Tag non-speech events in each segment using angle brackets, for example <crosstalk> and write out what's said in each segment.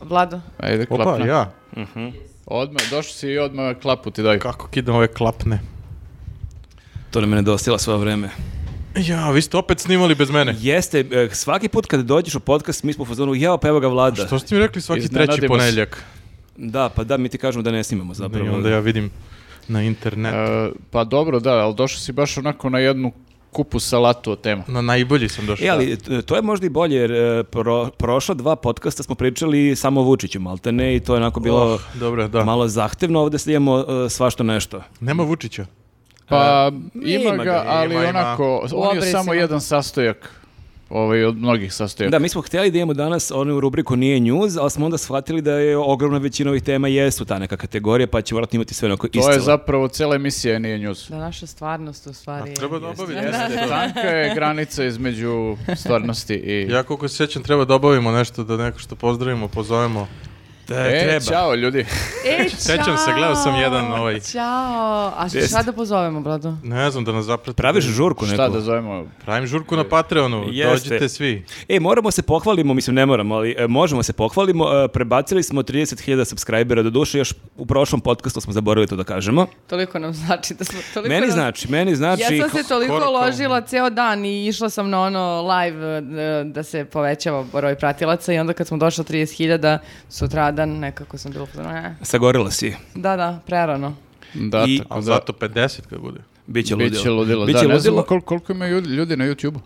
Vlado. Ajde, klapna. Opa, ja. Odmah, došao si i odmah klapu ti daj. E, Kako kidam ove klapne. To nam je nedostajalo svoje vreme. Ja, vi ste opet snimali bez mene. Jeste, e, svaki put kada dođeš u podcast, mi smo u fazonu, jao, pa evo ga vlada. Što ste mi rekli svaki Iznenadimo treći se. ponedjeljak? Da, pa da, mi ti kažemo da ne snimamo zapravo. I onda ja vidim na internet. E, pa dobro, da, ali došao si baš onako na jednu kupu salatu od tema. Na najbolji sam došao. E, ali t- to je možda i bolje, jer e, pro- prošla dva podcasta smo pričali samo o Vučiću, maltene, i to je onako bilo Oh, dobro, da. malo zahtevno, ovdje sad imamo e, svašta nešto. Nema Vučića. Pa ima ima ga, ga, ali E, ima, ima. onako, on je obrisima. samo jedan sastojak ovaj, od mnogih sastojaka. Da, mi smo htjeli da imamo danas onu rubriku Nije news, ali smo onda shvatili da je ogromna većina ovih tema jesu ta neka kategorija, pa će vratno imati sve onako to isto. je zapravo cela emisija nije njuz. Da naša stvarnost u stvari... Treba da obavimo. Tanka je granica između stvarnosti i... Ja koliko se sjećam, treba da obavimo nešto, da neko što pozdravimo, pozovemo. e, čao ljudi. E, Sećam se, gledao sam jedan ovaj- Ćao. A što Jest. sada pozovemo, Vlado? Ne znam da nas zaprati. Praviš žurku neku. Šta da zovemo? Pravim žurku na Patreonu, Jeste. dođite svi. E, moramo se pohvalimo, mislim ne moramo, ali e, možemo se pohvalimo. E, prebacili smo 30.000 subscribera, doduše još u prošlom podcastu smo zaboravili to da kažemo. Toliko nam znači da smo... Toliko meni nam- znači, meni znači... ja sam se toliko skoro kao- ložila ceo dan i išla sam na ono live e, da se povećava broj pratilaca i onda kad smo došli 30.000 sutradan nekako sam bila pozorna. "E, Sagorila si. Da, da, prerano. Da, I- tako Ali da. zato 50 kad bude. Biće ludilo. Biće ludilo. Biće da, ne ludilo. znamo kol- koliko ima ljudi, ljudi na YouTube-u.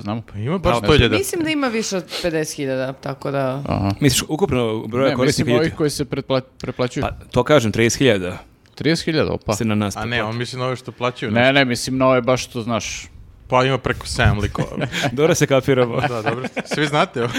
Znamo. Pa ima baš Da, 100.000. Mislim da ima više od 50.000, tako da... Aha. Misliš, ukupno broja Ne, korisnika mislim ovih YouTube? koji se pretpla- pretplaćuju. Pa, to kažem, 30.000 30.000, opa. se na nas A ne, on misli na ove što plaćaju. Ne, ne, mislim na ove baš što znaš. Pa ima preko 7 <laughs> likova. Dobro se <laughs> kapiramo. <laughs> da, dobro. Svi znate ovo.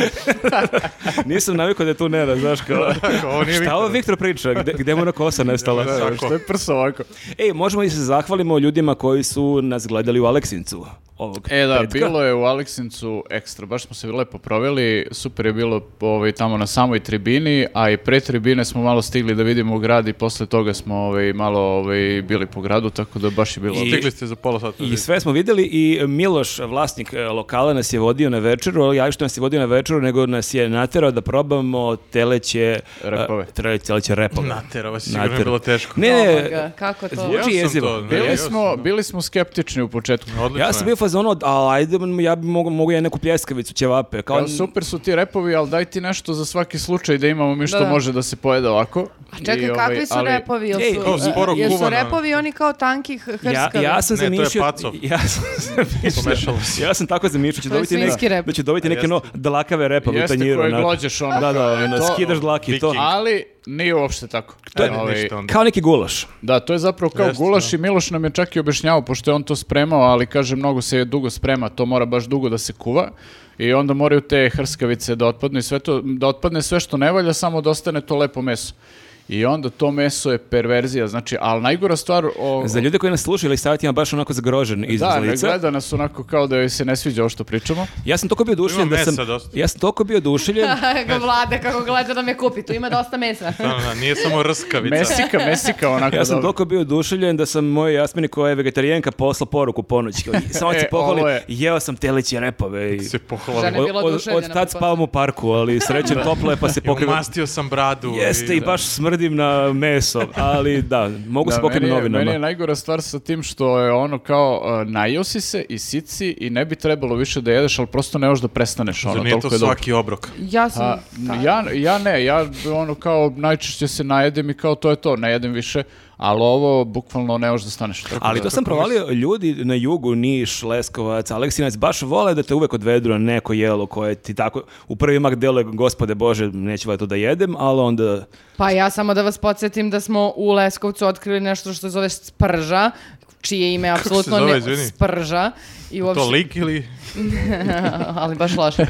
Nisam navikao da je tu Nera, znaš <laughs> kao... <laughs> Ovo nije Šta Viktor. ovo Viktor priča? Gde, gde mu ona kosa nestala? Tako. Što je prso ovako? Ej, možemo i se zahvalimo ljudima koji su nas gledali u Aleksincu ovog E da, petka. bilo je u Aleksincu ekstra, baš smo se lepo proveli, super je bilo ovaj, tamo na samoj tribini, a i pre tribine smo malo stigli da vidimo grad i posle toga smo ovaj, malo ovaj, bili po gradu, tako da baš je bilo... I- Stigli ste za pola sata. I sve smo vidjeli i Miloš, vlasnik e, lokala, nas je vodio na večeru, ali ja što nas je vodio na večeru, nego nas je naterao da probamo teleće... Repove. e, tre- teleće repove. Nater, ovo sigurno Naterao. je bilo teško. Ne, Oh ne, my God, kako to? zvuči Ja sam jezivo. to, ne, Bili ja Bili sam, smo, da. bili smo skeptični u početku. Odlično Ja sam je. bio fazonu, a ajde, ja bi mogu, mogu ja neku pljeskavicu, ćevape. Kao, Kao, super su ti repovi, ali daj ti nešto za svaki slučaj da imamo mi što Da, da. može da se pojede ovako. A čekaj, I, ovaj, kakvi su ali- repovi? Jel Ej, su, kao sporo jel su kuvana. repovi oni kao tanki h- Ja, hrskavi? ja sam Ne, to je zamišljio... pacov. <laughs> Ja sam zamišljio... Pomešalo se. ja sam tako zamišljio, će To je dobiti svinjski neke, rep. da će dobiti neke no, dalakave repove u Jeste tanjiru. koje onako. glođeš ono. Da, da, E, ono, to- skidaš dlaki i to. Viking. Ali nije uopšte tako. To je E, ovaj, ništa onda. Kao neki gulaš. Da, to je zapravo kao Jeste, gulaš i Miloš nam je čak i objašnjavao, pošto je on to spremao, ali kaže mnogo se je dugo sprema, to mora baš dugo da se kuva i onda moraju te hrskavice da otpadnu i sve to, da otpadne sve što ne valja, samo da ostane to lepo meso. I onda to meso je perverzija, znači, ali najgora stvar... O, Za ljude koji nas slušaju ili savjeti ima baš onako zagrožen izraz da, ne lica. gleda nas onako kao da joj se ne sviđa ovo što pričamo. Ja sam toliko bio oduševljen Ima da sam... mesa dosta. Ja sam toliko bio <laughs> oduševljen. Ga vlade kako gleda da me kupi, tu ima dosta mesa. Da, da, da, nije samo rskavica. Mesika, mesika, onako <laughs> Ja sam dobro. toliko bio oduševljen da sam mojoj Jasmini koja je vegetarijanka poslao poruku <laughs> ponoć. Kao, Samo E, se pohvali, ovo je. jeo sam teleće repove. I... Se pohvali. Žene- Ne Od, bila od, oduševljena, od tad pretpostavljam. spavam u parku, ali sreće toplo je pa se I pokrivam. Umastio sam bradu. Jeste i baš smrdim na meso, ali da, mogu se Da, pokrijem meni, je- novinama. meni je najgora stvar sa tim što je ono kao uh, najosi se i sici i ne bi trebalo više da jedeš, ali prosto ne možeš da prestaneš. Ono, Zar nije to toliko je dobro. svaki obrok? Ja sam... Pa, A, Pa, ja, ja ne, ja ono kao najčešće se najedem i kao to je to, ne jedem više, ali ovo bukvalno ne možeš da staneš. Tako Ali da- to sam provalio, ljudi na jugu, Niš, Leskovac, Aleksinac, baš vole da te uvek odvedu na neko jelo koje ti tako, u prvi mak delo je, gospode bože, neću valjda to da jedem, ali onda, Pa ja samo da vas podsjetim da smo u Leskovcu otkrili nešto što se zove sprža, čije ime apsolutno zove, ne izvini? Pa sprža i uopšte To lik ili... <laughs> ali baš loše.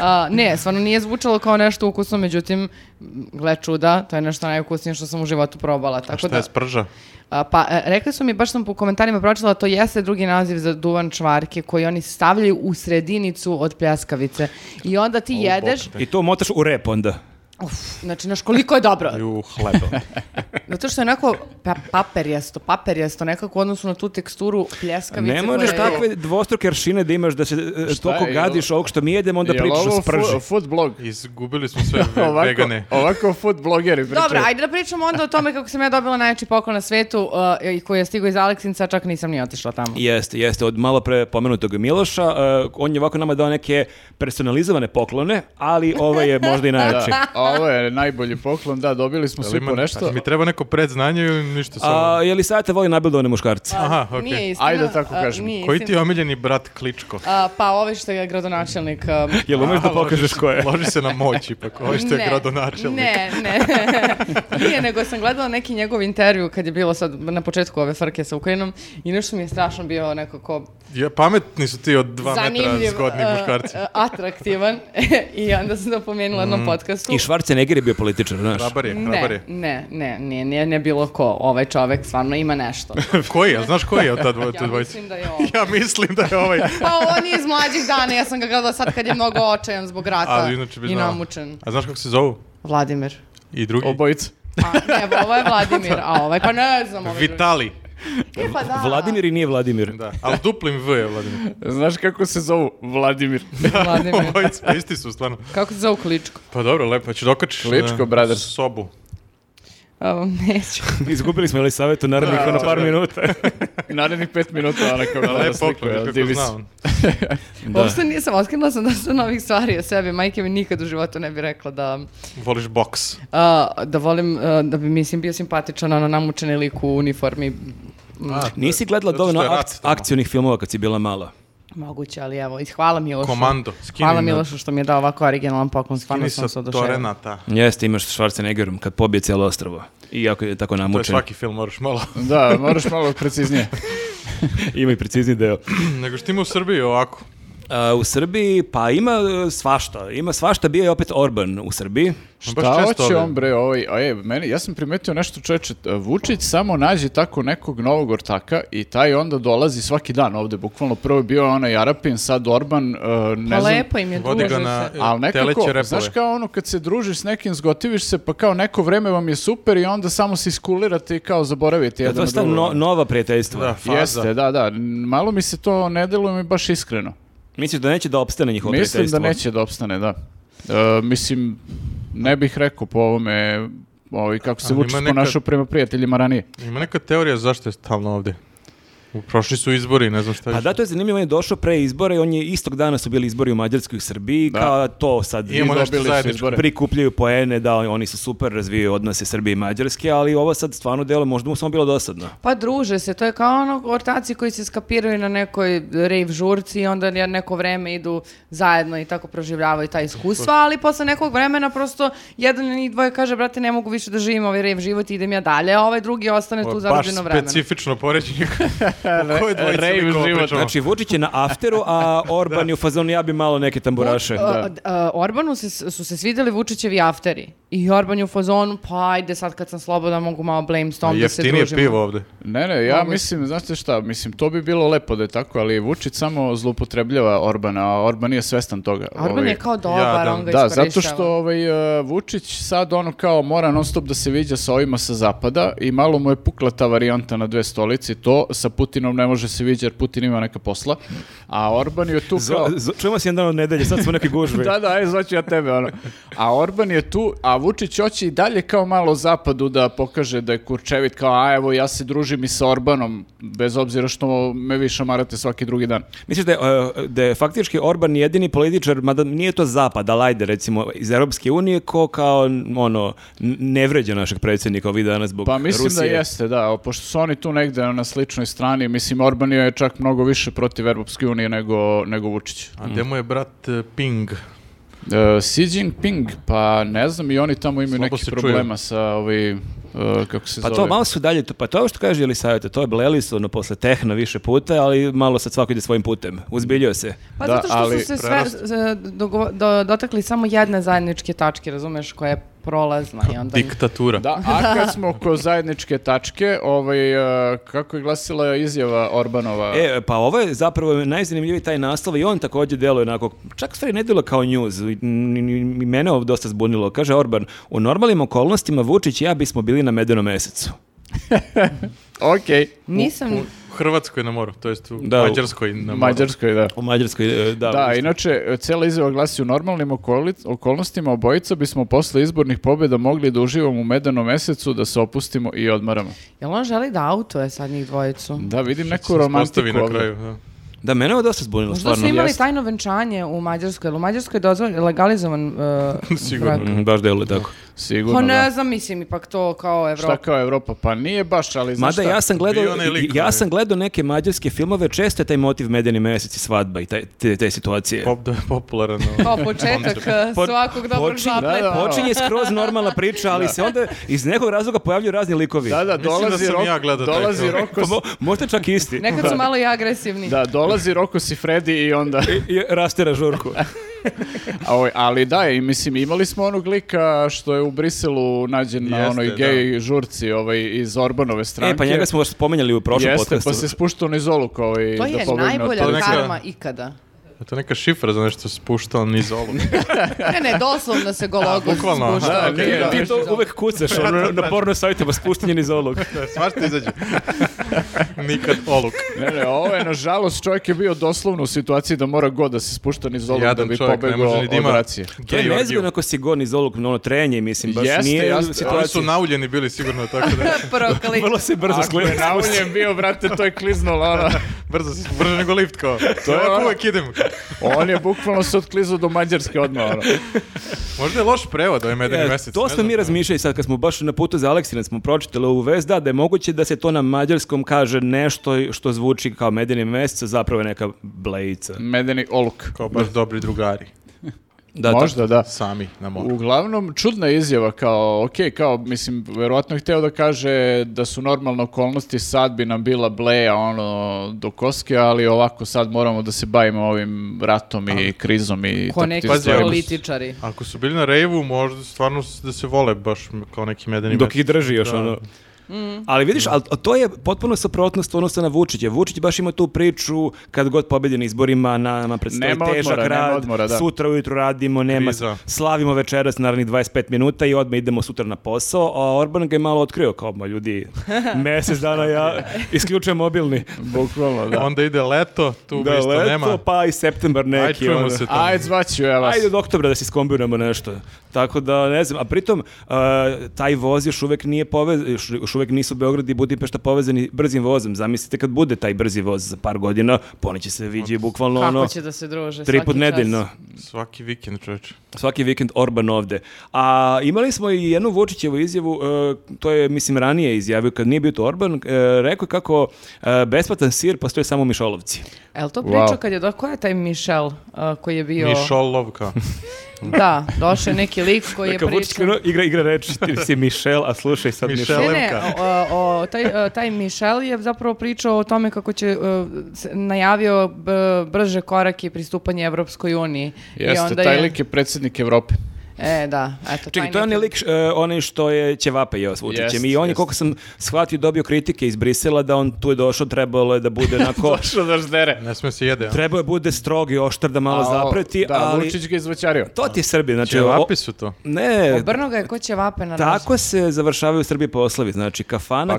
A, ne, stvarno nije zvučalo kao nešto ukusno, međutim, m, gle čuda, to je nešto najukusnije što sam u životu probala. Tako Šta Pa da, je sprža? a, pa e, rekli su mi, baš sam po komentarima pročitala, to jeste drugi naziv za duvan čvarke koji oni stavljaju u sredinicu od pljaskavice. I onda ti jedeš, i to motaš u rep onda. Uf, znači, znaš koliko je dobro. I u hlebu. Zato što je onako pa, paperjesto, paperjesto, nekako u odnosu na tu teksturu pljeskavice. Ne možeš koja je- takve dvostruke aršine da imaš da se e, Šta toliko je, jel- gadiš ovog što mi jedemo, onda Jel pričaš da ovo sprži. fu- food blog? Izgubili smo sve ve- Ovako, vegane. ovako food blogeri pričaju. Dobro, ajde da pričamo onda o tome kako sam ja dobila najjači poklon na svetu uh, i koji je stigao iz Aleksinca, čak nisam ni otišla tamo. Jeste, jeste. Od malo pre pomenutog Miloša, e, on je ovako nama dao neke personalizovane poklone, ali ovo je <laughs> možda i najjači. Da, ovo je najbolji poklon, da, dobili smo svi po nešto. Mi treba neko predznanje ili ništa samo? A, je li sada voli nabildovane muškarce? Aha, okej. Nije istina. Ajde da tako a, kažemo. nije Koji ti istina. je omiljeni brat Kličko? A, pa ovaj što je gradonačelnik. um, <laughs> Jel umeš da pokažeš ko je? Loži se na moć ipak, ovo Ovaj što je ne, gradonačelnik. Ne, ne. <laughs> Nije, nego sam gledala neki njegov intervju kad je bilo sad na početku ove frke sa Ukrajinom i nešto mi je strašno bio nekako Ja, pametni su ti od dva metra zanimljiv, zgodni uh, muškarci. Mm. uh, atraktivan <laughs> i onda sam to pomenula na jednom podcastu. I Schwarzenegger je bio političar, <laughs> znaš. Hrabar je, hrabar Ne, <laughs> je. ne, ne, nije, nije, nije bilo ko. Ovaj čovek stvarno ima <laughs> nešto. Koji je? Znaš koji je od ta dvoj- te Ja dvojice? mislim da je ovo. <laughs> Ja mislim da je <laughs> ovaj... Pa on je iz mlađih dana, ja sam ga gledala sad kad je mnogo očajan zbog rata Ali inače bi i znao. namučen. A znaš kako se zovu? Vladimir. I drugi? Obojica. A, ne, ovo je Vladimir, a ovaj, pa ne znam. Ovaj drugi. Vitali. E, pa da. Vladimir i nije Vladimir. Da, ali duplim V je <laughs> Vladimir. Znaš kako se zovu? Vladimir. Vladimir. <laughs> Obojica, isti su stvarno. Kako se zove Kličko? Pa dobro, lepo, ću dokačiš. Kličko, na brother. Sobu. A, neću. <laughs> Izgubili smo ili savjetu naravnih na ono, par minuta. Narednih pet minuta ona kao gleda Lep sliku, poklon, jel, kako divi se. znam. Da. Uopšte nisam, otkrila sam dosta novih stvari o sebi. Majke mi nikad u životu ne bi rekla da, Voliš boks. a, da volim, a, da bi, mislim, bio simpatičan, ono, namučeni lik u uniformi. Mm, A, <laughs> Nisi gledala Zato što je dovoljno rat ak- tamo. akcionih filmova kad si bila mala. Moguće, ali evo, i hvala Milošu. Komando. Skini Hvala na- Milošu što mi je dao ovako originalan poklon, stvarno Kini sam se sa oduševila. Torenata. Jeste, imaš s Schwarzeneggerom kad pobije cijelo ostrvo. I jako je tako To je namučen. svaki film, moraš malo. Da, moraš malo preciznije. <laughs> Ima i precizni <clears throat> deo. Nego što ima u Srbiji ovako. A, u Srbiji, pa ima e, svašta. Ima svašta, bio je opet Orban u Srbiji. Šta često hoće ovdje. on bre ovaj, a je, meni, ja sam primetio nešto čoveče, Vučić samo nađe tako nekog novog ortaka i taj onda dolazi svaki dan ovde, bukvalno prvo je bio onaj Arapin, sad Orban, e, ne Pa znam, lepo im je, Vodi druže ga se. na- Ali Teleće nekako, repove. znaš kao ono kad se družiš s nekim, zgotiviš se, pa kao neko vreme vam je super i onda samo se iskulirate i kao zaboravite Da, jedan to na su ta drugog. no- nova prijateljstva. Da, faza. Jeste, da, da. Malo mi se to ne deluje mi baš iskreno. Misliš da neće da opstane njihovo Mislim prijateljstvo? da neće da opstane, da. E, mislim, ne bih rekao po ovome ovaj, kako se Ali Vučić ima neka- ponašao prema prijateljima ranije. Ima neka teorija zašto je stalno ovdje. U- Prošli su izbori, ne znam šta Pa više. da, to je zanimljivo, on je došao pre izbora i on je istog dana su bili izbori u Mađarskoj i Srbiji, kao to sad Imamo I nešto dobili su zajedničko. izbore. prikupljaju poene, da oni su super, razvijaju odnose Srbije i Mađarske, ali ovo sad stvarno delo možda mu samo bilo dosadno. Pa druže se, to je kao ono ortaci koji se skapiraju na nekoj rave žurci i onda ja- neko vreme idu zajedno i tako proživljavaju ta iskustva, ali posle nekog vremena prosto jedan i dvoje kaže, brate, ne mogu više da živim ovaj rave život, idem ja dalje, a ovaj drugi ostane Ovo tu je zarobljeno Pa Baš vremena. specifično poređenje. U kojoj dvojici Rave likova život. pričamo? Znači, Vučić je na afteru, a Orban je u fazonu ja bi malo neke <laughs> tamburaše. A, d- a, e, Orbanu se, su se svidjeli Vučićevi afteri i Orban je u fazonu, pa ajde sad kad sam slobodan mogu malo A brainstorm da se Pa Jeftinije družimo. pivo ovdje. Ne, ne, ja Moguće. mislim, znate šta, mislim, to bi bilo lepo da je tako, ali Vučić samo zloupotrebljava Orbana, a Orban nije svestan toga. A Orban Ovaj, je kao dobar, da. on ga Da, iskorištava. zato što ovaj, e, Vučić sad ono kao mora non stop da se viđa sa ovima sa zapada i malo mu je pukla ta varijanta na dve stolici, to sa Putinom ne može se viđa jer Putin ima neka posla, a Orban je tu Zo- kao... zo- čujemo se jedan od nedelje, sad smo u nekoj gužvi. Da, da, aj, zvaću ja tebe, ono. A Orban je tu, a Vučić hoće i dalje kao malo zapadu da pokaže da je Kurčevit kao, a evo, ja se družim i sa Orbanom, bez obzira što me vi šamarate svaki drugi dan. Misliš da je, e, da je faktički Orban jedini političar, mada nije to zapad, ali ajde recimo iz Europske unije, ko kao n- ono, n- ne vređa našeg predsjednika ovih dana zbog Pa mislim Rusije. da jeste, da, o, pošto su oni tu negde ono, na sličnoj strani, mislim, Orban je čak mnogo više protiv Europske unije nego, nego Vučić. A gdje mu je brat eh, Ping? E, Xi Jinping, pa ne znam, i oni tamo imaju Slabo neki se čuje. problema sa ovi, e, kako se Pa zove. to, malo su dalje, to- pa to je ovo što kaže ili savjeta, to je bleli su ono, posle tehna više puta, ali malo sad svako ide svojim putem, uzbiljio se. Pa Da, zato što ali su se sve e, prerast- z- dogo- do- dotakli samo jedne zajedničke tačke, razumeš, koja je prolazna i onda... Diktatura. Da, <laughs> a kad smo ko zajedničke tačke, ovaj, e, kako je glasila izjava Orbanova? E, pa ovo je zapravo najzanimljiviji taj naslov i on također deluje onako, čak stvari ne deluje kao news, i n- n- i mene ovo dosta zbunilo. Kaže Orban, u normalnim okolnostima Vučić i ja bismo bili na medenom mesecu. Okej. Nisam... U Hrvatskoj na moru, to jest u Da, u- Mađarskoj na U moru. Mađarskoj, da. U Mađarskoj, e, da. Da, inače, e, cijela izjava glasi u normalnim okoli- okolnostima obojica bismo posle izbornih pobjeda mogli da uživamo u medanom mesecu, da se opustimo i odmaramo. Jel on želi da autoje sad njih dvojicu? Da, vidim neku romantiku. Postavi na ovdje. kraju, da. Da, mene ovo dosta zbunilo, Možda su stvarno. imali jest. tajno venčanje u Mađarskoj, jer u Mađarskoj je dozvoljen legalizovan... Uh, Sigurno. brak. Mm, Baš deluje tako. Sigurno, Pa da. ne znam, mislim, ipak to kao Šta Evropa. kao Evropa? Pa nije baš, ali znaš Mada šta? ja sam gledao, Bio onaj lik, ja onaj. sam gledao neke mađarske filmove, često je taj motiv medeni mesec i svadba i taj, te, te situacije. Pop da je popularan. Kao početak eh, Po- svakog dobrog počinje- zapleta. Da, da. Počinje skroz normalna priča, ali se onda iz nekog razloga pojavljuju razni likovi. Da, da, Mislim da dolazi sam Rok- ja gledao taj dolazi film. Roko, Pa mo- možda čak isti. Nekad su malo i agresivni. da, dolazi Roko si Freddy i onda... I rastera žurku. A ovaj, ali da, i mislim, imali smo onog lika što je u Briselu nađen na Jeste, onoj da. gej žurci ovaj, iz Orbanove stranke. E, pa njega smo baš spomenjali u prošlom Jeste, podcastu. pa se spuštao niz oluk ovaj, To da je pobegne od najbolja toga. neka- karma ikada. Je to neka šifra za nešto spuštao niz olu. Ne, ne, doslovno se gologu bukvalno, aha, spušta. okej, Ti- da. Ti to uvek kucaš ono, na- na porno sajtima, spuštenje niz olog. Svašta izađe. <laughs> Nikad oluk. Ne, ne, ovo je, nažalost, čovjek je bio doslovno u situaciji da mora god da se spušta niz oluk da Jadan bi čovjek, ne pobegao može ni da od ima racije. To je gej orgiju. nezgodno ako si go niz olog, ono trenje, mislim, baš Jeste, nije jeste. Oni situacija. su nauljeni bili sigurno, tako <laughs> da Prokli. Vrlo se brzo Ako je sklepa. nauljen bio, brate, to je ono. kliznula ona. brzo, si- brže nego lift kao. To je Ovako ono. uvek idem. On je bukvalno se otklizao do Mađarske odmah. ono. Možda je loš prevod ovaj medeni E, mesec. to ne smo znam. mi razmišljali sad kad smo baš na putu za Aleksinac smo pročitali ovu vest da, da je moguće da se to na mađarskom kaže nešto što zvuči kao medeni mesec, a zapravo je neka blejica. Medeni oluk. Kao baš dobri drugari. Da, tako. Možda, da. Sami na moru. Uglavnom, čudna izjava, kao, ok, kao, mislim, verovatno je hteo da kaže da su normalne okolnosti, sad bi nam bila bleja, ono, do koske, ali ovako sad moramo da se bavimo ovim ratom i krizom i Ko tako neki tim Pazi, stvarima. ali- političari. Ako su bili na rejvu, možda stvarno s- da se vole baš m- kao neki medeni Dok ih mesec. drži još ono. Ali vidiš, ali to je potpuno suprotnost odnosa na Vučića. Vučić baš ima tu priču kad god pobedi na izborima, na, na predstoji Nema odmora, težak nema rad, odmora, da. sutra ujutru radimo, nema, Kriza. slavimo večeras naravni 25 minuta i odmah idemo sutra na posao, a Orban ga je malo otkrio, kao, ma ljudi, mjesec dana ja isključujem mobilni. Bukvalno, da. Onda ide leto, tu da, Da, isto leto, nema. pa i septembar neki. Ajde, čujemo ono. se tamo. <laughs> Ajde, zvaću ja vas. Ajde od oktobra da se skombinujemo nešto. Tako da ne znam, a pritom uh, taj voz još uvek nije povezan, još, još uvek nisu Beograd i Budimpešta povezani brzim vozom. Zamislite kad bude taj brzi voz za par godina, pa oni će se viđi bukvalno ono Kako će da se druže tri svaki put čas. nedeljno. Svaki vikend, čovječe. Svaki vikend Orban ovde. A imali smo i jednu Vučićevu izjavu, e, to je mislim ranije izjavio kad nije bio to Orban, e, rekao je kako e, besplatan sir postoje samo u Mišolovci. El to Wow. priča kad je do... Ko je taj Michel uh, koji je bio... Mišolovka. Da, došao je neki lik koji je Kad Vučić ono- pričao... krenuo, igra, igra reči, ti si Mišel, a slušaj sad Mišel. Mišel. Ne, ne, Lemka. o, o, taj, o, taj Michel je zapravo pričao o tome kako će o, s- najavio b- brže korake i pristupanje Evropskoj uniji. I Jeste, onda taj je, lik je predsjednik Evrope. E, da, eto. Čekaj, taj to je onaj neki- lik, š- e, onaj što je ćevape jeo s Vučićem Jest, i on je, jest. koliko sam shvatio, dobio kritike iz Brisela da on tu je došao, trebalo je da <laughs> bude onako... Što da ždere. Ne sme se jede. a? trebao je bude strog i oštar da malo zapreti, da, ali... Vučić ga je izvaćario. To ti je Srbija, znači... Ćevapi su to. o- Ne, Obrnuo ga je ko će vape na nas. tako se završavaju Srbije poslovi, znači kafana, Pa kafana,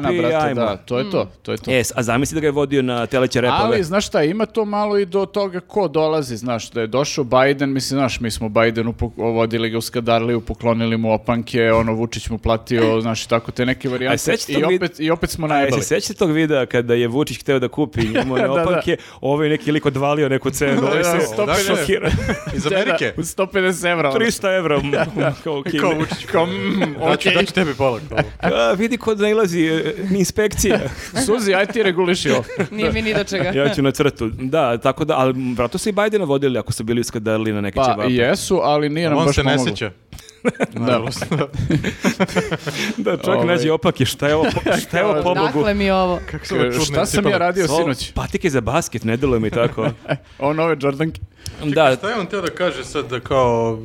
ćevapi i brate, ajmo. da, to je to, to je to. E, s- a zamisli da ga je vodio na teleće repove. Pa, Ali, znaš šta, ima to malo i do toga ko dolazi, znaš, da je došao Biden, mislim, znaš, mi smo Bidenu pok- vodili ga u Skadarliju, poklonili mu opanke, ono, Vučić mu platio, znaš, i tako te neke A varijante. sećate I vi- opet, I opet smo A jesi najbali. sećate tog videa kada je Vučić hteo da <laughs> kupi njemu one Da, da. opanke, ovaj neki lik odvalio neku cenu, ovaj da, se da, da. <laughs> <laughs> šokirao. Iz Amerike. Da, 150 evra. <laughs> ono. 300 evra. mm, kao Kine. Kao Vučić, kao, mm, Daću, okej. daću tebi pola. kao. A, vidi kod nailazi e, <laughs> inspekcija. Suzi, aj ti reguliši ovo. Nije mi ni do čega. <laughs> ja ću na crtu. Da, tako da, ali vratno su i Bajdena vodili ako su bili uskadarili na neke Pa, ćevape. jesu, ali nije nam On baš se ne pomoglo. sjeća. <laughs> <laughs> Da. Da, čovjek Ovaj. nađe opake, šta je ovo, <laughs> po- šta je ovo pobogu? Dakle mi ovo. su ove čudne Šta sam cipele? ja radio Sol- sinoć? Patike za basket, <laughs> ne deluje mi tako. O nove Jordanke. da, Šta je on teo da kaže sad da kao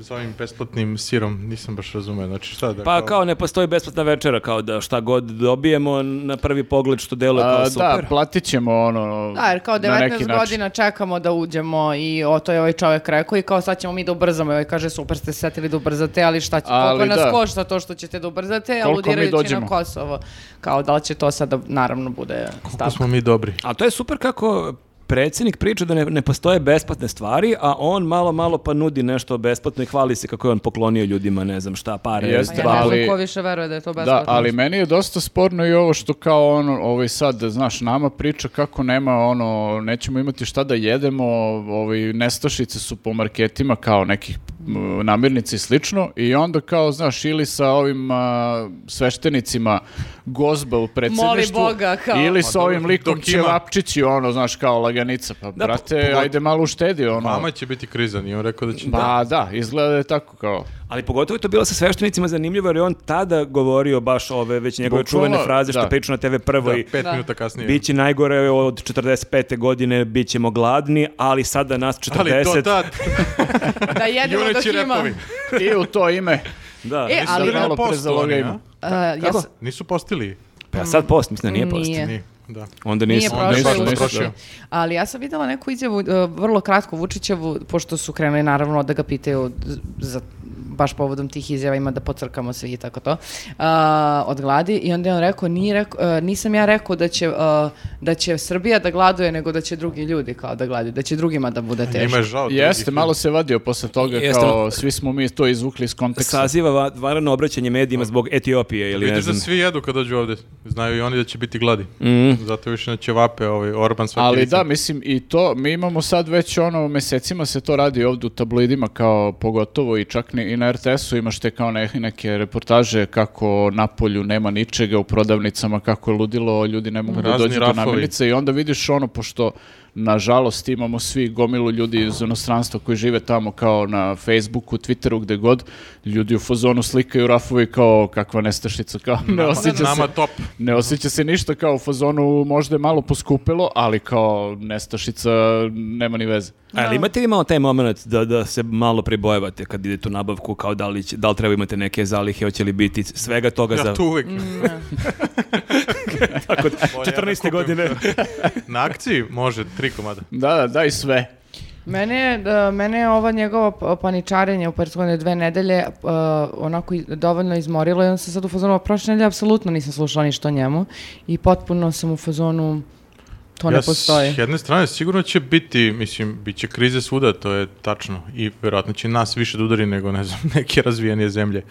s ovim besplatnim sirom, nisam baš razumeo. Znači šta da... Pa kao ne postoji besplatna večera, kao da šta god dobijemo na prvi pogled što deluje kao A, da, super. platit ćemo ono Da, jer kao na neki 19 način. godina čekamo da uđemo i o to je ovaj čovjek rekao i kao sad ćemo mi da ubrzamo i ovaj kaže super ste se setili da ubrzate, ali šta će, Ali koliko nas da. košta to što ćete da ubrzate, Koliko mi aludirajući na dođemo? Kosovo. Kao da li će to sada naravno bude Koliko stavka. smo mi dobri. A to je super kako predsjednik priča da ne, ne postoje besplatne stvari, a on malo, malo pa nudi nešto besplatno i hvali se kako je on poklonio ljudima, ne znam šta, pare, Jeste, Pa ja dva- ne znam ali- ko više veruje da je to besplatno. Da, ali meni je dosta sporno i ovo što kao ono, ovaj sad, znaš, nama priča kako nema ono, nećemo imati šta da jedemo, ovaj, nestašice su po marketima kao nekih m, namirnica i slično i onda kao, znaš, ili sa ovim a, sveštenicima gozba u predsjedništvu, Boga, kao. ili sa ovim dobro, likom do kila. ćevapčići, ono, znaš, kao laganica, pa Da, brate, ajde malo uštedi, ono. Mama će biti krizan i on rekao da će... Pa da, izgleda da je tako kao. Ali pogotovo je to bilo sa sveštenicima zanimljivo jer je on tada govorio baš ove već njegove Bukvalno, čuvene fraze što da. priča na TV prvo Da, i pet Da. minuta kasnije. bit će najgore od 45. godine, bit ćemo gladni, ali sada nas 40. Ali do tad, Da <laughs> jedemo dok jureći ima. repovi. I u to ime. Da. E, ali... Dobro, malo Postu prezaloga oni, ima. a? Uh, ja Kako? sam- Nisu postili. Pa ja sad post, mislim da nije post. Nije. Ni, da. Onda mm, Nije nisu. prošlo. Onda je baš Nisu, nisu, potrošio. Ali ja sam vidjela neku izjavu, e, vrlo kratko Vučićevu, pošto su krenuli naravno da ga pitaju z- za baš povodom tih izjava ima da pocrkamo svi i tako to, a, od gladi i onda je on rekao, nije rekao e, nisam ja rekao da će, e, da će Srbija da gladuje, nego da će drugi ljudi kao da gladuje, da će drugima da bude teško. Njima je žao. Jeste, drugih. malo se vadio posle toga, Jeste, kao svi smo mi to izvukli iz konteksta. Saziva va- vanredno obraćanje medijima zbog Etiopije ili ne Vidiš da znam. svi jedu kad dođu ovde. Znaju i oni da će biti gladi. Zato više na ćevape ovaj Orban svaki Mhm. Ali da, vikend. mislim, i to, mi imamo sad već ono, mesecima se to radi ovdje u tabloidima, kao pogotovo i čak ni, i na RTS-u imaš te kao ne- neke reportaže kako na polju nema ničega u prodavnicama, kako je ludilo, ljudi ne mogu da Razni dođu do rafovi. namirnice i onda vidiš ono, pošto nažalost imamo svi gomilu ljudi iz inostranstva koji žive tamo kao na Facebooku, Twitteru, gde god, ljudi u fazonu slikaju rafovi kao kakva nestašica, kao ne osjeća se. Nama top. Ne osjeća se ništa kao u fazonu, možda je malo poskupilo, ali kao nestašica nema ni veze. Ali imate li malo taj moment da, da se malo pribojevate kad idete u nabavku, kao da li, će- da li treba imate neke zalihe, hoće li biti svega toga za... Ja tu uvek. <laughs> Tako, Bolje ja da 14. kupim. godine. <laughs> Na akciji može, tri komada. Da, da, daj sve. Mene, je, da, mene je ovo njegovo p- paničarenje u prethodne dve nedelje e, onako i- dovoljno izmorilo i on se sad u fazonu, "A prošle nedelje apsolutno nisam slušala ništa o njemu i potpuno sam u fazonu, to ne Ja s- postoji. S jedne strane, sigurno će biti, mislim, bit će krize svuda, to je tačno. I vjerojatno će nas više da udari nego, ne znam, <laughs> neke razvijenije zemlje.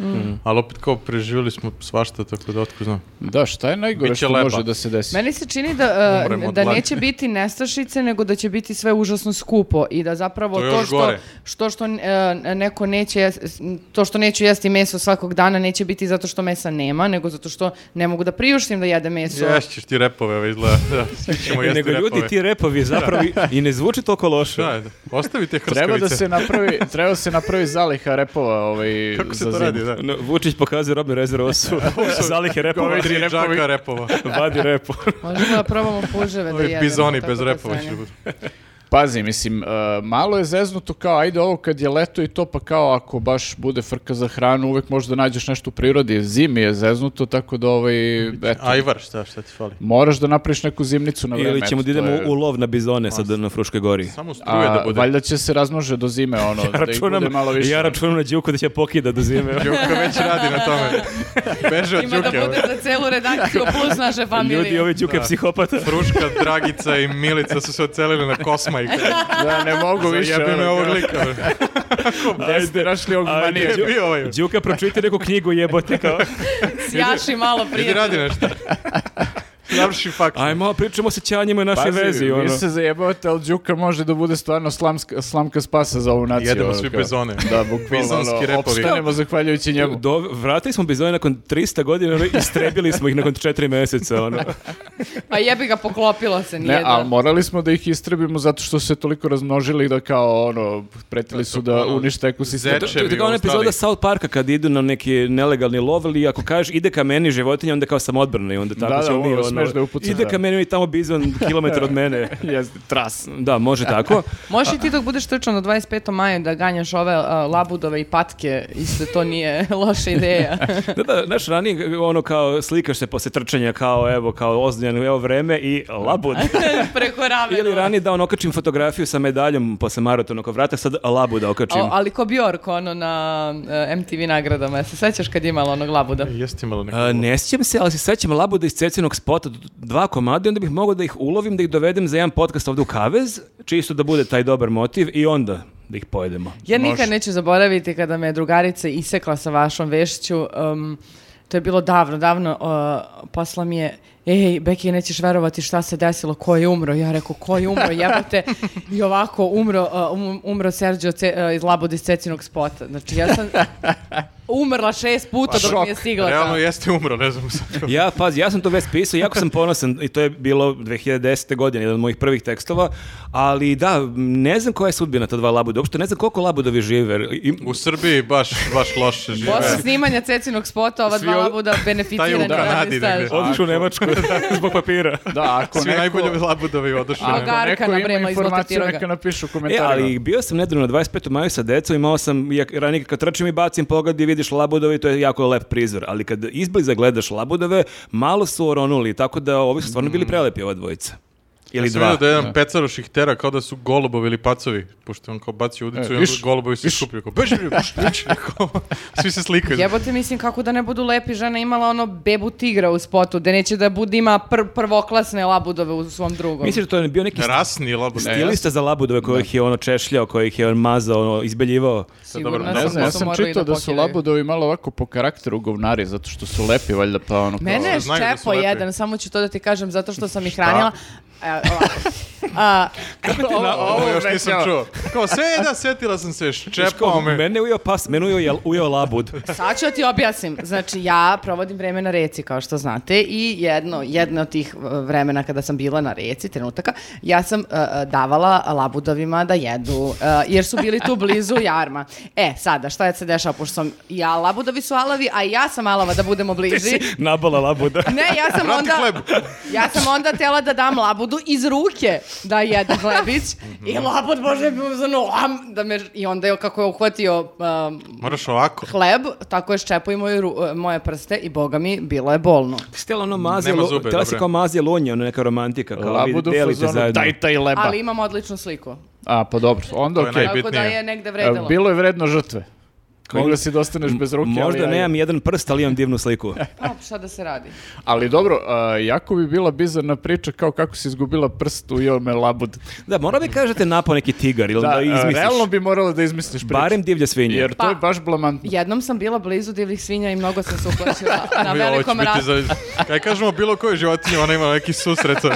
Ali opet kao preživjeli smo svašta, tako da otko znam. Da, šta je najgore Biće što lepa. može da se desi? Meni se čini da, e, Umrem od da gladi. neće biti nestašice, nego da će biti sve užasno skupo i da zapravo To to, je još što, gore. što, što e, neko neće, jes- to što neću jesti meso svakog dana neće biti zato što mesa nema, nego zato što ne mogu da priuštim da jedem meso. Ješćeš ti repove, ove izgleda. <laughs> Da, svi ćemo jesti Nego ljudi repove. ti repovi zapravo i- i ne zvuči toliko loše. Da, da. Ostavi te hrskavice. Treba da se napravi, treba da se napravi zaliha repova ovaj Kako se za to zimu. radi, da? No, Ono, Vučić pokazuje robne rezerve, ovo su zalihe repova. Ove Tri tri repovi. džaka repova. <laughs> Vadi repo. Možemo da probamo puževe da Ovi jedemo. bizoni tako bez da repova sve će ne. da budu. Pazi, mislim, e, malo je zeznuto kao, ajde ovo kad je leto i to, pa kao ako baš bude frka za hranu, uvek možeš da nađeš nešto u prirodi. Zimi je zeznuto, tako da ovaj, eto, Ajvar, šta, šta ti fali? moraš da napraviš neku zimnicu na vreme. Ili ćemo eto, da to idemo je- u lov na bizone sad na Fruškoj gori. Samo struje A, da bude. Valjda će se razmnože do <laughs> zime, ono, da ih bude malo više. ja računam na Đuku da će pokida do zime. Đuka već radi na tome. <laughs> Beže od Ima da Đuke. ovaj. bude za celu redakciju plus naše familije. Ljudi, ove Đuke psihopata. Fruška, Dragica i Milica su se ocelili na Kosma <laughs> i Da, ne mogu više. jebim me ono, ovog kao, <laughs> lika. bre. Gde ste našli ovog Ajde, manija? Gde je bio ovaj? Đuka, pročujte neku knjigu jebote kao. Sjaši malo Idi prije. radi nešto. Završi fakt. Ajmo, pričamo sa ćanjima i našoj vezi. vi Ono. se zajebavate, ali Đuka može da bude stvarno slamska, slamka spasa za ovu naciju. Jedemo ono, svi kao. bezone. Da, bukvalno, Bizonski ono, repovi. opstanemo zahvaljujući njemu. Do, vratili smo bizone nakon 300 godina ono, i strebili smo ih nakon 4 meseca. Ono. Pa jebi ga, poklopila se nije. Ne, da. ali morali smo da ih istrebimo zato što su se toliko razmnožili da kao ono, pretili su da ono, unište ekosistem. zeče. Pa To je Čevi kao ona u epizoda Australiji. South Parka kad idu na neki nelegalni lov ili ako kažeš ide ka meni životinja, onda kao sam odbrana i onda Da, tako da, ćemo mi ono, ono, smeš da je upucaš, Ide da. ka meni i tamo bizon kilometar od <laughs> mene. Jeste, tras. Da, može tako. Možeš i ti dok budeš trčan na 25. maju da ganjaš ove a, labudove i patke, isto to nije <laughs> loša ideja. Da, da, znaš, ranije ono kao slikaš se posle trčanja kao evo, kao ozbiljan, evo vreme i labud. Preko ramena. Ili ranije da on okačim fotografiju sa medaljom posle maratona oko vrata, sad labu da okačim. O, ali ko Bjork, ono na e, MTV nagradama, jel se sećaš kad je imala onog labuda? Jeste imalo neko... A, E, ne sjećam se, ali se sećam labuda iz cecinog spota, d- dva komada, i onda bih mogao da ih ulovim, da ih dovedem za jedan podcast ovde u Kavez, čisto da bude taj dobar motiv i onda da ih pojedemo. Ja nikad neću zaboraviti kada me je drugarica isekla sa vašom vešću. em, to je bilo davno, davno. Uh, poslala mi je, ej, Beki, nećeš verovati šta se desilo, ko je umro? Ja rekao, ko je umro, jebate. I ovako, umro, uh, um- umro Sergio Ce- uh, iz Labuda iz Cecinog spota. Znači, ja sam umrla šest puta dok mi je stigla. ta- Realno jeste umro, ne znam sad. Ja, pazi, ja sam to već pisao, jako sam ponosan i to je bilo 2010. godine, jedan od mojih prvih tekstova, ali da, ne znam koja je sudbina ta dva labuda, uopšte ne znam koliko labudovi žive. jer im- U Srbiji baš, baš loše žive. Posle snimanja Cecinog spota, ova Svi dva od- labuda beneficirani Taj u radni Kanadi staž. negde. u Nemačku <laughs> zbog papira. Da, ako Svi neko... najbolji labudovi odošli. A na- ga- Garka neko na ima Brema iz informaciju, Bototiroga. neka napišu u E, komentarima. ali bio sam nedavno na 25. maju sa decom, imao sam, ja, ranije kad trčim i bacim pogled i vidiš labudovi, to je jako lep prizor, ali kad izbliza gledaš labudove, malo su oronuli, tako da ovi su stvarno bili prelepi ova dvojica. Ili Mm. Ja sam dva. vidio da je jedan pecar u šihtera kao da su golubovi ili pacovi, pošto on kao bacio E, udicu i onda viš, golubovi se skupljaju. Kao, beži, bre, puš, puš, kao, svi se slikaju. <laughs> Jebote, mislim, kako da ne budu lepi, žena je imala ono bebu tigra u spotu, da neće da bude ima pr- prvoklasne labudove u svom drugom. Misliš da to je bio neki Rasni labud. Ne, stilista za labudove kojih je ono češljao, kojih je on mazao, ono, izbeljivao. Sigurno dobro, sam Ne da znam, ja su sam morali čitao da su pokidaju. labudovi malo ovako po karakteru govnari, zato što su lepi, valjda, pa ono... kao- Mene je Znaju da su ščepo lepi. jedan, samo ću to da ti kažem, zato što sam ih <laughs> hranila. E, ovako. A, Ovo- Ovo još nisam obećava. čuo. Kao sve, da, setila sam se, ščepao me. Mene je ujeo pas, mene je ujeo, ujeo <laughs> labud. sad ću da ti objasnim. Znači, ja provodim vreme na reci, kao što znate, i jedno, jedno od tih e, vremena kada sam bila na reci, trenutaka, ja sam e, e, davala labudovima da jedu, e, jer su bili tu blizu jarma. E, sada, šta je se dešava, pošto sam ja labudovi su alavi, a i ja sam alava da budemo bliži. Nabala labuda. Ne, ja sam Vrati onda... hleb. Ja sam onda tela da dam labudu iz ruke da jede hlebić i labud može za am, da me, i onda je kako je uhvatio um, Moraš ovako. hleb, tako je ščepo i moju ru- e, moje prste i boga mi, bilo je bolno. Stela ono mazije, Nema lo- zube, tela si dobro. kao mazije lonje, ono neka romantika. Kao Labudu Labudu u delite ono fazonu, zajedno. daj taj leba. Ali imam odličnu sliku. A, pa dobro, onda To je okej. naj- Tako da Najbitnije. je negde vredelo. Bilo je vredno žrtve. Kao- Mogla si da ostaneš bez ruke, ali... Možda ajde. nemam jedan prst, ali imam divnu sliku. Pa, šta da se radi? Ali dobro, a, jako bi bila bizarna priča kao kako si izgubila prst u jome labud. Da, mora bi kažete napao neki tigar ili da, Da, a, izmisliš. realno bi morala da izmisliš priču. Barem divlje svinje. Jer to je Pa- baš blamantno. Jednom sam bila blizu divljih svinja i mnogo sam se uplašila na Ovo će velikom biti ratu. za- <laughs> Kaj kažemo bilo kojoj životinji, ona ima neki susret. sa-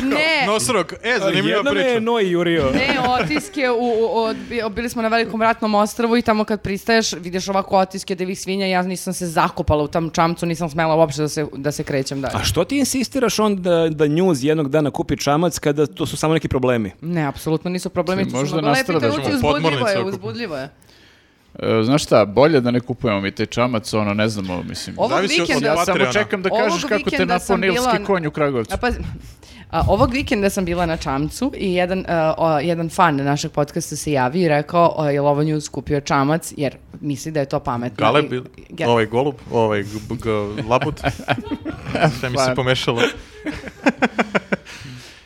Ne, Nosorog, e, zanimljiva Jednom je priča. Noj jurio. Ne, otiske, u, u- od- bi- bili smo na velikom ratnom ostrvu i tamo kad pristaješ vidiš ovako otiske divih svinja, ja nisam se zakopala u tam čamcu, nisam smela uopšte da se, da se krećem dalje. A što ti insistiraš onda da njuz jednog dana kupi čamac kada to su samo neki problemi? Ne, apsolutno nisu problemi. Ti to su možda mnogo lepi nastradaš. trenuci, Možemo uzbudljivo podmornicu je, da kupimo. uzbudljivo je. E, znaš šta, bolje da ne kupujemo mi te čamac, ono, ne znamo, mislim. Ovog Zavisi od- vikenda... od ja samo Patreona. čekam da Ovog kažeš kako te vikenda napao sam nilski bila- konj u Kragovcu. A pa, a, ovog vikenda sam bila na čamcu i jedan, a, o, jedan fan našeg podcasta se javi i rekao o, je li ovo njuz kupio čamac jer misli da je to pametno. Galeb, I- ili- Ja- ovaj golub, ovaj g- b- g- labud. Sve mi se Pa. pomešalo.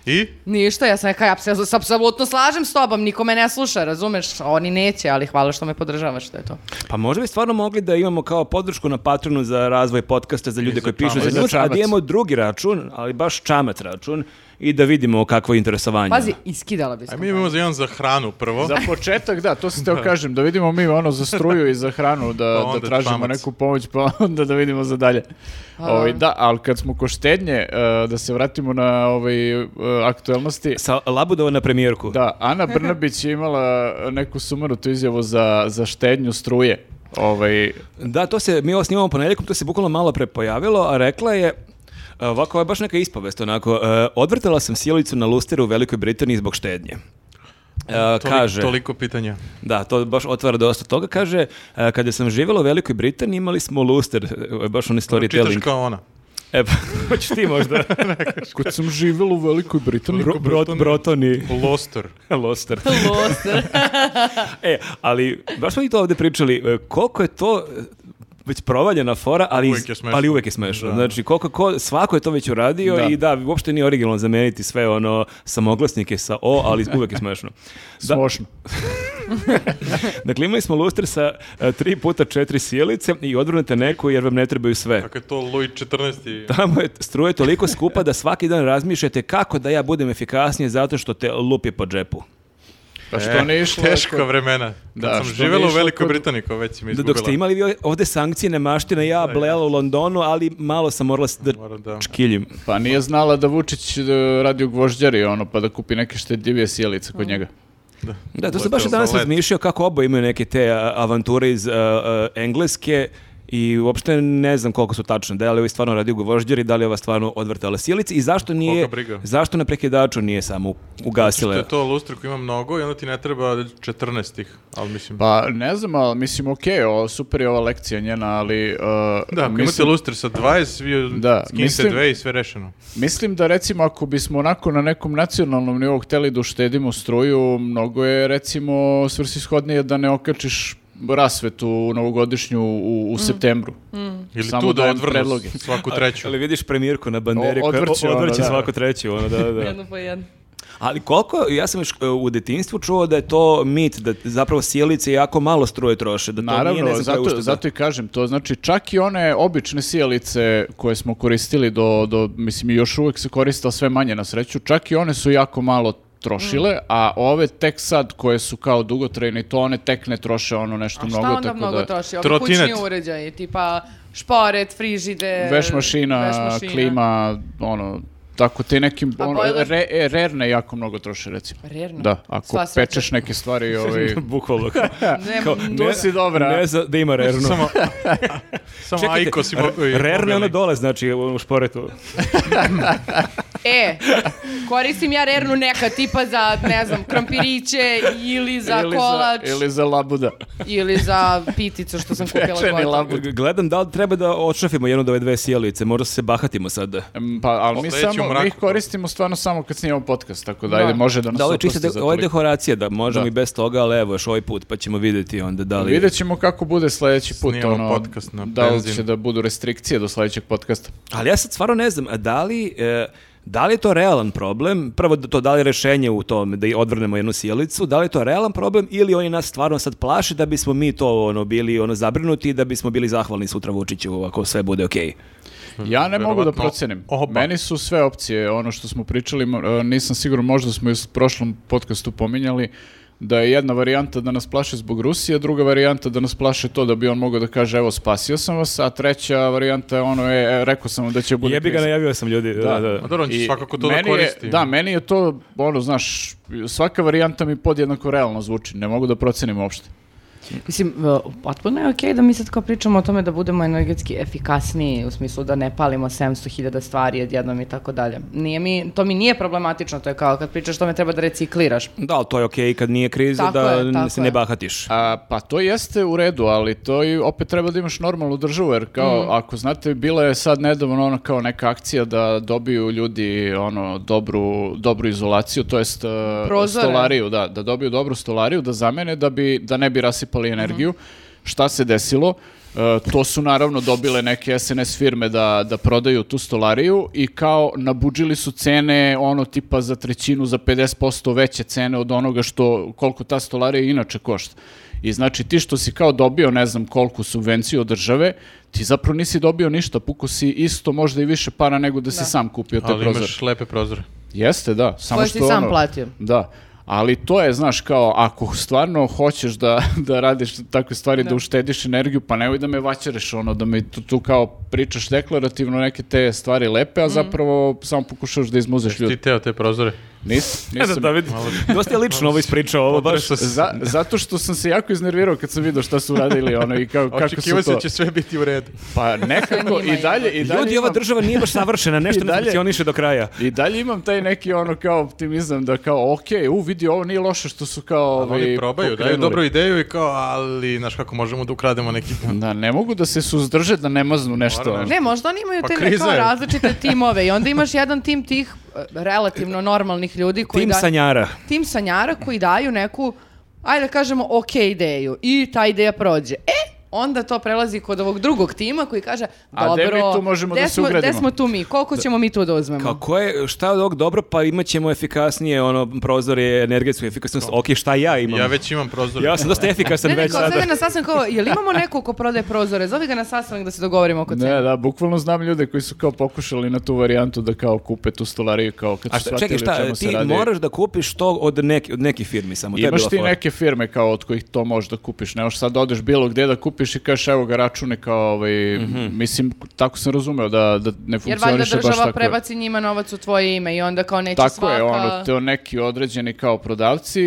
I? Ništa, ja sam rekao, ja se s- apsolutno slažem s tobom, niko me ne sluša, razumeš? Oni neće, ali hvala što me podržavaš, to je to. Pa možda bi stvarno mogli da imamo kao podršku na Patronu za razvoj podcasta za ljude za koji pišu čamac. za I za njuz, a da čamac. imamo drugi račun, ali baš čamac račun i da vidimo kakvo je interesovanje. Pazi, iskidala bi se. A <laughs> mi imamo za jedan za hranu prvo. Za početak, da, to sam teo kažem, da vidimo mi ono za struju i za hranu, da, Pa onda da tražimo čamac. neku pomoć, pa <laughs> onda da vidimo za dalje. Ovaj, da, ali kad smo koštednje, da se vratimo na ovaj, e, aktuelnosti, Sa Labudova na premijerku. da, Ana Brnabić je imala neku sumanutu izjavu za, za štednju struje. <laughs> Ovaj, Da, to se, mi ovo snimamo ponedjeljkom, to se bukvalno malo prepojavilo, a rekla je, e, ovako, ovo je baš neka ispovest, onako, e, odvrtala sam silicu na lusteru u Velikoj Britaniji zbog štednje. E, Toliko- kaže, Toliko pitanja. da, to baš otvara dosta toga, kaže, e, kada sam živjela u Velikoj Britaniji imali smo luster, e, baš on Čitaš storytelling. Ono, kao ona. E pa, hoćeš ti <laughs> možda. Kad sam živjela u Velikoj Britaniji, Bro, brot, brotoni. Lostor. Loster. Loser. E, ali, baš smo i to ovdje pričali, e, koliko je to e, već provaljena fora, ali Uvijek je smešno. ali uvijek je smešno. Da. Znači, koliko ko, svako je to već uradio Da. i da, uopšte nije originalno zameniti sve ono samoglasnike sa o, ali uvijek je smešno. Da, smošno. dakle, imali smo luster sa e, tri puta četiri sjelice i odvrnete neku jer vam ne trebaju sve. Kako je to Louis 14. Tamo je struje toliko skupa da svaki dan razmišljate kako da ja budem efikasniji zato što te lupi po džepu. Pa što ne išlo? Teška E, vremena. Da, Da, sam što živjela u više Velikoj kod- Britaniji, kao već si mi Da, izgubila. dok ste imali vi ovdje sankcije nemaštine, ja blela u Londonu, ali malo sam morala s- da Moram da- čkiljim. Pa nije znala da Vučić e, radi u gvožđari, ono, pa da kupi neke štedljivije sjelice kod njega. Da, to To sam je baš to, danas za let. razmišljao kako oba imaju neke te a, avanture iz a, a, Engleske i uopšte ne znam koliko su tačne, da je li ovaj stvarno radio gvožđer i da li je ova stvarno odvrtala sjelice i zašto nije, Koga briga. zašto na prekidaču nije samo u- Što ugasila. je to lustre koji ima mnogo i onda ti ne treba 14 ih, ali mislim... Pa ne znam, ali mislim, okej, o, super je ova lekcija njena, ali... e, da, ako imate mislim, lustre sa 20, vi Da, skinite mislim- dve i sve rešeno. mislim da recimo ako bismo onako na nekom nacionalnom nivou hteli da uštedimo struju, mnogo je recimo svrsishodnije da ne okačiš rasvetu novogodišnju u, u septembru. Ili Samo tu da dajem odvrnu predloge. svaku treću. Ali vidiš premijerku na banderi O- koja odvrće o- ono, odvrće da. svaku treću, ono, da, da. jedno po jedno. Ali koliko, ja sam još e, u detinjstvu čuo da je to mit, da zapravo sjelice jako malo struje troše, da to nije, ne Naravno, znam, koja zato, ušteda. zato i kažem, to znači čak i one obične sijalice koje smo koristili do, do mislim i još uvek se koriste, ali sve manje na sreću, čak i one su jako malo trošile, Mm. a ove tek sad koje su kao dugotrajne, to one tek ne troše ono nešto A mnogo. šta onda tako mnogo da, troši? Ovi Trotinet. kućni uređaji, tipa šporet, frižide, Veš mašina, veš mašina. klima, ono, tako te nekim, A ono, bojler? re, e, rerne jako mnogo troše recimo. Rerno. Da, ako Sva sreća. pečeš neke <laughs> stvari, ovaj, <laughs> Bukvalno. Ne, Kao, m, <laughs> tu si dobra. Ne za, da ima rernu. Samo, samo Aiko si mo- i rerne ono mobilni. dole, znači u šporetu. E, koristim ja rernu neka tipa za, ne znam, krompiriće ili za ili kolač ili ili za labuda. za, piticu što sam kupila. Pečeni gotovo. labud. Gledam da li treba da odšrafimo jednu od ove dve sjelice, možda se bahatimo sad. Mm, Pa, ali mi, Sledeći u samo, mraku, mi ih to. koristimo stvarno samo kad snimamo podcast, tako da, ajde, može da nas Da, ovo je oprosti čisto, de, za ovo je toliko. dekoracija, da možemo Da. i bez toga, ali evo još ovaj put, pa ćemo vidjeti onda da li... Vidjet ćemo kako bude sljedeći put, Snimamo ono, podcast na da li benzin. će da budu restrikcije do sljedećeg podcasta. Ali ja sad stvarno ne znam, a da li, e, da li je to realan problem? Prvo, da to da li je rešenje u tome da i odvrnemo jednu sjelicu? Da li je to realan problem ili oni nas stvarno sad plaše da bismo mi to ono bili ono zabrinuti i da bismo bili zahvalni sutra Vučiću ako sve bude okej? Ja ne mogu da Hm, Verovatno procenim. oba. Meni su sve opcije, ono što smo pričali, mo- e, nisam siguran, možda smo i u prošlom podcastu pominjali, da je jedna varijanta da nas plaše zbog Rusije, druga varijanta da nas plaše to da bi on mogao da kaže evo spasio sam vas, a treća varijanta je ono je e, rekao sam vam da će bude Jebi ga, kriza. najavio sam ljudi. Da, da. A dobro, on će I svakako to da meni je- koristi. da, meni je to, ono, znaš, svaka varijanta mi podjednako realno zvuči. Ne mogu da procenim uopšte. Mislim, e, potpuno je okej da mi sad kao pričamo o tome da budemo energetski efikasniji, u smislu da ne palimo 700.000 stvari odjednom i tako dalje. Nije mi, to mi nije problematično, to je kao kad pričaš o tome treba da recikliraš. Da, ali to je okej kad nije kriza Tako da je, tako se ne je. bahatiš. A, pa to jeste u redu, ali to i opet treba da imaš normalnu državu, jer kao, Mhm. ako znate, bila je sad nedavno ono kao neka akcija da dobiju ljudi ono dobru, dobru izolaciju, to jest e, Prozore. stolariju, da, da dobiju dobru stolariju, da zamene, da, bi, da ne bi rasipali energiju. Šta se desilo? E, to su naravno dobile neke SNS firme da, da prodaju tu stolariju i kao nabuđili su cene ono tipa za trećinu, za 50% veće cene od onoga što koliko ta stolarija inače košta. I znači ti što si kao dobio ne znam koliko subvenciju od države, ti zapravo nisi dobio ništa, puko si isto možda i više para nego da si sam kupio te Ali prozore. imaš lepe prozore. Jeste, da. Samo Koje što si sam ono- platio. Da. Ali to je, znaš, kao, ako stvarno hoćeš da, <laughs> da radiš takve stvari, da. uštediš energiju, pa nemoj da me vaćereš, ono, da mi tu, tu kao Mm. pričaš deklarativno neke te stvari lepe, a zapravo samo pokušaš da izmuzeš Ti ljudi. teo te prozore. <laughs> Nis, Eto, nisam. David, <laughs> dosta je lično ovo ispričao, ovo baš... Potresao se. Pa Za- zato što sam se jako iznervirao kad sam vidio šta su radili ono i <laughs> kao, kako su Očekivao se to. da će sve biti u redu. Pa nekako i dalje i dalje. Ljudi, ova imam- država nije baš <laughs> savršena, nešto I ne dalje- funkcioniše do kraja. I dalje imam taj neki ono kao optimizam da kao ok, u vidi ovo nije loše što su kao Ali oni ovi, probaju, daju pokrenuli. dobru ideju i kao, ali, znaš kako, možemo da ukrademo neki... Da, ne mogu da se suzdrže da ne maznu nešto. Moram ono. Ne, možda oni imaju Pa te kriza kao je. različite timove i onda imaš jedan tim tih e, relativno normalnih ljudi koji Tim da- sanjara. tim sanjara koji daju neku, ajde da kažemo, ok ideju i ta ideja prođe. E, onda to prelazi kod ovog drugog tima koji kaže, A gde mi dobro, tu možemo da gde se smo- gde ugradimo?" smo tu mi, koliko ćemo mi tu da uzmemo? Kao ko je, šta je od ovog dobro, pa imat ćemo efikasnije ono, prozore, energetsku efikasnost. Ok, šta ja imam? Ja već imam prozor. Ja sam dosta efikasan Ne, ne, već kao sad sada. je na sastanku kao, jel imamo neko ko prodaje prozore? Zovi ga na sastanak da se dogovorimo oko cene. Ne, da, bukvalno znam ljude koji su kao pokušali na tu varijantu da kao kupe tu stolariju kao kad A su šta, shvatili čekaj, o šta, čemu se ti radi. moraš da kupiš to od, neki, od nekih firmi samo. to je Imaš bila ti fora. neke firme kao od kojih to možeš da kupiš, ne možeš sad da odeš bilo gde da kupiš i kažeš evo ga račune kao ovaj, Mhm. mislim, tako sam razumeo da, da ne Jer valjda funkcioniše baš tako. država prebaci njima novac u tvoje ime i onda kao neće Tako svaka... je, ono, te neki određeni kao prodavci,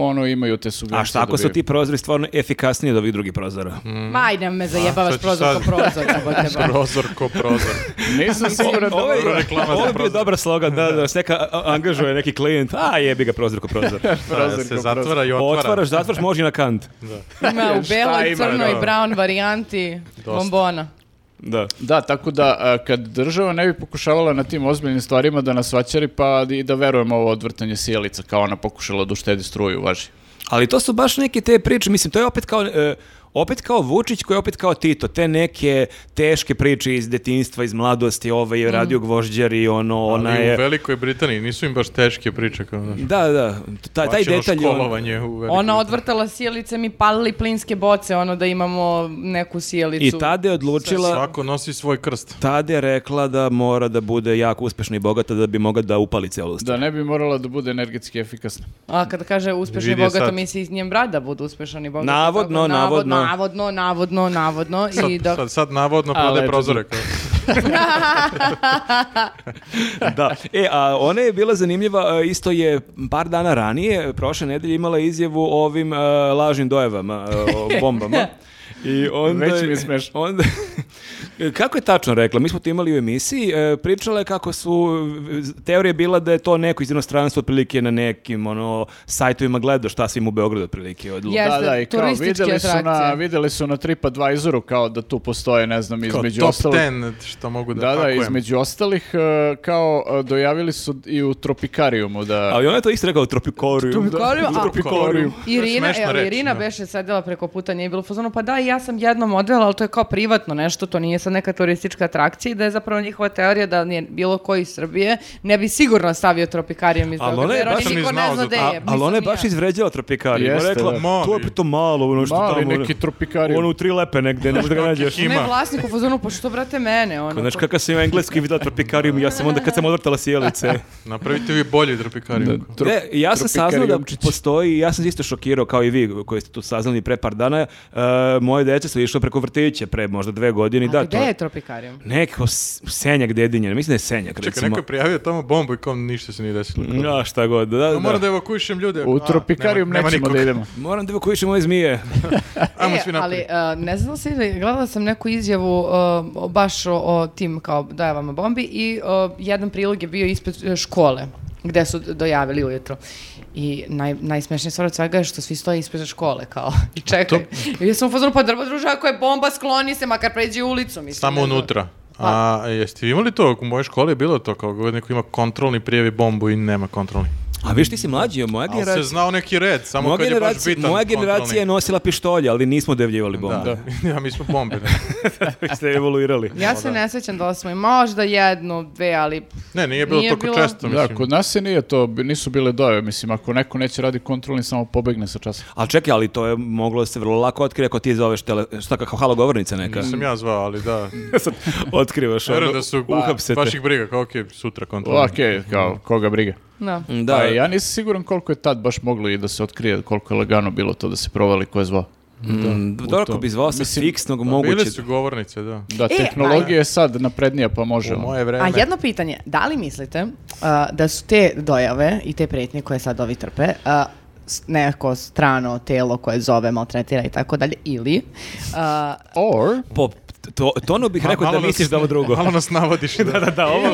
ono, imaju te subvencije. A šta ako su dobiju. ti prozori stvarno efikasniji od ovih drugih prozora? Ma, ajde, me zajebavaš sad ću prozor ko sad. prozor. <laughs> jebote, ba. <laughs> Prozor ko prozor. Nisam siguran da... Ovo je, dobra reklama za ovo je bio prozor. dobar slogan, da, da, se neka a- a- angažuje neki klijent, a jebi ga prozor ko <laughs> <laughs> prozor. Prozor Da se ko zatvara i otvara. Otvaraš, zatvaraš, može i na kant. Ima u Šta beloj, ima, crnoj, da. ono? brown varijanti bombona. Da. Da, tako da a, kad država ne bi pokušavala na tim ozbiljnim stvarima da nas vaćari, pa i da verujemo ovo odvrtanje sjelica, kao ona pokušala da uštedi struju, važi. Ali to su baš neke te priče, mislim, to je opet kao... e, opet kao Vučić koji je opet kao Tito, te neke teške priče iz detinjstva, iz mladosti, ovaj je radio gvožđar i ono, ona Ali u je... Velikoj Britaniji nisu im baš teške priče. Kao, znaš, Da, da, taj, taj bačeno detalj... ono- školovanje u Velikoj Ona Britaniji. odvrtala sjelicem i palili plinske boce, ono da imamo neku sjelicu. I tada je odlučila, Svako nosi svoj krst. tada je rekla da mora da bude jako uspešna i bogata da bi mogla da upali celu Da ne bi morala da bude energetski efikasna. A kada kaže uspešni i Vidi je bogato, sad. misli iz njen brada budu uspešan i bogat. Navodno, Tako, navodno. Navodno, navodno, navodno. Sad, I da... sad, sad navodno Ali, prode eto, prozore. Kao. da. E, a ona je bila zanimljiva, e, isto je par dana ranije, prošle nedelje, imala izjavu o ovim e, lažnim dojevama, e, <laughs> o bombama. I onda, Već mi je smešno. <laughs> Onda, kako je tačno rekla? Mi smo to imali u emisiji. e, Pričala je kako su, e, teorija je bila da je to neko iz inostranstva otprilike na nekim ono, sajtovima gledao šta svim u Beogradu otprilike. Od, Je. Jeste, da, da, i kao turističke videli su, na, atrakcije. videli su na TripAdvisoru kao da tu postoje, ne znam, Kao između top ostalog. 10 što mogu da, Da, da, pakujem. između ostalih, e, kao e, dojavili su i u Tropikarijumu da... Ali ona je to isto rekao u Tropikoriju. Tropikoriju, a- Tropikarium. <laughs> Irina, smešna evo, reč, Irina da. beše sedela preko puta, nije bilo fazonu, pa da, i ja sam jednom odvela, ali to je kao privatno nešto, to nije sad neka turistička atrakcija i da je zapravo njihova teorija da nije bilo ko iz Srbije, ne bi sigurno stavio tropikarijom iz Ali ona Beograda, je jer oni baš- niko Nisam ni ne znao zna za gde to. je. Ali ona je mislim, baš ja. izvređala tropikariju. Jeste, rekla, da. to je Mali. opet to malo, ono što Mali tamo... ono- neki tropikarijum. Ono u tri lepe negde, ne možeš da ga nađeš. Ima. Ne, vlasnik u fazonu, pa što brate mene, ono. Znaš kakav sam ja engleski videla tropikarium, ja sam onda kad sam odvrtala sjelice. Napravite vi bolji drpikarium. Da, tro- Ne, ja sam saznao da Tropikariumčić. postoji, ja sam se isto šokirao kao i vi koji ste tu saznali pre par dana. E, moje dece su išle preko vrtića pre možda dve godine. i A da, gde to je tropikarijom? Neko s- senjak dedinje, mislim da je senjak Čekaj, recimo. neko je prijavio tamo bombu i kao ništa se nije desilo. Kao, Ja, šta god, da, da. "A, Moram da evakuišem ljude. U A, Tropikarium nema- nema nećemo da nikog. idemo. Moram da evakuišem ove zmije. Ajmo E, svi ali naprijed. a, ne znam se, gledala sam neku izjavu a, o- baš o, o tim kao dojavama bombi i a, jedan prilog je bio ispred e, škole gde su d- dojavili ujutro. I naj, najsmešnija stvar od svega je što svi stoje ispred škole kao <laughs> i čekaju. I ja sam u fazonu pa drba druže ako je bomba skloni se makar pređi ulicu. Mislim, Samo ne znam. unutra. Pa. A jeste vi imali to? U mojoj školi je bilo to kao god neko ima kontrolni prijevi bombu i nema kontrolni. A viš ti si mlađi, moja Ali se generacija. znao neki red, samo Moja kad je baš generacija, bitan moja generacija je kontrolni. nosila pištolje, ali nismo devljivali bombe. <laughs> Da. <laughs> ja, mi smo bombe. Ne, ste evoluirali. Ja se ne sjećam da li smo i možda jednu, dve, ali ne nije bilo Nije toliko bilo- često, Da, mislim. kod nas se nije to, bi- nisu bile dojave, mislim, ako neko neće radi kontrolni, samo pobegne sa časa. Ali čekaj, ali to je moglo da se vrlo lako otkrije ako ti zoveš tele... Šta, kako halo govornica neka? Nisam ja zvao, ali da. <laughs> Sad Otkrivaš ono, Verujem da su uhapse te. baš ih briga, kao okej, sutra kontrolni. Ok, kao, koga briga. Mm. no. Da, Pa Da. ja nisam siguran koliko je tad baš moglo i da se otkrije koliko je lagano bilo to da se provali ko je zvao. Mm, Dorko bi zvao se fiksnog Bile moguće. pa su govornice, da. Da, E, tehnologija je sad naprednija pa može. U ono. moje vreme. A jedno pitanje, da li mislite a, da su te dojave i te pretnje koje sad ovi trpe, a, s- neko strano telo koje zove, maltretira i tako dalje, ili uh, a, Or, Po, to, tono bih Ma- rekao da malo nas- misliš da <laughs> ovo drugo. Malo nas <laughs> navodiš. da, da, da, ovo,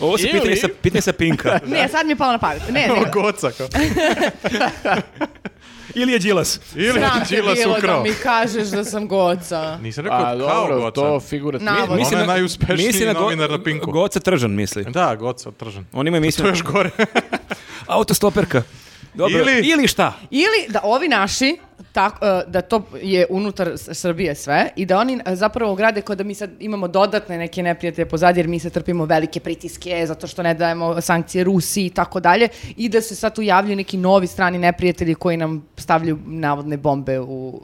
ovo su pitanje ili- sa, pitanje sa <laughs> Pinka. Ne, sad mi je palo na pamet. <laughs> Ne, ne. Goca, kao. Ili je Đilas. Ili je Sram te Đilas bilo da ukrao. mi kažeš da sam goca. Nisam rekao pa kao dobro, Goca. to figurativno. Navod. Pa Ona je na- najuspešniji misli na Go- novinar na Pinku. Goca Tržan misli. Da, Goca, <laughs> tržan. On ima emisiju. To je još gore. Autostoperka. Dobro. Ili- ili šta? Ili da ovi naši, tak, e, da to je unutar S- Srbije sve i da oni e, zapravo grade kao da mi sad imamo dodatne neke neprijatelje pozadje jer mi se trpimo velike pritiske zato što ne dajemo sankcije Rusiji i tako dalje i da se sad tu javljaju neki novi strani neprijatelji koji nam stavljaju navodne bombe u,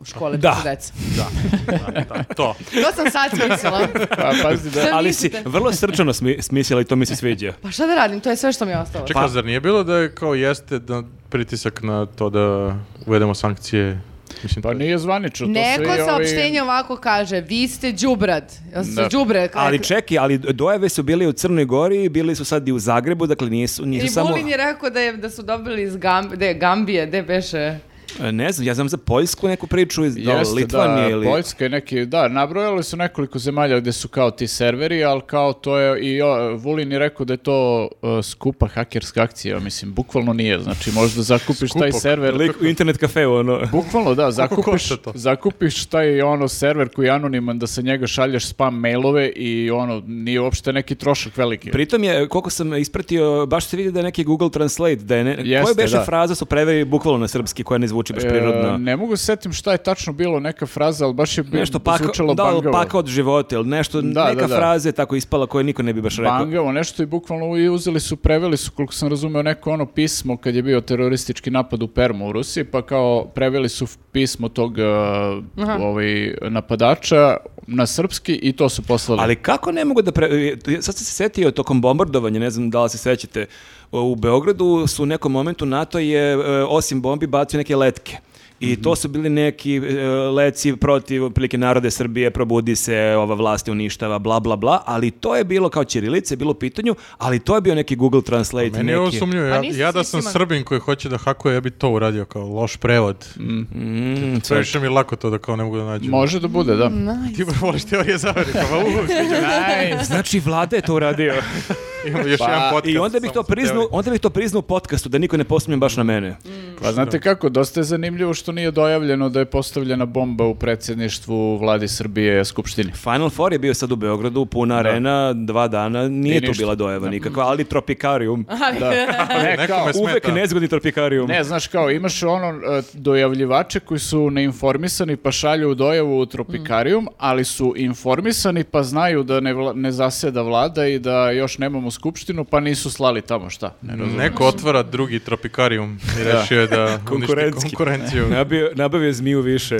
u škole Da. za decu. Da, <laughs> to. To sam sad smislila. Pa, pazi da, Šta Ali si mislite? vrlo srčano smi, smislila i to mi se sviđa. Pa šta da radim, to je sve što mi je Pa- ostalo. Čekaj, zar nije bilo da je kao jeste da pritisak na to da uvedemo sankcije? Mislim, pa to je- nije zvanično. to Neko svi ovi- saopštenje ovako kaže, vi ste đubrad. Jel ste Da. đubre? Ali čeki, ali dojave su bile u Crnoj Gori, bili su sad i u Zagrebu, dakle nisu, nisu I samo... Vulin je rekao da, je, da su dobili iz Gam- de, Gambije, de beše. E, Ne znam, ja znam za Poljsku neku priču, iz, da, Jeste, Litvanije da, ili... Poljska je neki, da, nabrojali su nekoliko zemalja gdje su kao ti serveri, ali kao to je, i o, Vulin je rekao da je to e, skupa hakerska akcija, mislim, bukvalno nije, znači možda zakupiš taj Skupo. server, Lik u internet kafeu, ono... Bukvalno da, zakupiš, košta to? zakupiš taj ono server koji je anoniman da sa njega šalješ spam mailove i ono nije uopšte neki trošak veliki. Pritom je, koliko sam ispratio, baš se vidi da je neki Google Translate, da je ne... Koja Jeste, beše da. fraza su preveli bukvalno na srpski, koja ne zvuči baš E, prirodno. ne mogu se setim šta je tačno bilo neka fraza, ali baš je bilo Nešto pak, zvučalo da, bangavo. paka od života ili nešto, Da, neka da, da. fraza je tako ispala koju niko ne bi baš rekao. Bangavo, nešto i bukvalno i uzeli su, preveli su, koliko sam razumeo, neko ono pismo kad je bio teroristički napad u Permu u Rusiji, pa kao preveli su f- pismo tog e, ovaj, napadača na srpski i to su poslali. Ali kako ne mogu da... Pre... e, Sad sam se setio tokom bombardovanja, ne znam da li se sećate, u Beogradu su u nekom momentu NATO je, e, osim bombi, bacio neke letke. I to su bili neki e, leci protiv prilike narode Srbije, probudi se, ova vlast je uništava, bla, bla, bla, ali to je bilo kao Ćirilice, je bilo u pitanju, ali to je bio neki Google Translate. Meni je ovo neki- sumnjivo. Pa Ja, nisi ja da svi sam sniman. Srbin koji hoće da hakuje, ja bi to uradio kao loš prevod. Mhm, Mm, Previše mi je lako to da kao ne mogu da nađu. Može da bude, da. Ti voliš teorije zavere, pa kao uvijek <laughs> Znači, vlada je to <laughs> uradio. imamo još Pa, jedan podcast. I onda bih to samo sa priznao, onda bih to priznao u podcastu da niko ne posmije baš na mene. Pa <laughs> znate kako, dosta je zanimljivo što nije dojavljeno da je postavljena bomba u predsjedništvu vladi Srbije Skupštini. Final Four je bio sad u Beogradu, puna arena, dva dana, nije I tu ništa. bila dojava nikakva, ali tropikarium. E, Ne, kao, Nekome smeta. Uvek nezgodni tropikarium. ne, znaš kao, imaš ono e, dojavljivače koji su neinformisani pa šalju dojavu u tropikarijum, ali su informisani pa znaju da ne, vla- ne zasjeda vlada i da još nemamo skupštinu pa nisu slali tamo, šta? Ne teorijom. razumem. Neko otvara drugi tropikarium i rešio je da uništi Konkurentski. konkurenciju. Nabio, nabavio zmiju više.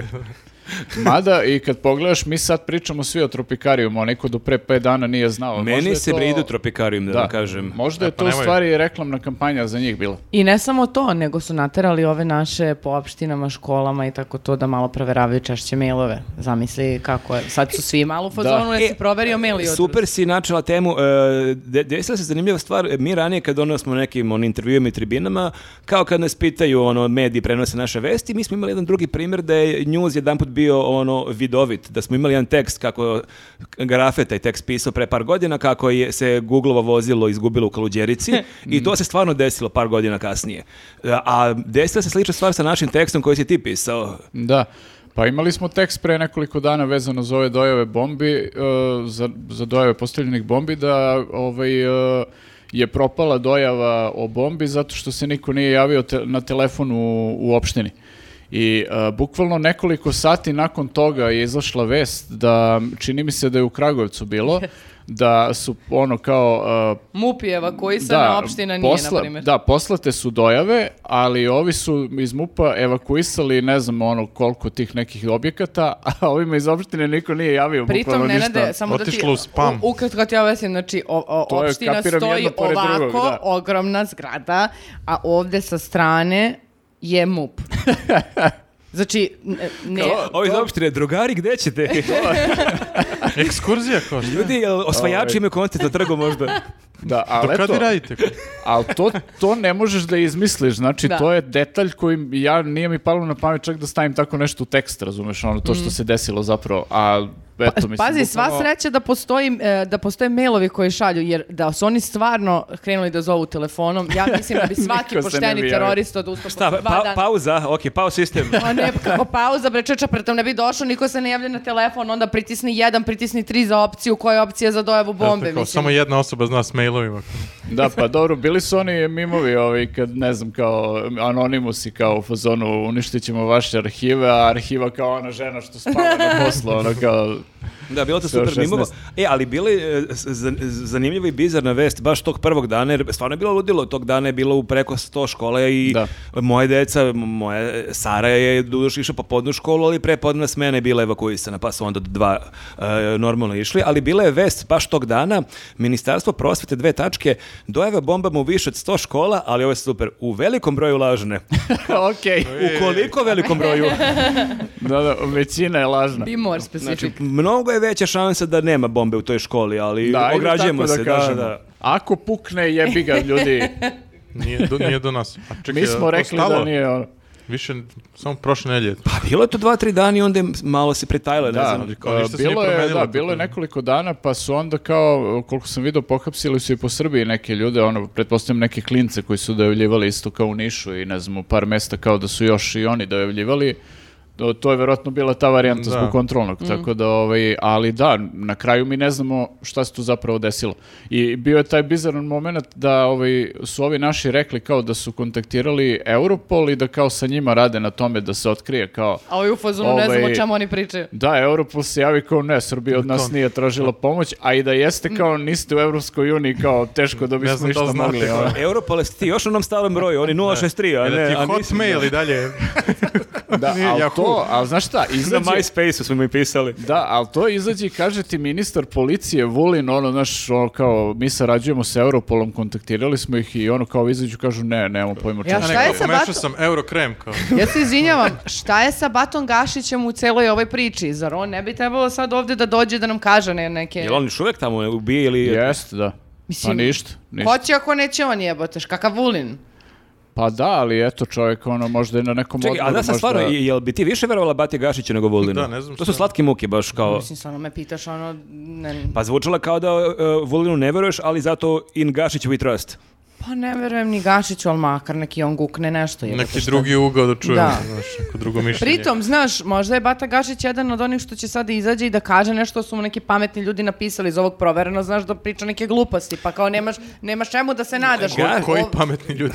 Mada i kad pogledaš, mi sad pričamo svi o tropikarijumu, a neko do pre 5 dana nije znao. Možda Meni je se to- bride u tropikarium, da, vam kažem. Možda E, je pa to u nemoj. stvari reklamna kampanja za njih bila. I ne samo to, nego su naterali ove naše po opštinama, školama i tako to da malo proveravaju češće mailove. Zamisli kako je. Sad su svi malo u fazonu, Da. E, jer si proverio mail i jutros. E, Super si načela temu. E, de- desila se zanimljiva stvar. E, Mi ranije kad ono smo nekim on, intervjuima i tribinama, kao kad nas pitaju ono, mediji prenose naše vesti, mi smo imali jedan drugi primjer da je news jedanput bio ono vidovit, da smo imali jedan tekst kako Grafe taj tekst pisao pre par godina kako je se Googleovo vozilo izgubilo u Kaluđerici i to se stvarno desilo par godina kasnije. E, A desila se slična stvar sa našim tekstom koji si ti pisao. Da. Pa imali smo tekst pre nekoliko dana vezano za ove dojave bombi, e, za, za dojave postavljenih bombi, da ovaj, e, je propala dojava o bombi zato što se niko nije javio te- na telefon u, u opštini. I e, bukvalno nekoliko sati nakon toga je izašla vest da, čini mi se da je u Kragujevcu bilo, da su ono kao e, MUP je evakuisana, opština nije, posla- na primjer. Da, poslate su dojave, ali ovi su iz MUPA evakuisali ne znam ono koliko tih nekih objekata, <laughs> a ovima iz opštine niko nije javio Pritom, bukvalno ne ništa. nade, samo da ti, Otišlo u spam. u- ukratko ti objasnim, znači, o- o- To je, opština kapiram, stoji jedno pored ovako, drugog, da. <laughs> ogromna zgrada, a ovdje sa strane je MUP. Znači, ne... ne- Ovo iz opštine, drugari, gde ćete? Ekskurzija kao što? <laughs> Ljudi, jel osvajači Ovaj. imaju koncert na trgu možda? Da, ali Do kada eto, vi radite? ali to, to ne možeš da izmisliš, znači Da. to je detalj koji ja nije mi palo na pamet čak da stavim tako nešto u tekst, razumeš, ono to što se desilo zapravo, a eto Pa mislim. Mm. Pa, Pazi, sva bukvalno- sreća da, postoji, e, da postoje mailovi koji šalju, jer da su oni stvarno krenuli da zovu telefonom, <laughs> ja mislim da bi svaki Niko se ne bi pošteni javio. terorista odustao Šta, posle dva pa- dana. pauza, ok, pao sistem. Pa <laughs> ne, kako pauza, bre, čeča, pritom ne bi došao, niko se ne javlja na telefon, onda pritisni jedan, pritisni tri za opciju, koja je opcija za dojavu bombe, Eto, kao, mislim. Samo jedna osoba zna s mailovima. Da, pa dobro, bili su oni mimovi ovi kad, ne znam, kao Anonymous i kao u fazonu uništit ćemo vaše arhive, a arhiva kao ona žena što spava <laughs> na poslu, ono kao... <laughs> Da, bilo to Sve od super mimovo. 16. E, ali bili e, z- z- zanimljiva i bizarna vest baš tog prvog dana, jer stvarno je bilo ludilo. Tog dana je bilo u preko 100 škole i Da. moje deca, moja Sara je dudoš išla popodnu školu, ali prepodne smena je bila evakuisana, pa su onda do dva e, normalno išli. Ali bila je vest baš tog dana, Ministarstvo prosvete dve tačke, dojave bombama u više od 100 škola, ali ovo je super, u velikom broju lažne. Okej, U koliko velikom broju? da, da, većina je lažna. Be more specific. Znači- Mnogo je veća šansa da nema bombe u toj školi, ali Da, ajde ograđujemo tako se. da Da, kažemo. da. Ako pukne, jebi ga, <laughs> ljudi. Nije do, nije do nas. A čekaj, Mi je to smo rekli da stalo? nije ono. Više, samo prošle nelje. Pa bilo je to dva, tri dana i onda je malo se pretajilo, ne Da, znam. ali kao ništa se nije bilo je, promenilo, da, tako bilo je da. nekoliko dana, pa su onda kao, koliko sam vidio, pohapsili su i po Srbiji neke ljude, ono, pretpostavljam neke klince koji su dojavljivali isto kao u Nišu i ne znam, u par mesta kao da su još i oni dojavljivali. To, to je verovatno bila ta varijanta Da. zbog kontrolnog, tako da, ovaj, ali da, na kraju mi ne znamo šta se tu zapravo desilo. I bio je taj bizaran moment da ovaj, su ovi naši rekli kao da su kontaktirali Europol i da kao sa njima rade na tome da se otkrije kao A ovi u fazonu ne znam Ovaj, o čemu oni <laughs> pričaju. da, Europol se javi kao ne, Srbija od nas nije tražila pomoć, a i da Mm. jeste kao niste u Evropskoj uniji, kao teško da bismo znam da ništa li znate mogli. kao. ono. Europol je ti još u onom stalom broju, on je 063, a Ne, Pa ne... ti a nisi- hotmail i dalje. Da, Nije ali Yahoo. to, ali znaš šta, Na izađe, MySpace-u smo mi pisali. da, ali to izađe i kaže ti ministar policije Vulin, ono, znaš, ono, kao, mi sarađujemo sa Europolom, kontaktirali smo ih i ono, kao, izađu, kažu, ne, nemamo pojma čemu. Ja A Šta je neko, sa pomešao batom? sam Eurokrem kao. Ja se izvinjavam, šta je sa Batom Gašićem u celoj ovoj priči? Zar on ne bi trebalo sad ovdje da dođe da nam kaže ne, neke... Jel on još uvek tamo ubije ili... Jeste, da. Mislim, pa ništa, ništa. Hoće ako neće on jeboteš, kakav vulin. Pa da, ali eto, čovjek, ono, možda je na nekom Čekaj, a odboru, da sam možda- stvarno, i- jel bi ti više verovala Bati Gašiću nego Vulinu? Da, ne znam To su šta. slatke muke baš kao... Mislim, stvarno me pitaš, ono... Ne, Pa zvučala kao da e, Vulinu ne veruješ, ali zato in Gašiću we trust. pa ne verujem ni Gašiću, ali makar neki on gukne nešto. jebote, Neki šta? drugi ugao da čujem. Da. Znaš, neko drugo mišljenje. Pritom, znaš, možda je Bata Gašić jedan od onih što će sad da izađe i da kaže nešto su mu neki pametni ljudi napisali iz ovog provereno, znaš, da priča neke gluposti, pa kao nemaš, nemaš čemu da se nadaš. Ko- O- koji o- pametni ljudi?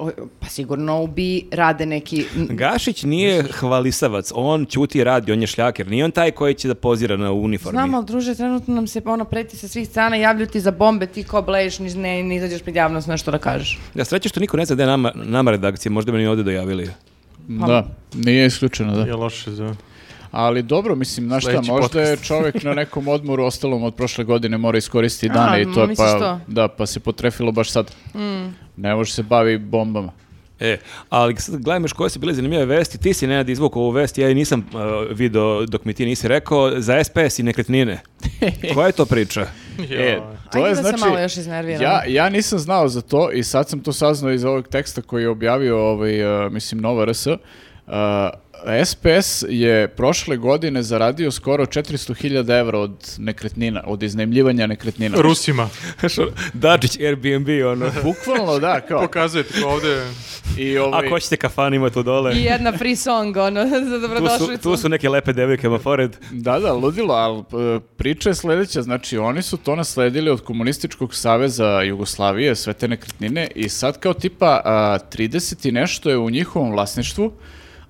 o- pa sigurno ubi, rade neki... Gašić nije hvalisavac, on ćuti i radi, on je šljaker, nije on taj koji će da pozira na uniformi. Znam, ali druže, trenutno nam se ono preti sa svih strana, javljuju ti za bombe, ti ko bleješ, ni, ne, ni izađeš pred javnost nešto da kažeš. Ja sreće što niko ne zna da je nama, nama redakcija, možda bi ni ovdje dojavili. Da, nije isključeno, da. Je loše za... Ali dobro, mislim, znaš šta, Sledeći možda je podcast. čovjek na nekom odmoru ostalom od prošle godine mora iskoristiti dane A, i to je misliš pa, to? Mm. da, pa se potrefilo baš sad. Ne može se bavi bombama. E, ali sad gledam još koje su bile zanimljive vesti, ti si Nenad izvukao ovu vest, ja je nisam uh, video dok mi ti nisi rekao, za SPS i <laughs> nekretnine. Koja je to priča? E, to Ajde je da se znači, malo još iznerviram. ja, ja nisam znao za to i sad sam to saznao iz ovog teksta koji je objavio, ovaj, e, mislim, Nova RS. E, SPS je prošle godine zaradio skoro 400.000 evra od nekretnina, od iznajmljivanja nekretnina. Rusima. Dačić, Airbnb, ono. Bukvalno, da, kao. Pokazuje ti kao ovde. I ovaj, Ako hoćete kafan ima tu dole. I jedna free song, ono, <laughs> za Tu su, dobrodošlicu. tu su neke lepe devojke ma pored. Da, da, ludilo, ali e, priča je sledeća, znači oni su to nasledili od Komunističkog saveza Jugoslavije, sve te nekretnine i sad kao tipa a, 30 i nešto je u njihovom vlasništvu,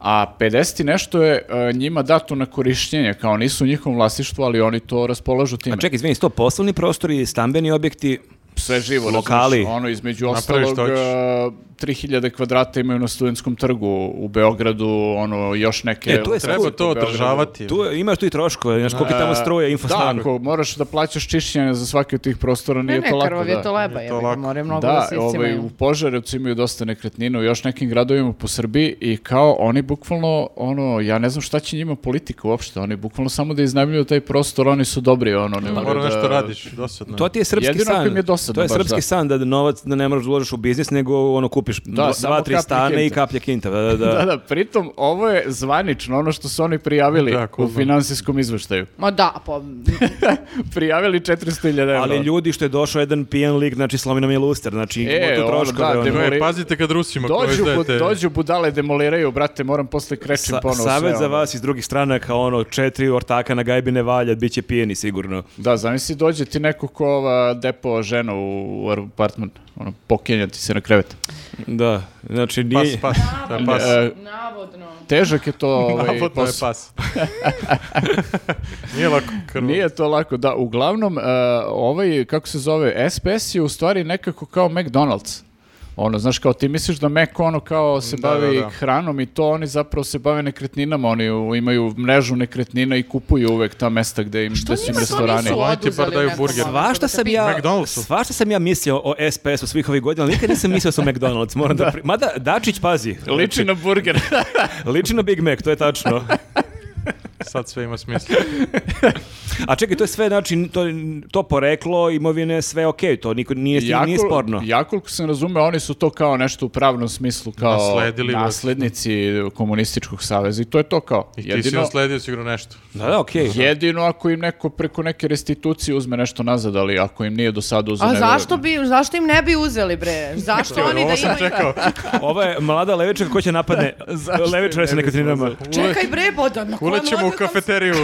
a 50 i nešto je e, njima dato na korišćenje, kao nisu u njihovom vlasništvu, ali oni to raspolažu time. A čekaj, izvini, sto poslovni prostori, stambeni objekti, sve živo. razumeš, Lokali. Ono, između Napravi ostalog, šta hoćeš. a, 3000 kvadrata imaju na studentskom trgu u Beogradu, ono, još neke... E, to je Treba Skoro to u Beogradu. održavati. Tu je- imaš tu i troškove, znaš koliko je tamo stroja, Da, infostanu. ako moraš da plaćaš čišćenje za svaki od tih prostora, Ne, nije ne, to lako. krvav da. je to leba, Je je to lako. more mnogo da, Da, se ovaj, iscimaju. u Požarevcu imaju dosta nekretnina u još nekim gradovima po Srbiji i kao oni bukvalno, ono, ja ne znam šta će njima politika uopšte, oni bukvalno samo da iznajmljuju taj prostor, oni su dobri, ono, ne moraju Mora da- nešto radiš, dosadno. To ti je srpski Jedino ako san. im je dosadno to je baš, srpski da. san da novac da ne moraš da uložiš u biznis, nego ono kupiš dva, samo tri kaplje stane i kinta. kaplje kinta. <laughs> Da, da, da. Da, da, pritom ovo je zvanično, ono što su oni prijavili Da, u cool, da. finansijskom izveštaju. <laughs> Ma da, pa prijavili 400.000 evra. Ali ljudi što je došao jedan pijan lik, znači slomino mi je luster, znači E, ima tu ono, troškove. da, ono. demo- E, pazite kad Rusima koje Dođu, bu, izdajete. dođu budale, demoliraju, brate, moram posle krećim Sa- ponovo savet sve, za ono. vas iz drugih stranaka, ono, četiri ortaka na gajbi ne valja, bit će pijeni sigurno. Da, zamisli dođe ti neko ko ova depo žena u, u apartman, ono, pokenja ti se na krevet. Da, znači Pas, nije... pas, to je pas. E, navodno. težak je <laughs> to ovaj, Navodno je posao. pas. Nije lako krv. Nije to lako, da. Uglavnom, e, ovaj, kako se zove, SPS je u stvari nekako kao McDonald's. Ono, znaš, kao ti misliš da Mac ono kao se Da, bavi da, da. hranom i to, oni zapravo se bave nekretninama, oni u- imaju mrežu nekretnina i kupuju uvek ta mesta gde im, gde su im restorani. Oni ti bar daju burger. ono, Svašta sam ja, McDonald'su. svašta sam ja mislio o SPS-u svih ovih godina, ali nikad nisam mislio sam McDonald's, moram da... pri- Mada, Dačić, pazi, Liči na burger. liči na Big Mac, to je tačno. Sad sve ima smisla. A čekaj, to je sve, znači, to, to poreklo imovine, sve okej, to niko, nije, nije sporno. Ja koliko sam razumeo, oni su to kao nešto u pravnom smislu, kao Nasledili, vjerojatno. naslednici komunističkog saveza i to je to kao. I ti si nasledio sigurno nešto. Da, da, okej. Jedino ako im neko preko neke restitucije uzme nešto nazad, ali ako im nije do sada uzeo... A nego- zašto, bi, zašto im ne bi uzeli, <laughs> bre? Zašto oni da Ovo sam imaju... čekao. Ovo je mlada levičarka koja će <laughs> napadne levičare sa nekretninama. Čekaj bre, Bodo, na kojom Ulećemo u odlukom- <laughs> kafeteriju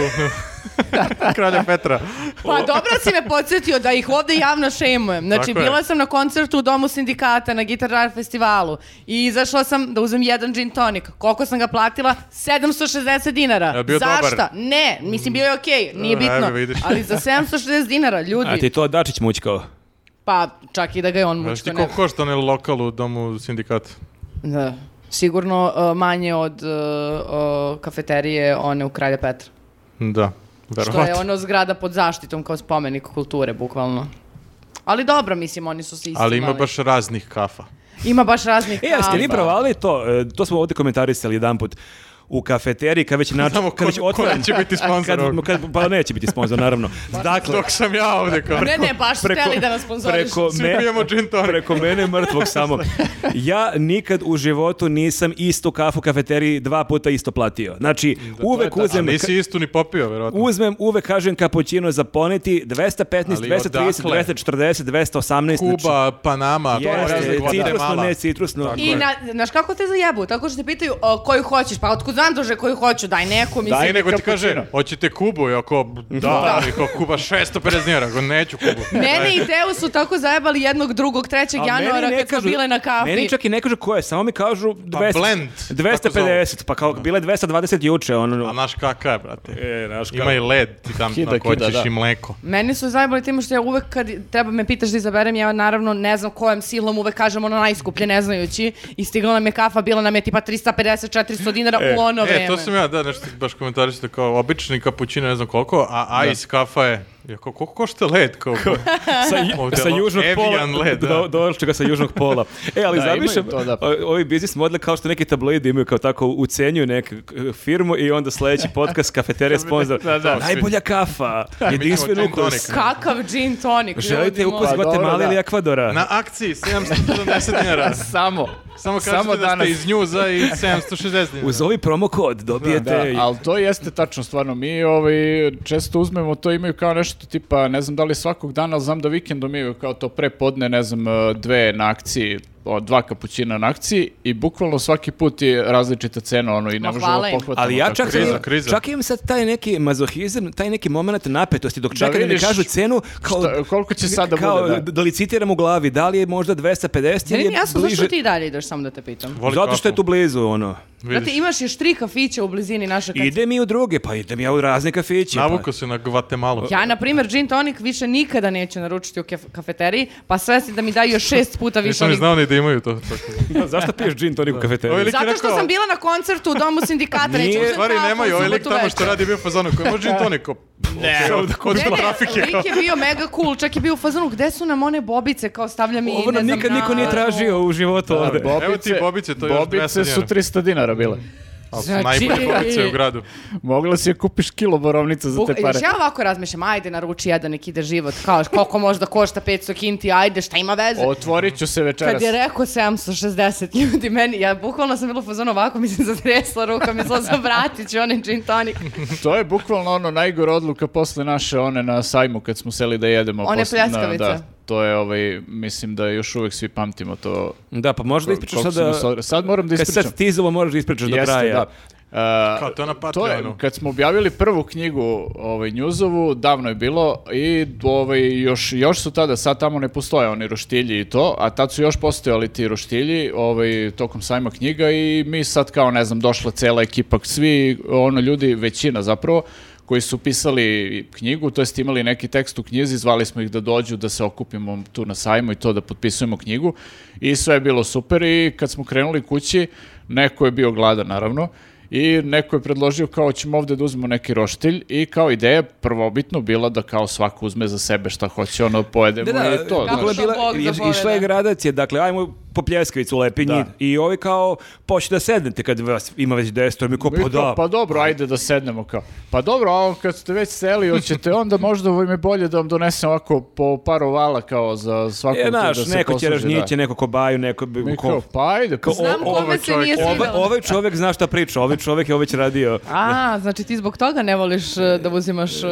Kralja Petra. Pa dobro si me podsjetio da ih ovdje javno šemujem. Znači, Tako je. bila sam na koncertu u Domu sindikata na Guitar Rar festivalu i izašla sam da uzmem jedan gin tonic. Koliko sam ga platila? 760 dinara. Je bio dobar? Zašta? Ne, mislim, bio je okej, nije E, bitno. evo, vidiš. Ali za 760 dinara, A ti ljudi, to Dačić mućkao. pa čak i da ga je on Znaš mučko ti ne... koliko košta onaj lokal u domu sindikata? Da. Sigurno uh, manje od uh, uh, kafeterije one u Kralja Petra. Da, Što je verovatno. ono zgrada pod zaštitom kao spomenik kulture, bukvalno. Ali dobro, mislim, oni su se istimali. Ali ima baš raznih kafa. Ima baš raznih E, jeste kafa. vi provali to? E, To smo ovdje komentarisali jedan put. U kafeteriji, kad već način, Znamo kad ko, već ko otvaram, neće <laughs> biti sponsor kad, ovog. kad, pa neće biti sponsor, naravno. Dakle, Dok sam ja ovdje kao... Ne, ne, baš su preko- hteli da nas sponzoriš. preko Svi me- pijemo gin tonic. Preko <laughs> mene mrtvog samo. Ja nikad u životu nisam istu kafu u kafeteriji dva puta isto platio. Znači, uvek A uzem... nisi istu ni popio, verovatno. Uzmem, uvek kažem kapućino za poneti, 215, Ali 230, odakle? 240, 218. znači, Kuba, Panama, to je jeste, raznih citrusno, Guatemala. ne citrusno. I na, znaš kako te zajebu? Tako što te pitaju o, koju hoćeš, pa otkud znam druže koju hoću, daj neku, mislim. Daj nego ti kaže, hoćete Kubu, i ako da, i ako Kuba 650 dinara, ako neću Kubu. Mene i Teo su tako zajebali jednog, drugog, trećeg A meni januara ne kad smo kažu- bile na kafi. Meni čak i ne kažu koje, samo mi kažu 200, Pa blend, tako 250, pa kao bile 220 juče. Ono, A naš kaka je, brate. E, znaš kao- Ima i led, ti tam Kida, na koji kida, ćeš da. i mleko. Meni su zajebali time što ja uvek kad treba me pitaš da izaberem, ja naravno ne znam kojom silom uvek kažem ono najskuplje ne znajući i stigla nam je kafa, bila nam je tipa 350-400 dinara u ono vreme. E, to sam ja, da, nešto baš komentarište kao obični kapućino, ne znam koliko, a ice kafa je, ja, kao, koliko košta led? Kao, sa, Ovdje, sa ono, južnog Evian pola. led, da. do, došli ga sa južnog pola. E, <laughs> ali Da, imaju zamišljam, to, da. o- ovi biznis modele kao što neki tabloidi imaju kao tako ucenjuju neku k- firmu i onda sledeći <laughs> podcast kafeterija sponsor. Da, da. Najbolja kafa, jedinstven gin ukus. tonic. Kakav gin tonic, Želite ljudi moji. ukus Pa, dobro, Guatemala da. ili Ekvadora? na akciji 770 dinara. Samo. Samo kažete da ste iz njuza i 760 dinara. Uz ovi promo kod dobijete... Da, i- ali to jeste tačno, stvarno. Mi ovaj, često uzmemo to, imaju kao nešto tipa, ne znam da li svakog dana, ali znam da vikendom imaju kao to prepodne, ne znam, e, dve na akciji, o, dva kapućina na akciji i bukvalno svaki put je različita cena, ono, i ne Ma, možemo hvala im. pohvatamo. Ali ja kako- čak, kriza, sam- kriza. čak imam sad taj neki mazohizam, taj neki moment napetosti dok čekam da mi vidiš kažu cenu kao šta- koliko će sad da kao, bude, da. li citiram u glavi, da li je možda 250 ili Meni je nije jasno bliže... zašto ti i dalje ideš, samo da te pitam. Voli Zato što je kafu. tu blizu ono. Brate, imaš još tri kafića u blizini naše kad... Idem i u druge, pa idem ja u razne kafeće. pa- Navuko se na Guatemala. Ja, na primjer, gin tonic više nikada neću naručiti u kef- kafeteriji, pa sve si da mi daju još šest puta više Nisam ni onih znao ni da imaju to. tako. Da, <laughs> zašto piješ gin tonik u kafeteriji? Ovo je lik Zato što rekao- sam bila na koncertu u Domu sindikata, Nije- neću U U uzeti <laughs> stvari alkohol nemaju, u ovaj lik subotu tamo večer. što radi je bio fazonu, koji može i <laughs> tonik, op. Ne, od, od Ne, ne, trafike. ono. lik je bio mega cool, čak je bio u fazonu, gde su nam one bobice, kao stavljam i ne Ovo nam znam nikad na- niko nije tražio u životu ovde. Evo ti bobice, to je još 200 Bobice su dinara. 300 dinara bile. Ali su Znači- najbolje bobice u gradu. Mogla si je kupiš kilo borovnica za Buk- te pare. Još ja ovako razmišljam, ajde naruči jedan nek ide život, kao koliko možda košta 500 kinti, ajde šta ima veze. Otvorit ću se večeras. Kad je rekao 760 ljudi meni, ja bukvalno sam bila u fazonu ovako, mi se zatresla ruka, mislila sam vratit ću onaj gin tonic. To je bukvalno ono najgora odluka posle naše one na sajmu kad smo seli da jedemo. One posle- na- pljeskavice. Da, to je ovaj, mislim da još uvek svi pamtimo to. Da, pa možda ispričaš Koliko sada... smo sad- sad moram da Kad ispričam. sad tizalo moraš da ispričaš do Jeste, kraja. da. E, Kao to je na To je, Patreonu. kad smo objavili prvu knjigu ovaj, Njuzovu, davno je bilo i ovaj, još, još su tada, sad tamo ne postoje oni roštilji i to, a tad su još postojali ti roštilji ovaj, tokom sajma knjiga i mi sad kao, ne znam, došla cela ekipa, svi ono, ljudi, većina zapravo, koji su pisali knjigu, to jest imali neki tekst u knjizi, zvali smo ih da dođu, da se okupimo tu na sajmu i to da potpisujemo knjigu i sve je bilo super i kad smo krenuli kući, neko je bio gladan naravno i neko je predložio kao ćemo ovde da uzmemo neki roštilj i kao ideja je prvobitno bila da kao svako uzme za sebe šta hoće, ono pojedemo i kako to. znaš. dakle, što bila, Bog je- zapoveda. išla je gradacija, dakle, ajmo po pljeskavicu u Lepinji Da. i ovi kao, počne da sednete kad vas ima već desto, mi kao, I pa kao, da, pa dobro, ajde da sednemo kao. Pa dobro, a on kad ste već seli, hoćete onda možda ovo im je bolje da vam donesem ovako po par ovala kao za svakog E, tu znaš, da se neko će posluži, da. ražnjiće, neko kobaju, neko... Mi ko- kao, pa ajde, pa Znam o- kome ovaj se čovjek- nije Ova, svidjelo. ovaj čovjek zna šta priča, ovaj čovjek je ovo već radio. A, znači ti zbog toga ne voliš e, da uzimaš e,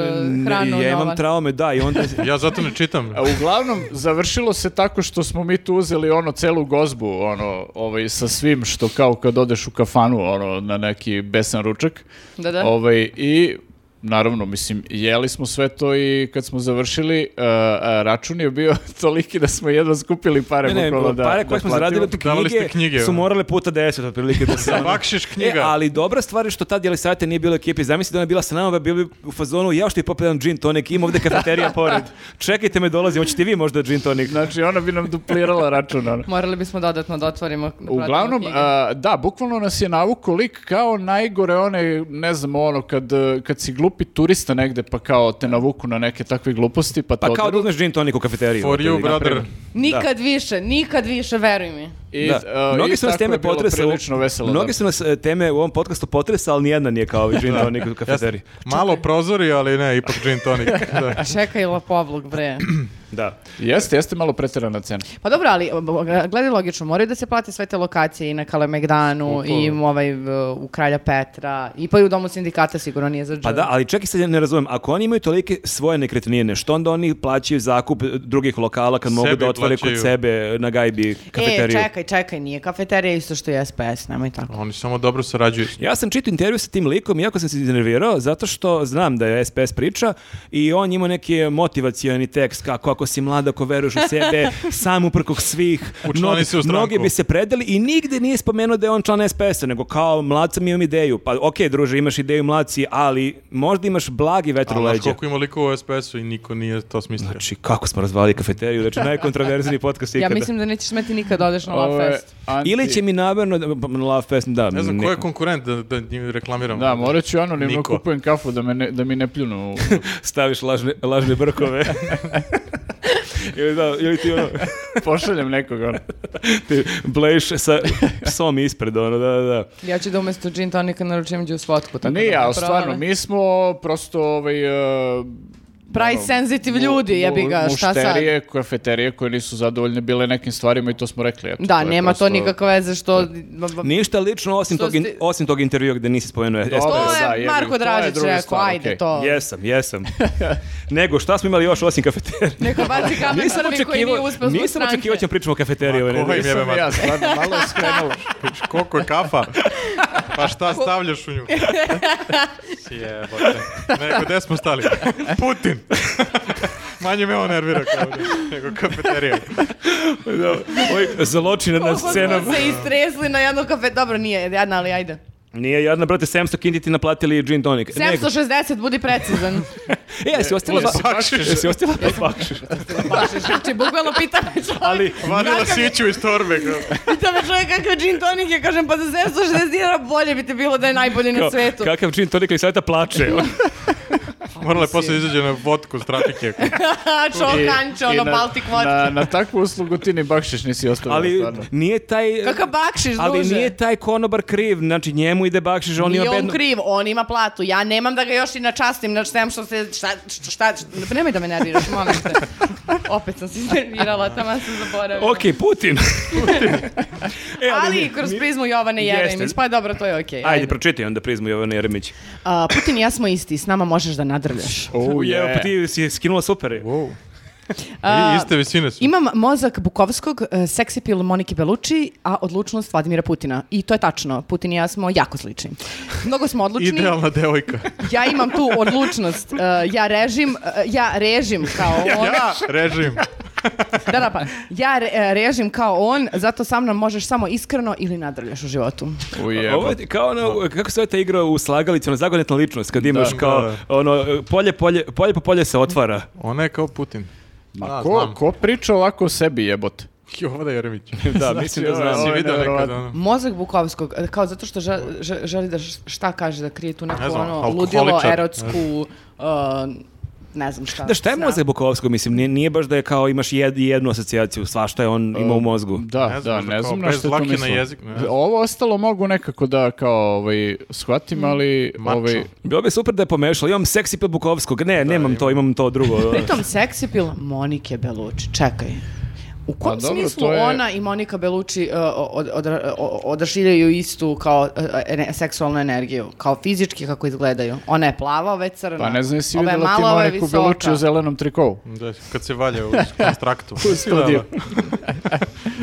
hranu ja nova. imam traume, da, i onda... Ja zato ne <laughs> čitam. A uglavnom, završilo se tako što smo mi tu uzeli ono celu gozbu, ono, ovaj, sa svim što kao kad odeš u kafanu, ono, na neki besan ručak. Da, da. Ovaj, I, naravno, mislim, jeli smo sve to i kad smo završili, a, a, račun je bio <laughs> toliki da smo jedva skupili pare. Ne, ne, bukvalno da, pare koje da smo platimo. zaradili od Davali ste knjige, knjige, su ono. morale puta deset, otprilike. Da se, Bakšiš knjiga. E, ali dobra stvar je što tad Jelisaveta nije bila u ekipi. Zamisli da ona je bila sa nama, bili bi u fazonu, ja što je popio jedan gin tonic, ima ovde kafeterija pored. Čekajte me, dolazim, hoćete vi možda gin tonic? Znači, ona bi nam duplirala <laughs> račun, ono. Morali bismo dodatno da otvorimo. da pratimo Uglavnom, knjige. a, da, bukvalno nas je navuko lik kao najgore one, ne znam, ono, kad, e, kad si glupi turista negde, pa kao te navuku na neke takve gluposti, pa, Pa to kao da uzmeš gin tonic u kafeteriji. For you, otprilike. brother. nikad više, nikad više, veruj mi. I, Da. e, Mnoge i su nas tako teme je bilo potresa. prilično veselo. Mnoge da. su nas e, teme u ovom podcastu potresa, ali nijedna nije kao ovaj gin tonic u kafeteriji. Malo prozori, ali ne, ipak gin <laughs> tonic. Da. A čekaj lopovluk, bre. <clears throat> Da. Jeste, jeste malo preterana cena. Pa dobro, ali b- gledaj logično, moraju da se plate sve te lokacije i na Kalemegdanu i ovaj, v- u Kralja Petra i pa i u Domu sindikata sigurno nije za džel. Pa da, ali čekaj sad, ja ne razumem, ako oni imaju tolike svoje nekretnine, što onda oni plaćaju zakup e, drugih lokala kad mogu Sebi da otvore kod plaćaju. sebe e, na gajbi kafeteriju? E, čekaj, čekaj, nije kafeterija isto što je SPS, nemoj tako. Oni samo dobro sarađuju. Ja sam čitao intervju sa tim likom, iako sam se iznervirao, zato što znam da je SPS priča i on ima neki motivacioni tekst kako ako si mlad, ako veruješ u <laughs> sebe, sam uprkog svih, Učlani se u stranku. mnogi bi se predali i nigde nije spomenuo da je on član SPS-a, nego kao mlad sam imam ideju. Pa okej, druže, imaš ideju mlaci, ali možda iš blagi vetar u Ali znaš leđa. koliko ima likova u SPS-u i niko nije to smislio. Znači, kako smo razvalili kafeteriju, znači najkontroverzniji podcast ikada. Ja mislim da nećeš smeti nikad da odeš na Love Ovo je Fest. anti- Ili će mi namerno, da- pa, Love Fest, da. ne znam, ne- ko je konkurent da, da njim reklamiram? Da, morat ću anonimno Niko. kupujem kafu da, me ne- da mi ne pljunu. u- Staviš lažne, lažne <laughs> brkove. ili, da, ili ti ono, Pošaljem <laughs> nekoga. ono. ti blejiš sa psom ispred, ono, da, da, da. Ja ću da umjesto gin tonika naručim džus vodku. Tako Nije, da ali probale. stvarno, mi smo prosto ovaj... e, Price ono, sensitive mu- ljudi, mu- jebi ga, šta sad? Mušterije, kafeterije koje nisu zadovoljne bile nekim stvarima i to smo rekli. Eto, Da, je nema prosto- to nikakve veze što... Ništa lično osim, Pa- Što tog, in- ste- osim tog intervjua gde nisi spomenuo SPS. Dobro, To da, jebi je ga, to Marko je Dražić druga rekao, stvar, ajde okej. to. Jesam, jesam. Nego, šta smo imali još osim <laughs> kafeterije? Neka baci kamen Nisam prvi koji nije očekivao, uspeo zbog nisam stranke. očekivao da ćemo pričamo o kafeteriji ove Ovaj nedelje. mi je Nisam ja, stvarno, malo je <laughs> skrenulo. Koliko je kafa? Pa šta stavljaš u nju? Jebote. Nego, gde smo stali? Putin! Manje me ovo nervira kao ovdje, nego kafeterija. Da, Oj, ovaj zločin nad Koliko scenom. smo se istresli na jednu kafe. Dobro, nije jedna, ali ajde. Nije jadna, brate, 700 kinti ti naplatili gin tonic. Nego- 760, budi <laughs> precizan. E, jesi ostila Jesi ba- bakšiš? Jesi ostila ba- bakšiš? znači, bukvalno pita me čovjek. Ali, Vadila siću iz torbe. kao. Pita me čovjek kakav gin tonik je, kažem, pa za 760 dinara bolje bi ti bilo da je najbolji na Kao, svetu. Kakav gin tonic i sada plače. Morala je poslije izađe na vodku stratike. <laughs> A čokanče, ono, na- Baltic vodka. Na, na takvu uslugu ti ni bakšiš nisi ostavio. <laughs> Ali <laughs> stvarno. nije taj... Kakav bakšiš, Ali druže. nije taj konobar kriv, znači njemu ide bakšiš, on Nije ima on bedno... kriv, on ima platu. Ja nemam da ga još i načastim, na sem što se... Šta, šta, šta, nemoj da me nerviraš, molim <laughs> te. Opet sam se iznervirala, tamo sam zaboravila. Ok, <laughs> Putin. E, ali, mi- kroz mi- prizmu Jovane Jeste. Jeremić, pa dobro, to je okej. Ajde, pročitaj onda prizmu Jovana Jeremić. A, Putin i ja smo isti, s nama možeš da nadrljaš. Oh, Evo, yeah. pa ti si skinula super. Wow. A, I iste visine su. Imam mozak Bukovskog, e, seksi pil Moniki Belucci, a odlučnost Vladimira Putina. I to je tačno, Putin i ja smo jako slični. Mnogo smo odlučni. Idealna devojka. Ja imam tu odlučnost. e, ja režim, e, ja režim kao on. Ja, režim. Da, da, pa. Ja re- e, režim kao on, zato sa mnom možeš samo iskreno ili nadrljaš u životu. Oh, yeah. Ovo je kao ono, kako se zove ta igra u slagalici, ono zagonetna ličnost, kad imaš Da, kao, da. ono, polje, polje, polje po polje se otvara. Ona je kao Putin. Ma Da, ko, znam. ko priča ovako o sebi jebote? Znači, Jovada Jeremić. Da, mislim da ovo je- znam. Si ovo je vidio nekad nevjerovatno. ono? Mozak Bukovskog, e, kao zato što ža- ža- želi da š- šta kaže, da krije tu neko Ne znam, ono alkoholičar. ludilo, erotsku, e, ne znam šta. Da šta je sna. mozak Bukovskog, mislim, nije, nije baš da je kao imaš jed, jednu asocijaciju, svašta je on ima u mozgu. Da, Ne znam, da, možda ne kao znam na bez što je dlake to na mislio. jezik, ne znam. Ovo ostalo mogu nekako da kao ovaj, shvatim, ali... Hmm, Mačo. Ovaj, Bilo bi super da je pomešalo, imam seksi pil Bukovskog, ne, nemam to, imam to drugo. <laughs> Pritom seksi pil Monike Belucci, čekaj. U kom Pa dobro, smislu to je- ona i Monika Belucci uh, od, odra- o- odašiljaju istu kao uh, ene- seksualnu energiju? Kao fizički kako izgledaju? Ona je plava, ove je crna. pa ne znam, jesi Ova je vidjela ti mala, ova je Moniku visoka. Belucci u zelenom trikovu? Da, Mm, kad se <laughs> valja u kontraktu. studiju. <laughs>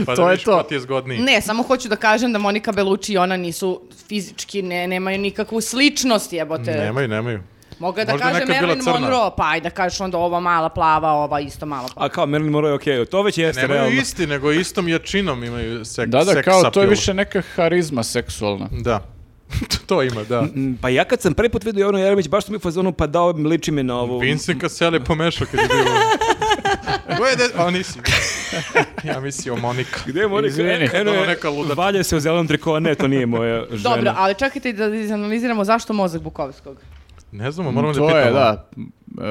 Pa To da je vidiš to. ko ti je zgodniji. Ne, samo hoću da kažem da Monika Belucci i ona nisu fizički, ne, nemaju nikakvu sličnost jebote. Nemaju, nemaju. Mogu da Možda je kažem nekad bila Marilyn crna. Monroe, pa ajde da kažeš onda ova mala plava, ova isto mala plava. A kao Marilyn Monroe je okej, to već jeste Nemaju realno. isti, nego istom jačinom imaju sek, Da, da, seks kao, to je appeal. više neka harizma seksualna. Da. <laughs> to ima, <laughs> da. Mm, Pa ja kad sam prvi put vidio Jovanu Jeremić, baš sam mi u fazonu, pa dao mi liči mi na ovu. Vincent Cassel je pomešao kad je bio... <laughs> Ko je de- A nisi. <laughs> Ja mislio Monika. Gde je Monika? Izvini. E, eno je, Ono neka ludačka. Valja se u zelenom triko, a ne, to nije moja žena. Dobro, ali čekajte da izanaliziramo zašto mozak Bukovskog. Ne znamo, moramo da to pitamo. je, da.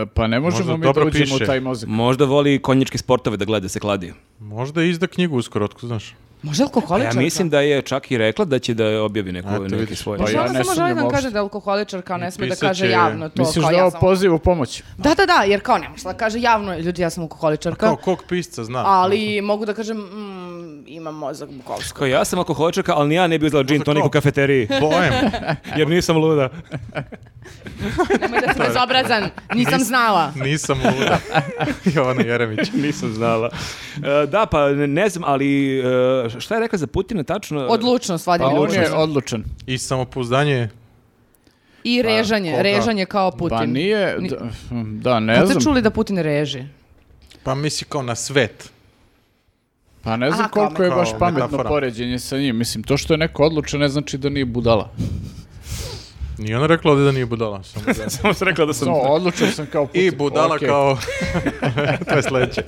E, Pa ne možemo Možda mi da dobro uđemo u piše. taj mozak. Možda voli konjičke sportove da gleda se kladi. Možda izda knjigu uskoro, otko znaš. Može ja alkoholičarka? mislim da je čak i rekla da će da objavi neku, Eto, neki vidiš. svoj. Pa Pa ja ja ne samo sumnjam želim da vam kaže uopšte. da alkoholičar kao ne sme da Pisat kaže će- javno to. Misliš kao da je ja ovo sam- poziv u pomoć? Da, da, da, jer kao ne možeš da kaže javno, ljudi, ja sam alkoholičarka, Kao kog pisca zna. ali mogu da kažem, mm, imam mozak Bukovskog. Kao ja sam alkoholičarka, ali ni ja ne bi uzela gin Možda tonik u klop. kafeteriji, Bojem. <laughs> jer nisam luda. Nemoj da sam bezobrazan, nisam znala. Nisam luda. <laughs> Jovana Jeremić. nisam znala. E, da, pa ne, ne znam, ali e, šta je rekla za Putina tačno? Odlučnost, Pa Vladimir on je Vučić. odlučan. Pa I samopouzdanje. I režanje, koga? režanje kao Putin. Pa nije, Ni- Pa da, da, ne Kad ste znam. čuli da Putin reži? Pa misli kao na svet. Pa ne znam Aha, kao koliko je me- baš kao pametno metafora. poređenje sa njim. Mislim, to što je neko odlučan ne znači da nije budala. Nije ona rekla ovdje da nije budala. <laughs> Samo da. <laughs> Samo sam rekla da sam... No, odlučan sam kao Putin. I budala Okej. kao... <laughs> to je sledeće.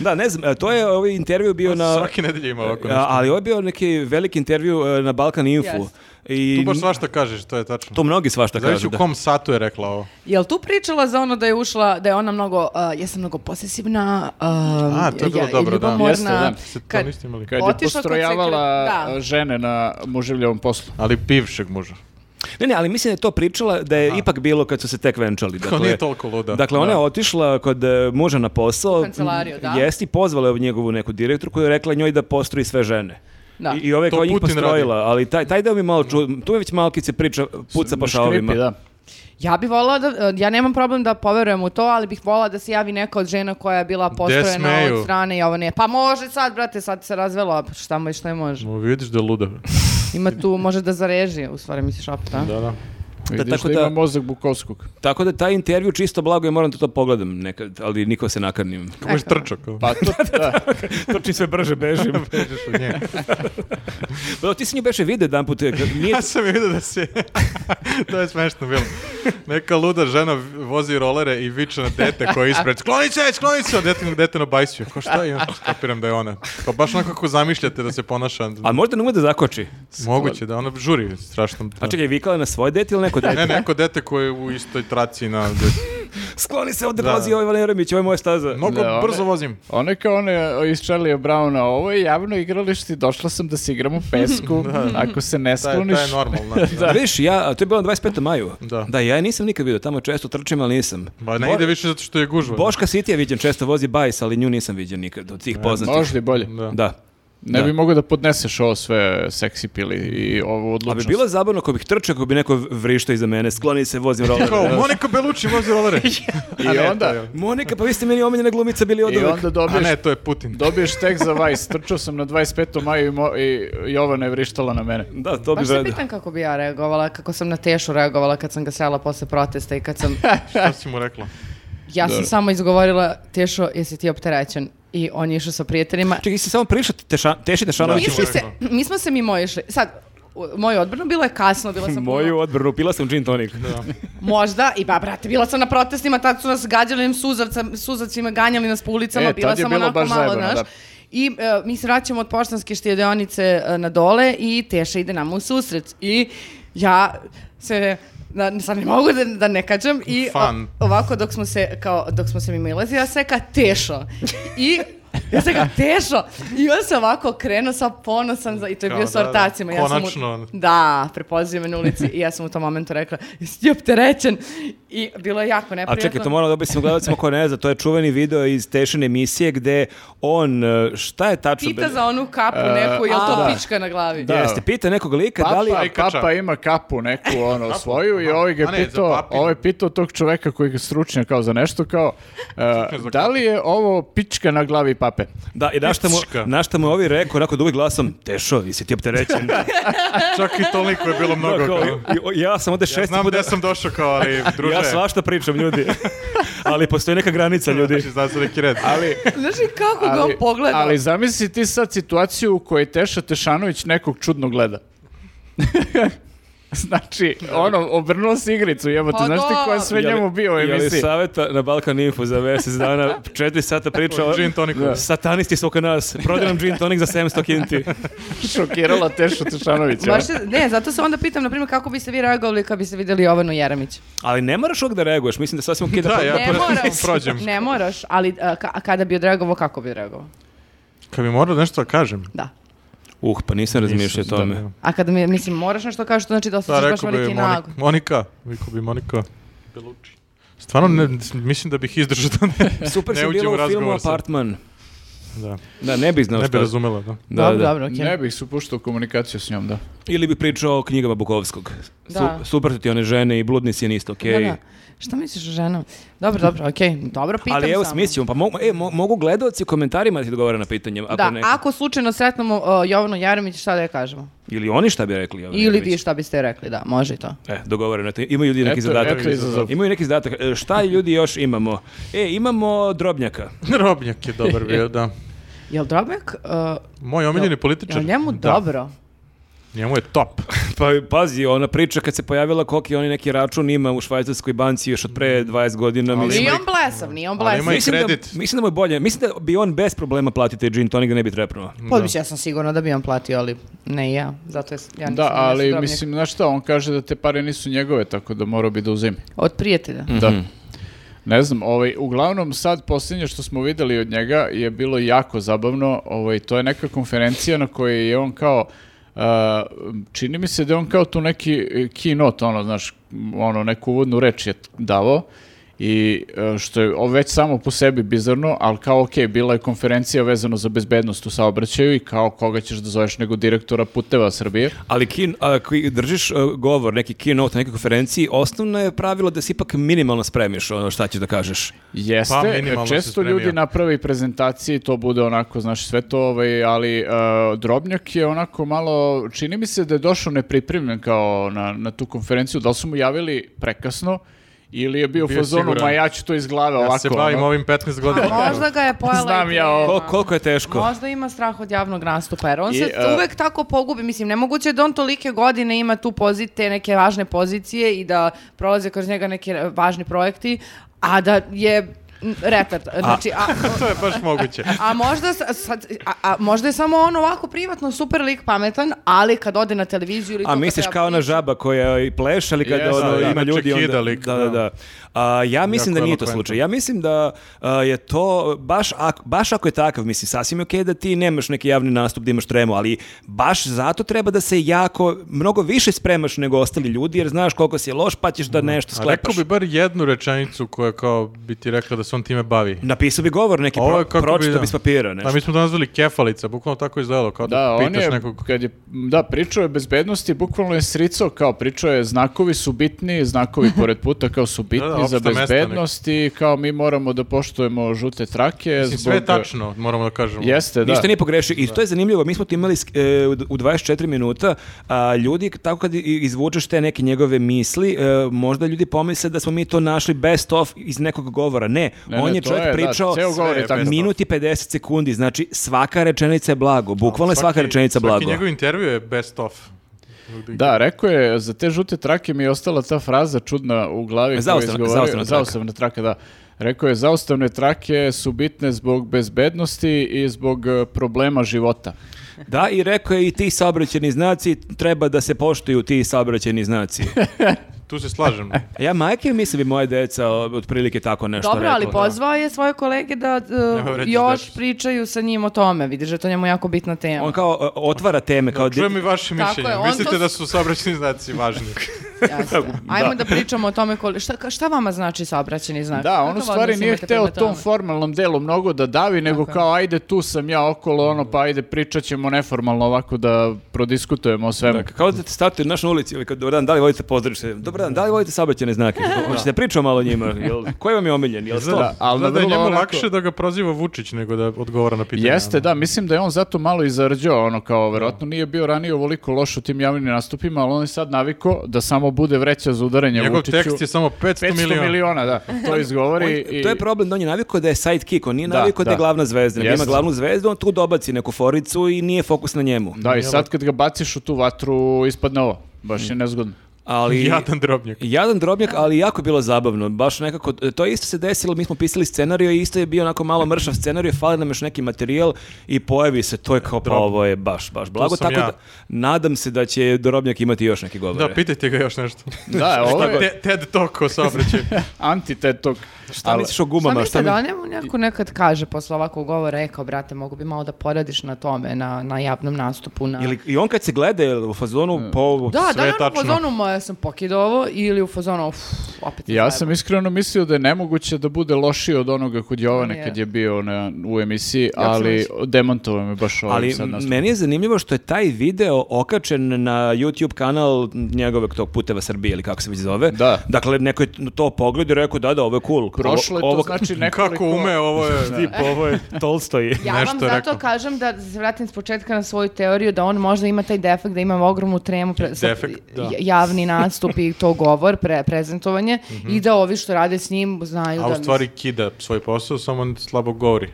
Da, ne znam, e, to je ovaj intervju bio na... Svake nedelje ima Pa ovako A, nešto. ali ovo je bio neki veliki intervju e, na Balkan Info. Jeste. I Tu baš svašta kažeš, to je tačno. to mnogi svašta Zavisi kažu. u da. kom satu je rekla ovo. Jel tu pričala za ono da je ušla, da je ona mnogo, uh, jesam mnogo posesivna, uh, A, to je bilo i dobro, da. ljubomorna. Jeste, da. Se to Kad- niste imali. Kad Otišla kod je postrojavala sekre- da. a, žene na muževljavom poslu. Ali bivšeg muža. Ne, ne, ali mislim da je to pričala da je ipak bilo kad su se tek venčali. Dakle, nije toliko luda. Dakle, ona je otišla kod e, muža na posao. U kancelariju, da. Jesti, pozvala je njegovu neku direktoru koja je rekla njoj da postroji sve žene. Da. I, i ove To kao njih Putin postrojila, ali taj, taj deo mi malo ču... Tu je već malkice priča, puca po Škripi, šavovima. da. Ja bi volila da, e, ja nemam problem da poverujem u to, ali bih volila da se javi neka od žena koja je bila postrojena smeju? od strane Jovane. Pa može sad, brate, sad se razvelo, pa šta mu je, šta je može. Mo vidiš da je luda. Ima tu, može da zareži, u stvari misliš opet, a? Da, da. Vidiš da, tako ima da- mozak Bukovskog. Tako da taj intervju čisto blago je, moram da to pogledam nekad, ali niko se <laughs> nakarnim. Kako je trčao kao? Pa <laughs> to, da. Trčim sve brže, <laughs> bežim. Bežeš od nje. Pa ti si nju beše vidio jedan put, e, nije <laughs> Ja sam je vidio da se... to je smešno bilo. Neka luda žena vozi rolere i viče na dete koje je ispred. Skloni se, skloni se! Dete, dete na bajsu. Ko šta je? Kapiram da je ona. Pa baš onako kako zamišljate da se ponaša. A možda ne ume da zakoči. Moguće da ona žuri strašno. A čekaj, vikala je na svoje dete ili <laughs> neko dete? Ne, neko dete koje je u istoj traci na... Skloni se, ovdje Da. dolazi ovaj Valerimić, ovo je moja staza. Mnogo Da, ona- brzo vozim. Ona je kao one iz Charlie Browna, ovo je javno igralište, došla sam da se igram u <laughs> pesku, ako se ne Ta je, znači. skloniš... ta je normalna. Da. Da. Viš, ja, a to je bilo na 25. maju. Da. Da, ja je nisam nikad vidio, tamo često trčim, ali nisam. Ba, ne Bo- ide više zato što je gužva. Boška Sitija viđen, često vozi bajs, ali nju nisam viđen nikad od tih poznatih. Možda i bolje. Da. Da. Ne Da. bi mogao da podneseš ovo sve seksi pili i ovu A bi odlučnost. bilo zabavno ako bih trčao, ako bi neko vrištao iza mene, skloni se, vozim roller. Kao, Monika Belucci vozi rolere. I A ne, onda- to je- Monika, pa vi ste meni omiljena glumica bili od I onda A dobiješ, ne, to je Putin. dobiješ tek za vajs. Trčao sam na 25. maju i, mo- i Jovana je vrištala na mene. Da, to bi Baš se vredno. pitam kako bi ja reagovala, kako sam na Tešu reagovala kad sam ga srela posle protesta i kad <laughs> sam... Šta si mu rekla? Ja sam Dobro. samo izgovorila, Tešo, jesi ti opterećen? I on je išao sa prijateljima. Čekaj, si samo prišao teša, Teši Tešanović. Mi, Mislim- smo se, mi smo se mimo išli. Sad, u- moju odbranu bilo je kasno, bila sam Moju puno- odbranu, pila sam gin tonik. možda, i ba, brate, bila sam na protestima, tad su nas gađali im suzavca, suzacima, ganjali nas po ulicama, E, tad bila je sam bilo onako baš malo, zajebano, znaš. da. I e, mi se vraćamo od poštanske štedionice e, na dole i Teša ide nama u susret. I ja se da, sad ne mogu da, da ne kađem i o- Fan. ovako dok smo se kao dok smo se mi ilazili ja se ka tešo i ja se ka tešo i on se ovako krenuo sa ponosan za, i to je Kao, bio da, sa da. ortacima ja sam mu- Konačno. da, prepozio me na ulici i ja sam u tom momentu rekla, jesi ti opterećen? I bilo je jako A neprijatno. čekaj, to moram da objasnim gledalcima ko ne zna, to je čuveni video iz Tešine emisije gde on, e, šta je tačno? Pita za onu kapu neku, jel to pička na glavi? Da. Jeste, pita nekog lika da li... Papa, Ajkača. papa ima kapu neku ono svoju i aha. ovaj ga A je ne, za pitao, papinu. ovaj je pitao tog čoveka koji je stručnjak kao za nešto kao e, za da li je ovo pička na glavi pape? Da, i našta mu, Pička. na šta mu je ovi rekao, onako dugim glasom, Tešo, jesi <laughs> ti opterećen? Čak i toliko je bilo mnogo. Da, kao, kao- i- i- ja sam ovde Ja šesti znam puta... gde sam došao kao, ali druže... Ja svašta pričam, <laughs> ljudi. Ali postoji neka granica, ljudi. Znači, zna se neki red. Ali Znaš li kako ga on Ali, pogleda? ali zamisli ti sad situaciju u kojoj Teša Tešanović nekog čudno gleda. <laughs> znači, ono, obrnuo si igricu, jebote, Pa znaš ti ko je da. sve njemu bio u Je li <laughs> emisiji? saveta na Balkan Info za mjesec dana, četiri sata priča o... Gin toniku. Da. Satanisti su oko nas. Prodaj nam gin tonik za 700 kinti. Šokirala Teša Tešanovića. Baš se- ne, zato se onda pitam, na primjer, kako biste vi reagovali kad biste vidjeli Jovanu Jeremić? Ali ne moraš uvijek da reaguješ. Mislim da sasvim okej da... Da, ja ne prosto moraš, prođem. ne moraš, ali a, ka- a kada bi odreagovao, kako bi odreagovao? Kad bi morao nešto da kažem. Da. Uh, pa nisam razmišljao o Nisam, tome. da, ne. A kada mi, mislim, moraš nešto kažeš, to znači da Da, osjećaš baš rekao bi veliki Monika. nagu. Monika. Rekao bi Monika. Belucci. Stvarno, ne, mislim da bih izdržao da ne, Super ne si uđe bilo u u filmu razgovor. sa- Apartman. Da. <laughs> Da, ne bih znao Ne bi šta. razumela, da. Da, dobro, da. dobro, okej. Ne bih se upuštao u komunikaciju s njom, da. Ili bi pričao o knjigama Bukovskog. Da. Su, super su ti one žene i bludnici je niste okej. Da, da. Šta misliš o ženama? Dobro, dobro, okej, dobro, pitam Ali evo samo. smislimo, pa mogu, e, mo- mogu gledalci u komentarima da ti odgovore na pitanje. Ako da, ne, ako slučajno sretnemo uh, Jovanu Jaremić, šta da je kažemo? Ili oni šta bi rekli? Jovan Ili Jeremić? vi šta biste rekli, da, može i to. E, dogovoreno je to. Imaju ljudi neki Eto, zadatak. eto izazov. Imaju neki zadatak. E, Šta ljudi još imamo? E, imamo drobnjaka. Robnjak je dobar bio, da. Jel Drobek, uh, Moj omiljeni Jel- političar. jel njemu Da. dobro? Njemu je <laughs> top. Pa pazi, ona priča kad se pojavila koliki oni neki račun ima u švajcarskoj banci još od pre 20 godina. Ali mislim, Nije ima i- on blesav, nije on ali blesav. ima i- mislim, da, kredit. mislim da mu je bolje. Mislim da bi on bez problema platio taj gin tonik da ne bi trepnuo. Pa mislim, ja sam sigurna da bi on platio, ali ne i ja. Zato je, ja nisam Da, ni ali naša mislim, znaš šta, on kaže da te pare nisu njegove, tako da morao bi da uzimi. drobnjak. Od prijatelja. Da. Ne znam, ovaj, uglavnom sad posljednje što smo videli od njega je bilo jako zabavno, ovaj, to je neka konferencija na kojoj je on kao, uh, čini mi e, se da je on kao tu neki eh, keynote, ono, znaš, m, ono, neku uvodnu reč je davao I e, što je ovo već samo po sebi bizarno, ali kao ok, bila je konferencija vezano za bezbednost u saobraćaju i kao koga ćeš da zoveš nego direktora puteva Srbije. Ali kin, ako i držiš a, govor, neki keynote na nekoj konferenciji, osnovno je pravilo da se ipak minimalno spremiš ono šta ćeš da kažeš. Jeste, Pa, minimalno se često spremio. ljudi naprave i prezentacije i to bude onako, znaš, sve to, ovaj, ali e, Drobnjak je onako malo, čini mi se da je došao nepripremljen kao na, na tu konferenciju, da li su mu javili prekasno ili je bio, u Bio je fazonu, siguran. ma ja ću to iz glave Ja ovako. se bavim ono. ovim 15 godina. A <laughs> možda ga je pojela Znam ideja. ja ovo. Ko, koliko je teško? Možda ima strah od javnog nastupa, jer on I, se e, uvek tako pogubi. Mislim, nemoguće je da on tolike godine ima tu pozi- te neke važne pozicije i da prolaze kroz njega neki e, važni projekti, a da je m, retard. Znači, a, to je baš <laughs> moguće. a možda, sa- sad, a, a možda je samo on ovako privatno super lik pametan, ali kad ode na televiziju ili... to A kad misliš treba kao ona pričati- žaba koja i pleš, ali kada Jeste, ono, da, ima inače ljudi kida onda... lik, da, da, da. A, ja mislim Jako da nije to elokventno. slučaj. Ja mislim da a, je to, baš ako, baš ako je takav, mislim, sasvim je okej da ti nemaš neki javni nastup, da imaš tremu, ali baš zato treba da se jako, mnogo više spremaš nego ostali ljudi, jer znaš koliko si loš, pa ćeš da nešto A rekao sklepaš. bi bar jednu rečenicu koja kao bi ti rekla da se on time bavi. Napisao bi govor neki, A ovo pro, je kako pročito da. bi s papira, Da, nešto. mi smo to nazvali kefalica, bukvalno tako izgledalo, kao da, Da, on pitaš je, nekog... kad je, da, pričao je o bezbednosti, bukvalno je sricao, kao pričao je znakovi su bitni, <laughs> znakovi pored puta kao su bitni da, za opšta mesta bezbednost i kao mi moramo da poštujemo žute trake. Mislim, sve je tačno, moramo da kažemo. Jeste, da. Ništa nije pogrešio. I to je zanimljivo. Mi smo to imali sk- e, u d- u 24 minuta. A, ljudi, tako kad i- izvučeš te neke njegove misli, e, možda ljudi pomisle da smo mi to našli best of iz nekog govora. Ne, Ne, on ne, je to čovjek je, da, pričao ceo govor je sve- best of. minut i 50 sekundi. Znači, svaka rečenica je blago. Bukvalno je Svaki- svaka rečenica blago. Svaki njegov intervju je best of. Da, rekao je, za te žute trake mi je ostala ta fraza čudna u E, glavi. koju je Zaustavna- izgovorio. zaustavna traka. Zaustavna traka, da. Rekao je, zaustavne trake su bitne zbog bezbednosti i zbog e, problema života. Da, i rekao je i ti saobraćeni znaci, treba da se poštuju ti saobraćeni <laughs> znaci. Tu se slažem. Ja majke mislim bi moje deca o, otprilike tako nešto Dobro, ali rekla. pozvao je svoje kolege da e, vredi još znači. pričaju sa njim o tome. Vidiš da je to njemu jako bitna tema. On kao e, otvara teme. Kao di- Čujem i vaše Tako mišljenje. je, on Mislite to- da su saobraćeni znaci važni. Jeste. Ajmo da. pričamo o tome koli... šta, ka- šta vama znači saobraćeni znak? Da, on Kakav u stvari odnos nije imate ono- hteo prema tom tome? formalnom delu mnogo da davi, nego Tako je. kao ajde tu sam ja okolo, ono pa ajde pričat ćemo neformalno ovako da prodiskutujemo o svemu. Da, kao da te startuje naš na ulici ili kad dobar dan, da li volite pozdravište? Dobar dan, da li volite saobraćene znake? Hoćete da pričamo malo o njima? Jel, koji vam je omiljen? Jel Izgleda, to? Da, ali izgleda da je vrlo njemu onako- lakše da ga proziva Vučić nego da odgovara na pitanje. ono. Jeste, da, mislim da je on zato malo i zarđao, ono kao, verovatno nije bio ranije ovoliko loš u tim javnim nastupima, ali on je sad naviko da samo bude vreća za udaranje Njegov Vučiću. tekst je samo 500, 500 miliona. miliona. da, to On- izgovori i... To je problem da on je navikao da je sidekick, on nije Da, navikao da, je da. glavna zvezda. nego Ima Jeste. glavnu zvezdu, on tu dobaci neku foricu i nije fokus na njemu. Da, i sad kad ga baciš u tu vatru, ispadne ovo. Baš je nezgodno. Ali... Jadan drobnjak. Jadan drobnjak, ali jako je bilo zabavno. Baš nekako, e, to je isto se desilo, mi smo pisali scenariju i isto je bio onako malo mršav scenariju, fali nam još neki materijal i pojavi se, to je kao pa ovo je baš, baš blago. sam Tako ja. da, nadam se da će drobnjak imati još neki govore. Da, pitajte ga još nešto. Da, ovo je Te, Ted Talk o saobraćaju. antitetog. Šta misliš o Šta gumama? mislite mi- da on njemu neko nekad kaže posle ovakvog govora, rekao, brate, mogu bi malo da poradiš na tome, na, na javnom nastupu, na... Ili, I on kad se gleda je li u fazonu, po ovo... Da, da sve li je on u tačno. fazonu, ma ja sam pokidao ovo, ili u fazonu, uf, opet Ja sam iskreno mislio da je nemoguće da bude lošiji od onoga kod Jovane Nije. kad je bio na, u emisiji, sam ali mislio. demantovao me baš ovaj Ali sad nastup. meni je zanimljivo što je taj video okačen na YouTube kanal njegovog tog puteva Srbije ili kako se već zove. Da. Dakle, neko je to pogledao i rekao da, da, ovo je cool. Prošlo je to Ovo- znači nekoliko... Kako ume, ovo je... ovo je <laughs> Tolstoji. Ja Nešto vam je zato rekao. kažem da se vratim s početka na svoju teoriju da on možda ima taj defekt da ima ogromnu tremu pre, sa- Defekt, da. j- javni nastup i to govor, pre, prezentovanje i da ovi što rade s njim znaju A da... u stvari kida svoj posao, samo on slabo govori.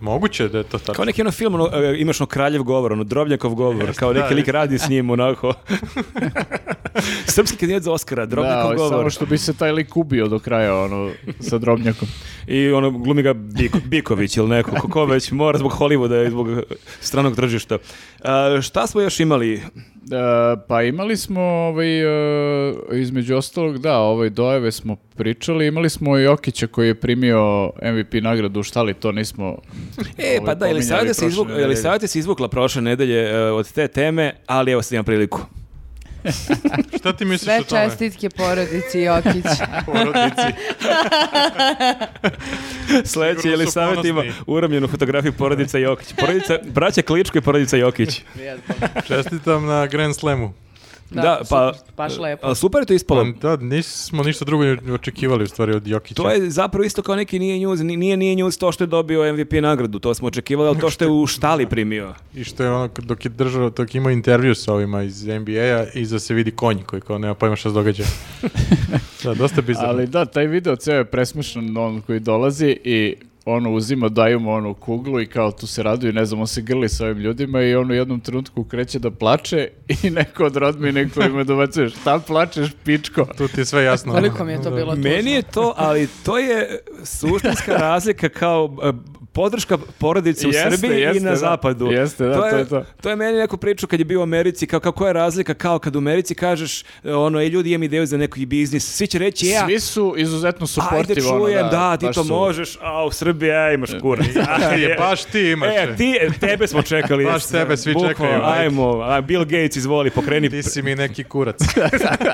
Moguće je da je to tako. Kao neki ono film, ono, e, imaš ono kraljev govor, ono drobnjakov govor, kao neki da. lik radi s njim, onako. Srpski kandidat za Oscara, Da, drobnjakov ali govor. samo što bi se taj lik ubio do kraja, ono, sa drobnjakom. I ono, glumi ga Biko- Biković ili neko, ko, ko već mora zbog Hollywooda i zbog stranog tržišta. A, šta smo još imali? E, pa imali smo, ovaj, e, između ostalog, da, ovaj dojeve smo pričali, imali smo i Jokića koji je primio MVP nagradu, šta li to nismo... E, ovaj, pa da, Elisaveta pominjali se, izvuk, prošle nedelje. Elisaveta se izvukla prošle nedelje e, od te teme, ali evo sad imam priliku. Šta ti misliš Sve o tome? čestitke porodici Jokić. Porodici. <laughs> Sledeći Sigurno je su savjet ima ponosni. uramljenu fotografiju porodica Jokić. Porodica, braća Kličko i porodica Jokić. Čestitam na Grand Slamu. Da, super, baš lepo. a, super je to ispalo. Pa Da, nismo ništa drugo ni očekivali u stvari od Jokića. To je zapravo isto kao neki nije news, ni- nije nije news to što je dobio MVP nagradu, to smo očekivali, ali to što je u štali primio. I što je ono, k- dok je držao, dok je imao intervju sa ovima iz NBA-a, iza se vidi konj koji kao nema pojma šta se <laughs> događa. da, dosta bizarno. Ali da, taj video ceo je presmešan, on koji dolazi i ono uzima, daju mu onu kuglu i kao tu se raduje, ne znam, on se grli sa ovim ljudima i on u jednom trenutku kreće da plače i <laughs> neko od rodmine koji me dobacuje, šta plačeš, pičko? Tu ti je sve jasno. Koliko mi je to bilo tužno. Meni je to, ali to je suštinska razlika kao e, podrška porodice u Jeste, Srbiji i jeste, na da. zapadu. Jeste, da, to je to. To je meni neku priču kad je bio u Americi, kao kako je razlika kao kad u Americi kažeš e, ono, ej ljudi, imam ideju za neki biznis, svi će reći ja, Svi su izuzetno ajde suportiv. ono, čujem, da, ti baš to su. možeš, a u Srbiji, aj, imaš kurac. Ti je, baš ti imaš. E, ti, tebe smo čekali. Baš tebe svi Bukvalno, čekaju, ajde. Ajmo, a Bill Gates izvoli, pokreni. Ti si mi neki kurac. <laughs> <laughs>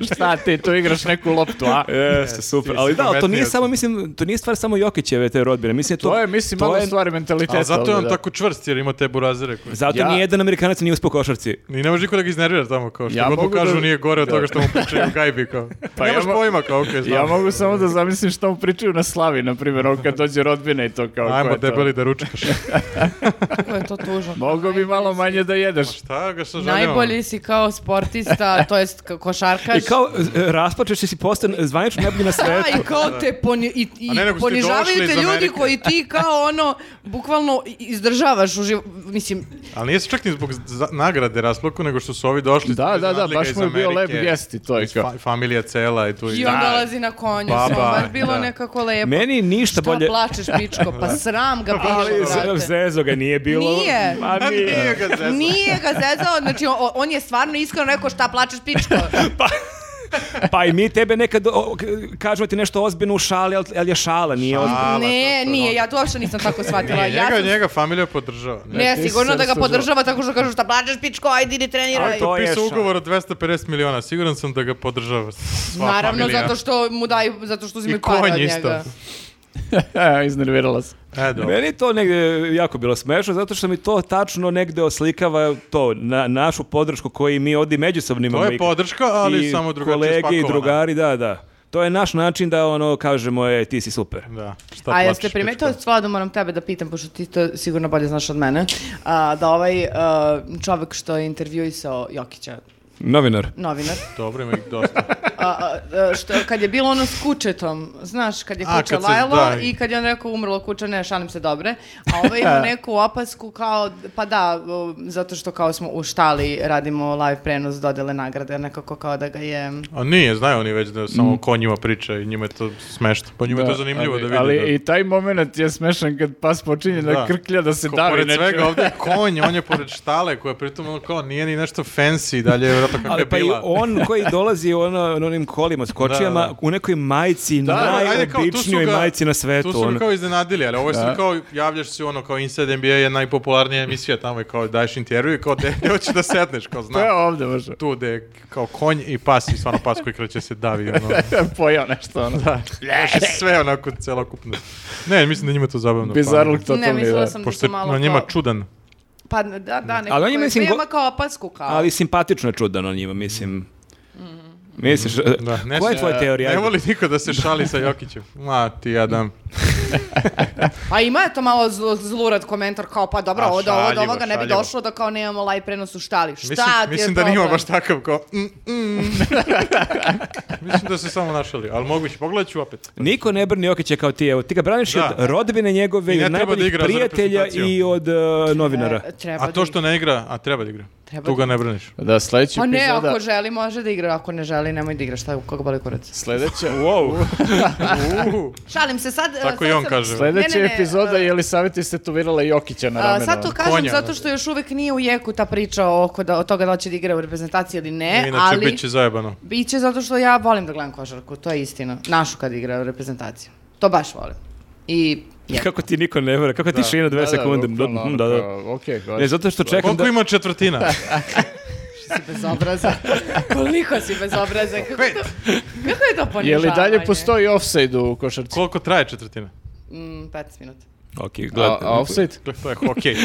Šta ti, tu igraš neku loptu, <laughs> a? E, Jeste, super. ti si Ali da, ali to pametniji nije od samo, mislim, to nije stvar samo Jokićeve te rodbine. Mislim, To je, mislim, malo je- stvari mentaliteta. Ali zato je ovde, on da. tako čvrst jer ima te burazere. Koji... Zato Ja- nijedan Amerikanac nije uspio u košarci. I ne može niko da ga iznervira tamo, kao što Ja ja god mu mogu da- kažu nije gore od toga što mu pričaju u gajbi, kao. <laughs> Pa Nemaš ja mo- pojma, kao, okej, znam. Ja mogu samo da zamislim što mu pričaju na slavi, na primjer, on kad dođe rodbina i to kao... ko Ajmo pa je to? debeli da ručkaš. Kako je to tužno. Mogu bi malo manje da jedeš. Šta ga sa željama? Najbolji si kao sportista, to jest ka- I košarkaš. kao e, rasplačeš se si postao zvanično najbolji <laughs> na Da, svetu. i kao te poni- i, i A ne, nego ste ponižavaju došli te iz ljudi Amerike. koji ti kao ono, bukvalno izdržavaš u životu. Mislim, Ali nije se čak ni zbog za- nagrade rasplaku, nego što su ovi došli. Da, iz da, da, nadliga baš iz mu je bio lep Amerike, gesti, to je iz kao. fa- familija cela i tu. i on dolazi na konju. Baba, sve, baš bilo da. nekako lepo. Meni ništa Šta bolje... plačeš, pičko? Pa sram ga Ali bilo, brate. ze- zezo ga nije bilo. Nije. Ma <laughs> nije. Nije ga zezao. Nije ga zezao, znači o- on je stvarno iskreno rekao šta plačeš pičko. Pa, pa i mi tebe nekad o, o, k- kažemo ti nešto ozbiljno u šali, ali, ali je šala, nije ozbiljno. Ala, to ne, su- nije, ja to uopšte nisam tako shvatila. Nije, ja njega, sam- njega familija podržava. Ne. Ne, ti si sigurno se da ga rastužila. podržava tako što kažu šta plačeš pičko, ajde idi treniraj. Ali to je Pisao šal. ugovor od 250 miliona, siguran sam da ga podržava sva Naravno, familija. zato što mu daju, zato što uzimaju I konj pare od isto. njega. <laughs> Iznervirala se. E, dobro. Meni je to negde jako bilo smešno, zato što mi to tačno negde oslikava to, na, našu podršku koju mi ovdje međusobno imamo. To je i- podrška, ali i samo drugačije kolege i spakovana. drugari, da, da. To je naš način da ono kažemo, e, ti si super. Da, šta A plačeš, jeste primetili, pičko? stvarno moram tebe da pitam, pošto ti to sigurno bolje znaš od mene, a, da ovaj a, čovek što je intervjuisao Jokića, Novinar. novinar, Dobro, ima ih dosta. a, a, a, što, kad je bilo ono s Kučetom, znaš, kad je A, Kuča kad se- lajalo da. i kad je on rekao umrlo Kuča, ne, šalim se dobre, a ovaj <laughs> E. ima neku opasku kao, pa da, o, zato što kao smo u štali radimo live prenos dodele nagrade, nekako kao da ga je... A nije, znaju oni već da samo ko njima priča i njima je to smešno. Pa njima je to zanimljivo Mm. ali, da vide. Ali da- i taj moment je smešan kad pas počinje da, Da. krklja da se Ko davi pored nečim. <laughs> svega ovdje je konj, on je pored štale koja pritom ono kao nije ni nešto fancy, dalje je vjerojatno kako je Ali pa i bila. on <laughs> koji dolazi ono, na onim kolima s kočijama, Da, da. u nekoj majici, Da, da, ajde, kao, tu su najobičnijoj ga- majici na Tu svetu. su ono. ga kao iznenadili, ali ovo je sad kao, javljaš se ono, kao Inside NBA je najpopularnija emisija tamo i kao daješ intervju i kao <laughs> gde gde hoćeš da sedneš, kao To je ono. znam. ovde može. Tu gde je kao konj i pas i stvarno pas koji kreće se davi, ono. <laughs> Pojao nešto ono. Da. Baš je sve onako celokupno. Ne, mislim da njima je to zabavno. Bizarluk pa, totalni. ne, mislila da. sam da Pošto su je malo na njima kao- čudan. Pa da, da, nekako Ali on ali ima, ima, mislim, go- kao opasku kao. Ali simpatično je čudano njima, mislim. Mm. Misliš, Da, ne E, koja je se- tvoja teorija? Ne voli niko da se šali sa Jokićem. Ma, ti ja dam. A Pa ima je to malo zl- zlurad komentar kao pa dobro, A, ovo do ovo do šaljivo, ovoga ne bi šaljivo. došlo da kao nemamo live prenos u štali. Šta Mislim, ti je mislim da nije problem? baš takav kao... mm, mm. <laughs> mislim da se samo našali, ali moguće. Pogledat ću opet. Niko ne brani Jokića kao ti, evo, ti ga braniš Da. od rodbine njegove, I ne od treba da najboljih igra za prijatelja i reprezentaciju. od e, novinara. <laughs> E, treba A da to igra. što ne igra, a treba da igra. Treba tu da ga <laughs> ne braniš. Da, sledeći Pa ne, Znači, epizoda... ako želi može da igra, ako ne želi nemoj da igra, šta je, koga boli kurac. Sledeća... Wow. Uuu, Šalim se sad. e, tako sad i on sam- <laughs> kaže. Sledeća Ne, ne, ne, epizoda a- je li savjeti se tuvirala Jokića na A, ramenu. ono. sad to kažem Konja. zato što još uvek nije u jeku ta priča oko da, od toga da li će da igra u reprezentaciji ili ne, Inače, ali bit će zajebano. biće zato što ja volim da gledam košarku, to je istina. Našu kad igra u reprezentaciju. To baš volim. I je. Kako ti niko ne vera, kako ti šina dve sekunde. bukvalno, ono Da, da. kao, okej, Ne, zato što čekam ono Koliko da... ima četvrtina? si <laughs> bezobrazan. <laughs> Koliko si bezobrazan. Kako, to, kako je to ponižavanje? <laughs> Je li dalje postoji offside u košarci? Koliko traje četvrtina? Mm, 15 minuta. Ok, A, gledajte. a offside? Gle, Dakle, To je <laughs> hokej.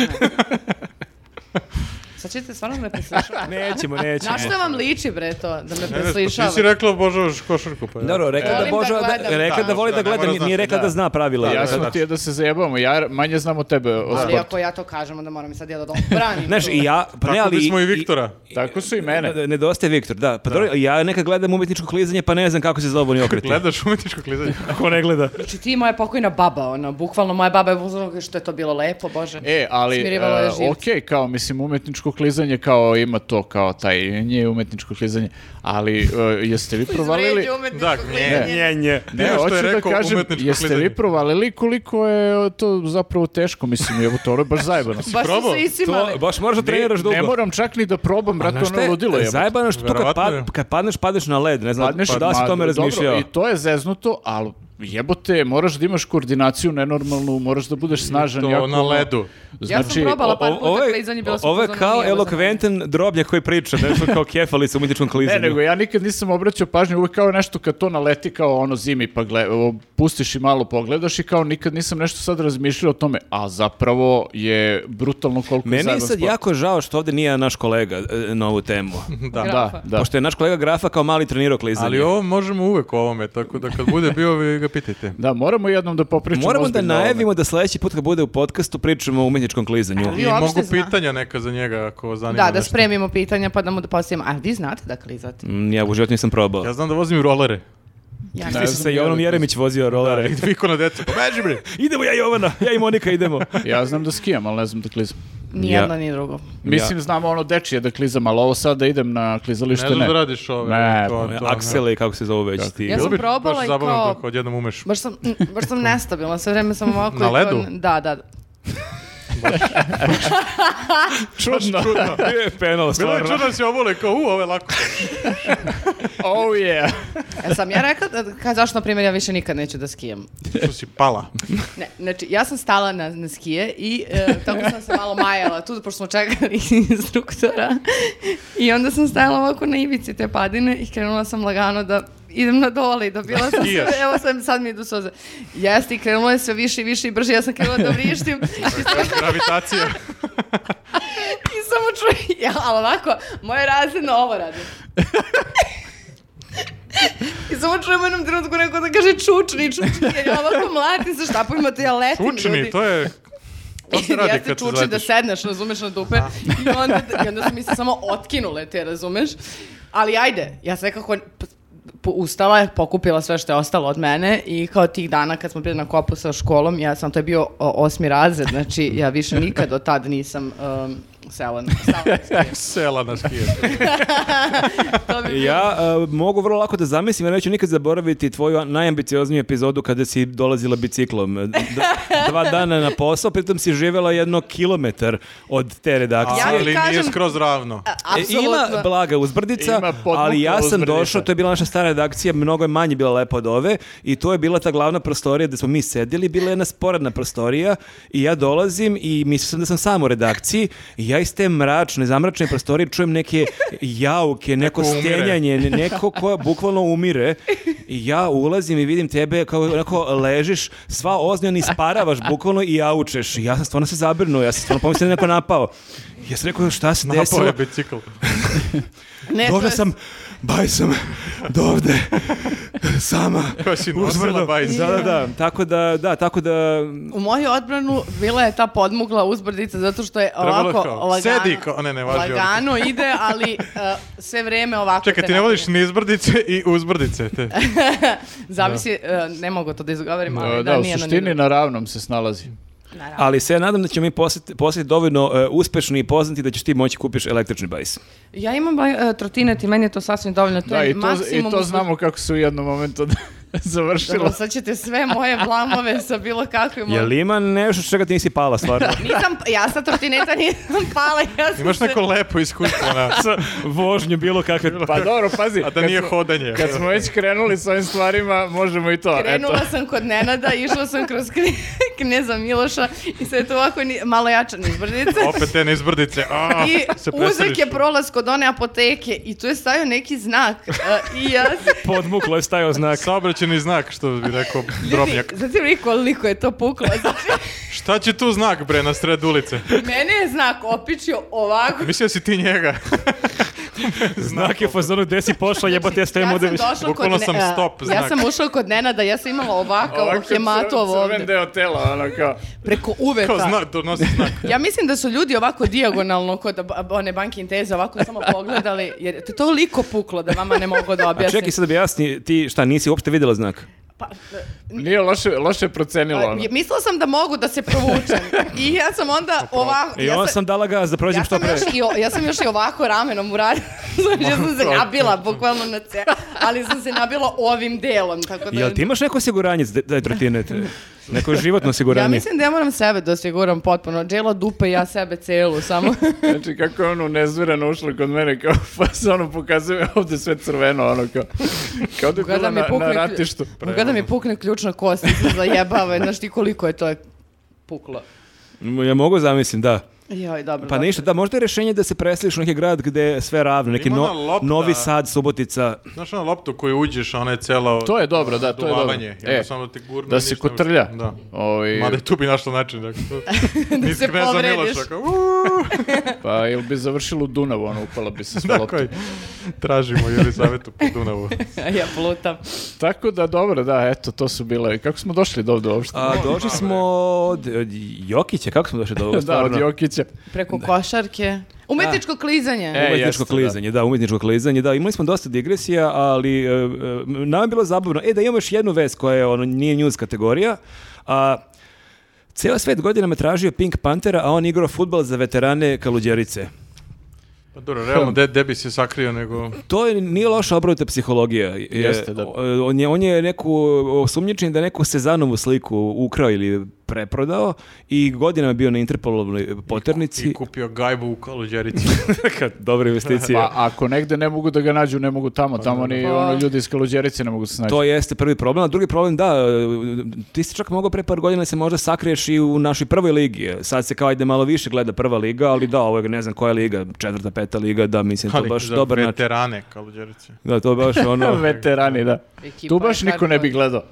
Sad ćete stvarno da me <laughs> preslišavati. Nećemo, nećemo. Na što vam liči, bre, to? Da me Ne, ne, pa Ti si preslišavate? rekla obožavaš košarku, pa ja. Dobro, rekla da Volim da Boža, da, gledam. rekla Da, da voli da da, ne gleda, mora nije, nije znati, rekla da, da. zna pravila. Ja Da, sam da. htio da se zajebamo, ja manje znam od tebe o Ali sportu. ako ja to kažem, onda moram i sad ja da branim. Znaš, i ja, pa ne, Tako ali... bismo i Viktora. Tako su i mene. Ne- Nedostaje Viktor, da. Pa dobro, ja nekad gledam umetničko klizanje, pa ne znam kako se zove ni okreti. Gledaš umetničko <laughs> klizanje? Ako ne gleda. Znači ti i moja pokojna baba, ono, bukvalno moja baba je uzmano što je to bilo lepo, bože. E, ali, Smirivalo je e, živce. ok, kao, mislim, umetničko klizanje, kao, ima to, kao, taj, nije umetničko klizanje, ali, e, <laughs> jeste vi provalili... Izvređe umetničko Da, klizanje. Ne. Nje, nje. Ne, Evo što hoću je da rekao kažem, umetničko jeste klizanje. vi provalili koliko je to zapravo teško, mislim, evo, to je baš zajebano. Baš su probao? se isimali. To, baš moraš da <laughs> treniraš Ne, dugo. ne moram čak ni da probam, brate, Znaš šta ono je ludilo je. Zajebano što tu kad, Verovatno pad- je. kad padneš, padneš na led. Ne znam pa Padneš, da li si Pa, ma, o tome dobro, razmišljao. I to je zeznuto, ali jebote, moraš da imaš koordinaciju nenormalnu, moraš da budeš snažan. To jako, na ledu. Ja sam probala par O- puta ovo je- klizanje, bila sam Ovo je u fazonu, kao nije ovo za mene. elokventan droblje koji priča, nešto kao kefali sa umjetničkom Ne, klizanju. nego ja nikad nisam obraćao pažnju, uvek kao nešto kad to naleti kao ono zimi, pa gle, o, pustiš i malo pogledaš i kao nikad nisam nešto sad razmišljao o tome, a zapravo je brutalno koliko je Meni je zajeban sad sport. jako žao što ovdje nije naš kolega e, na ovu temu. Da, da, Grafa. <laughs> da. Pošto je naš kolega Grafa kao mali trenirao klizanje. Ali ovo možemo uvek o ovome, tako da kad bude bio, vi ga pitajte. Da, moramo jednom da popričamo Moramo da ozbiljno o ovome. najavimo da sljedeći put kad bude u podcastu pričamo o umjetničkom klizanju. Ali I uopšte mogu zna. pitanja neka za njega ako zanima Da, da nešto. spremimo pitanja pa da mu postavimo. A vi znate da klizate? Mm, Ja u životu nisam probao. Ja znam da vozim rolere. Ja Ne Ti ne. si sa Jovanom Jeremić <laughs> vozio rolere. <laughs> I viko na decu. Pobeži bre! Idemo ja i Jovana, ja i Monika idemo. <laughs> Ja znam da skijam, ali ne znam da klizam. Ni Ja. jedno, ni drugo. Mislim, znamo ono dečije da klizam, ali ovo sad da idem na klizalište, Ne ne. znam da radiš ove. Ne, to, pa to, Aksele, kako se zove već ti. Ja sam Bilo bi probala baš i zabavno kao- dok odjednom umeš. Baš sam, mm, baš sam nestabilna, sve vreme sam ovako. Na i kao- ledu? Da, da. da. Čudno. <laughs> Je penal, Bilo je stvarno. čudno da se obule kao, u, ove <laughs> lako. oh yeah. E, sam ja rekla, da, ka, zašto, na primjer, ja više nikad neću da skijam. Tu si pala. Ne, znači, ja sam stala na, na skije i e, tako sam se malo majala tu, pošto smo čekali <laughs> instruktora. I onda sam stajala ovako na ivici te padine i krenula sam lagano da idem na dole i dobila sam se, Skijaš. evo sam, sad mi idu soze. Jeste, i krenulo je sve više i više i brže, ja sam krenula da vrištim i Gravitacija. I samo čujem, ja, ali ovako, moje razredno ovo radi. I samo čujem u jednom trenutku neko da kaže čučni, čučni, jer ja ovako mlatim sa štapovima, to ja letim Učni, ljudi. to je... To se Ja radi se kad se čuči da zletiš. sedneš, razumeš, na dupe. I onda, I onda su mi se samo otkinule te, razumeš? Ali ajde, ja sam nekako p- p- ustala je, pokupila sve što je ostalo od mene i kao tih dana kad smo bili na kopu sa školom, ja sam, to je bio o- osmi razred, znači ja više nikad od tad nisam um, sela na stala na skije. Sela na skije. To bi bilo- Ja e, mogu vrlo lako da zamislim, ja neću nikad zaboraviti tvoju najambiciozniju epizodu kada si dolazila biciklom. E, D- dva dana na posao, pritom si živjela jedno kilometar od te redakcije. Ja ti Ali nije kažem- skroz ravno. A- E, Ima Apsolutno. blaga uzbrdica, Ima podmukla ali ja sam uzbrdica. došao, to je bila naša stara redakcija, mnogo je manje bila lepa od ove i to je bila ta glavna prostorija gde smo mi sedjeli, bila je jedna sporedna prostorija i ja dolazim i mislio sam da sam sam u redakciji i ja iz te mračne, zamračne prostorije čujem neke jauke, neko, Neko umire. stenjanje, ne- neko ko bukvalno umire i ja ulazim i vidim tebe kao onako ležiš, sva ozljena isparavaš bukvalno i jaučeš i ja sam stvarno se zabrinuo, ja sam stvarno pomislio da je neko napao. Ja sam rekao šta se Napao desilo, je bicikl. Ne, E, to Došla je- sam, baj sam dovde, sama. Koja si nosila bajs. Da, da, da, tako da, da, tako da, U moju odbranu bila je ta podmugla uzbrdica zato što je Trebalo je ovako kao, lagano, sedi kao- ne, ne, važi ovdje. lagano ide, ali e, sve vreme ovako. Čekaj, te ti ne voliš napravi. ni izbrdice i uzbrdice. Te. Zavisi, e, ne mogu to da izgovorim, ali da, E, Da, u nije suštini na ravnom se snalazi. ali se ja nadam da ćemo mi poslati, poslati dovoljno e, uspešni i poznati da ćeš ti moći kupiš električni bajs. Ja imam uh, trotinet i meni je to sasvim dovoljno. To Da, je i to, i maksimum to uz- znamo kako se u jednom momentu <laughs> Dobro, završilo. sad ćete sve moje vlamove sa bilo kakvim... Je li ima nešto čega ti nisi pala <laughs> stvarno? Nisam, ja sa trotineta nisam pala, ja sam Imaš se- neko lepo iskustvo na... Sa vožnju bilo kakve... Pa dobro, pazi. A da kad nije smo- hodanje. Kad smo već krenuli s ovim stvarima, možemo i to. Krenula eto. sam kod Nenada, išla sam kroz, kri- kneza Miloša i sve to ovako ni, malo jača nizbrnice. Opet te nizbrdice. a, I se preseliš. uzek je prolaz kod one apoteke i tu je stavio neki znak. e, I ja se- Podmuklo je stajao znak. Saobraćeni znak, što bi <laughs> rekao Ljudi, drobnjak. znate li koliko je to puklo? Znači, Šta će tu znak, bre, na sred ulice? mene je znak opičio <laughs> ovako. Mislio si ti <laughs> njega. Znak je u fazonu gde si pošla, jebote, ja stojim Ja ovde sam više. došla kod Bukvalno sam Ne- stop ja znak. sam ušla kod Nenada, ja sam imala ovakav hematovo ovde, E, pa. deo tela, ono kao. <laughs> preko uveta. Kao znak, donosi <laughs> znak. Ja mislim da su ljudi ovako dijagonalno kod ba- one banke Inteza ovako samo pogledali, jer to je toliko puklo da vama ne mogu da A objasnim. čekaj sad da objasni, ti šta, nisi uopšte videla znak? Pa, Nije loše, loše pa, procenilo ono. je- mislila sam da mogu da se provučem. I ja sam onda ovako... I ja onda sam- sam dala gas da prođem ja što sam, pre. još i, o- ja sam još i ovako ramenom <laughs> uradila, znači ja sam se nabila bukvalno na ce, ali sam se nabila ovim delom, tako da... Jel ti imaš neko osiguranje da, da je trotine te? Neko životno osiguranje? Ja mislim da ja moram sebe da osiguram potpuno. Džela dupe i ja sebe celu samo. Znači kako je ono nezvirano ušlo kod mene, kao pa se ono pokazuje ovde sve crveno, ono kao. Kao da je Kada bila mi na, pukne, na klju- ratištu. Mogu da mi pukne ključna kost, se zajebava, znaš ti koliko je to puklo. M, Ja mogu zamislim, da. Joj, dobro. Pa dobro. ništa, da, možda je rešenje da se preseliš u neki grad gde je sve ravno, neki Ima no- ona lopta. Novi Sad, Subotica. Znaš ona loptu koju uđeš, a ona je celo... To je dobro, da, to je dobro. Dulavanje, i onda E, samo te gurne, da se ništa ne kotrlja. možeš- Da. Ovaj, Mada i tu bi našla način. Dakle, <laughs> da se povrediš. Kao, "Uuu." pa ili bi završilo u Dunavu, ono, upala bi se s <laughs> Tako je. Tražimo Jelizavetu po <laughs> Dunavu. ja plutam. Tako da, dobro, da, eto, to su bile. Kako smo došli do ovde uopšte? A, došli smo od, od Jokića, kako smo došli do ovoga <laughs> da, stvarno? od Jokića. Preko košarke. Umetničko klizanje. E, Umetničko jeste, da. klizanje, da. umetničko klizanje, da, imali smo dosta digresija, ali e, e, nam je bilo zabavno. E, da imamo još jednu vest koja je, ono, nije news kategorija, a ceo svet godinama tražio Pink Pantera, a on igrao futbal za veterane Kaluđerice. Pa dobro, realno, de, de bi se sakrio nego... To je, nije loša obrnuta psihologija. Je- Jeste, da. o- On je, on je neku, osumnjičen da je neku Sezanovu sliku ukrao ili preprodao i godinama je bio na Interpolovnoj poternici. I kupio gajbu u <laughs> Kaluđerici. Kad- Dobra <laughs> investicija. Pa ako negde ne mogu da ga nađu, ne mogu tamo, tamo ni Pa- ono ljudi iz Kaluđerice ne mogu se snaći. To jeste prvi problem, a drugi problem, da, e, ti si čak mogao pre par godina da se možda sakriješ i u našoj prvoj ligi. Sad se kao ajde malo više gleda prva liga, ali da, ovo je ne znam koja je liga, četvrta, peta liga, da, mislim, to Ali baš za dobar način. veterane Kaluđerice. Da, to baš <laughs> ono... Veterani, da. Ekipa tu baš je niko ne bi hardcore. gledao.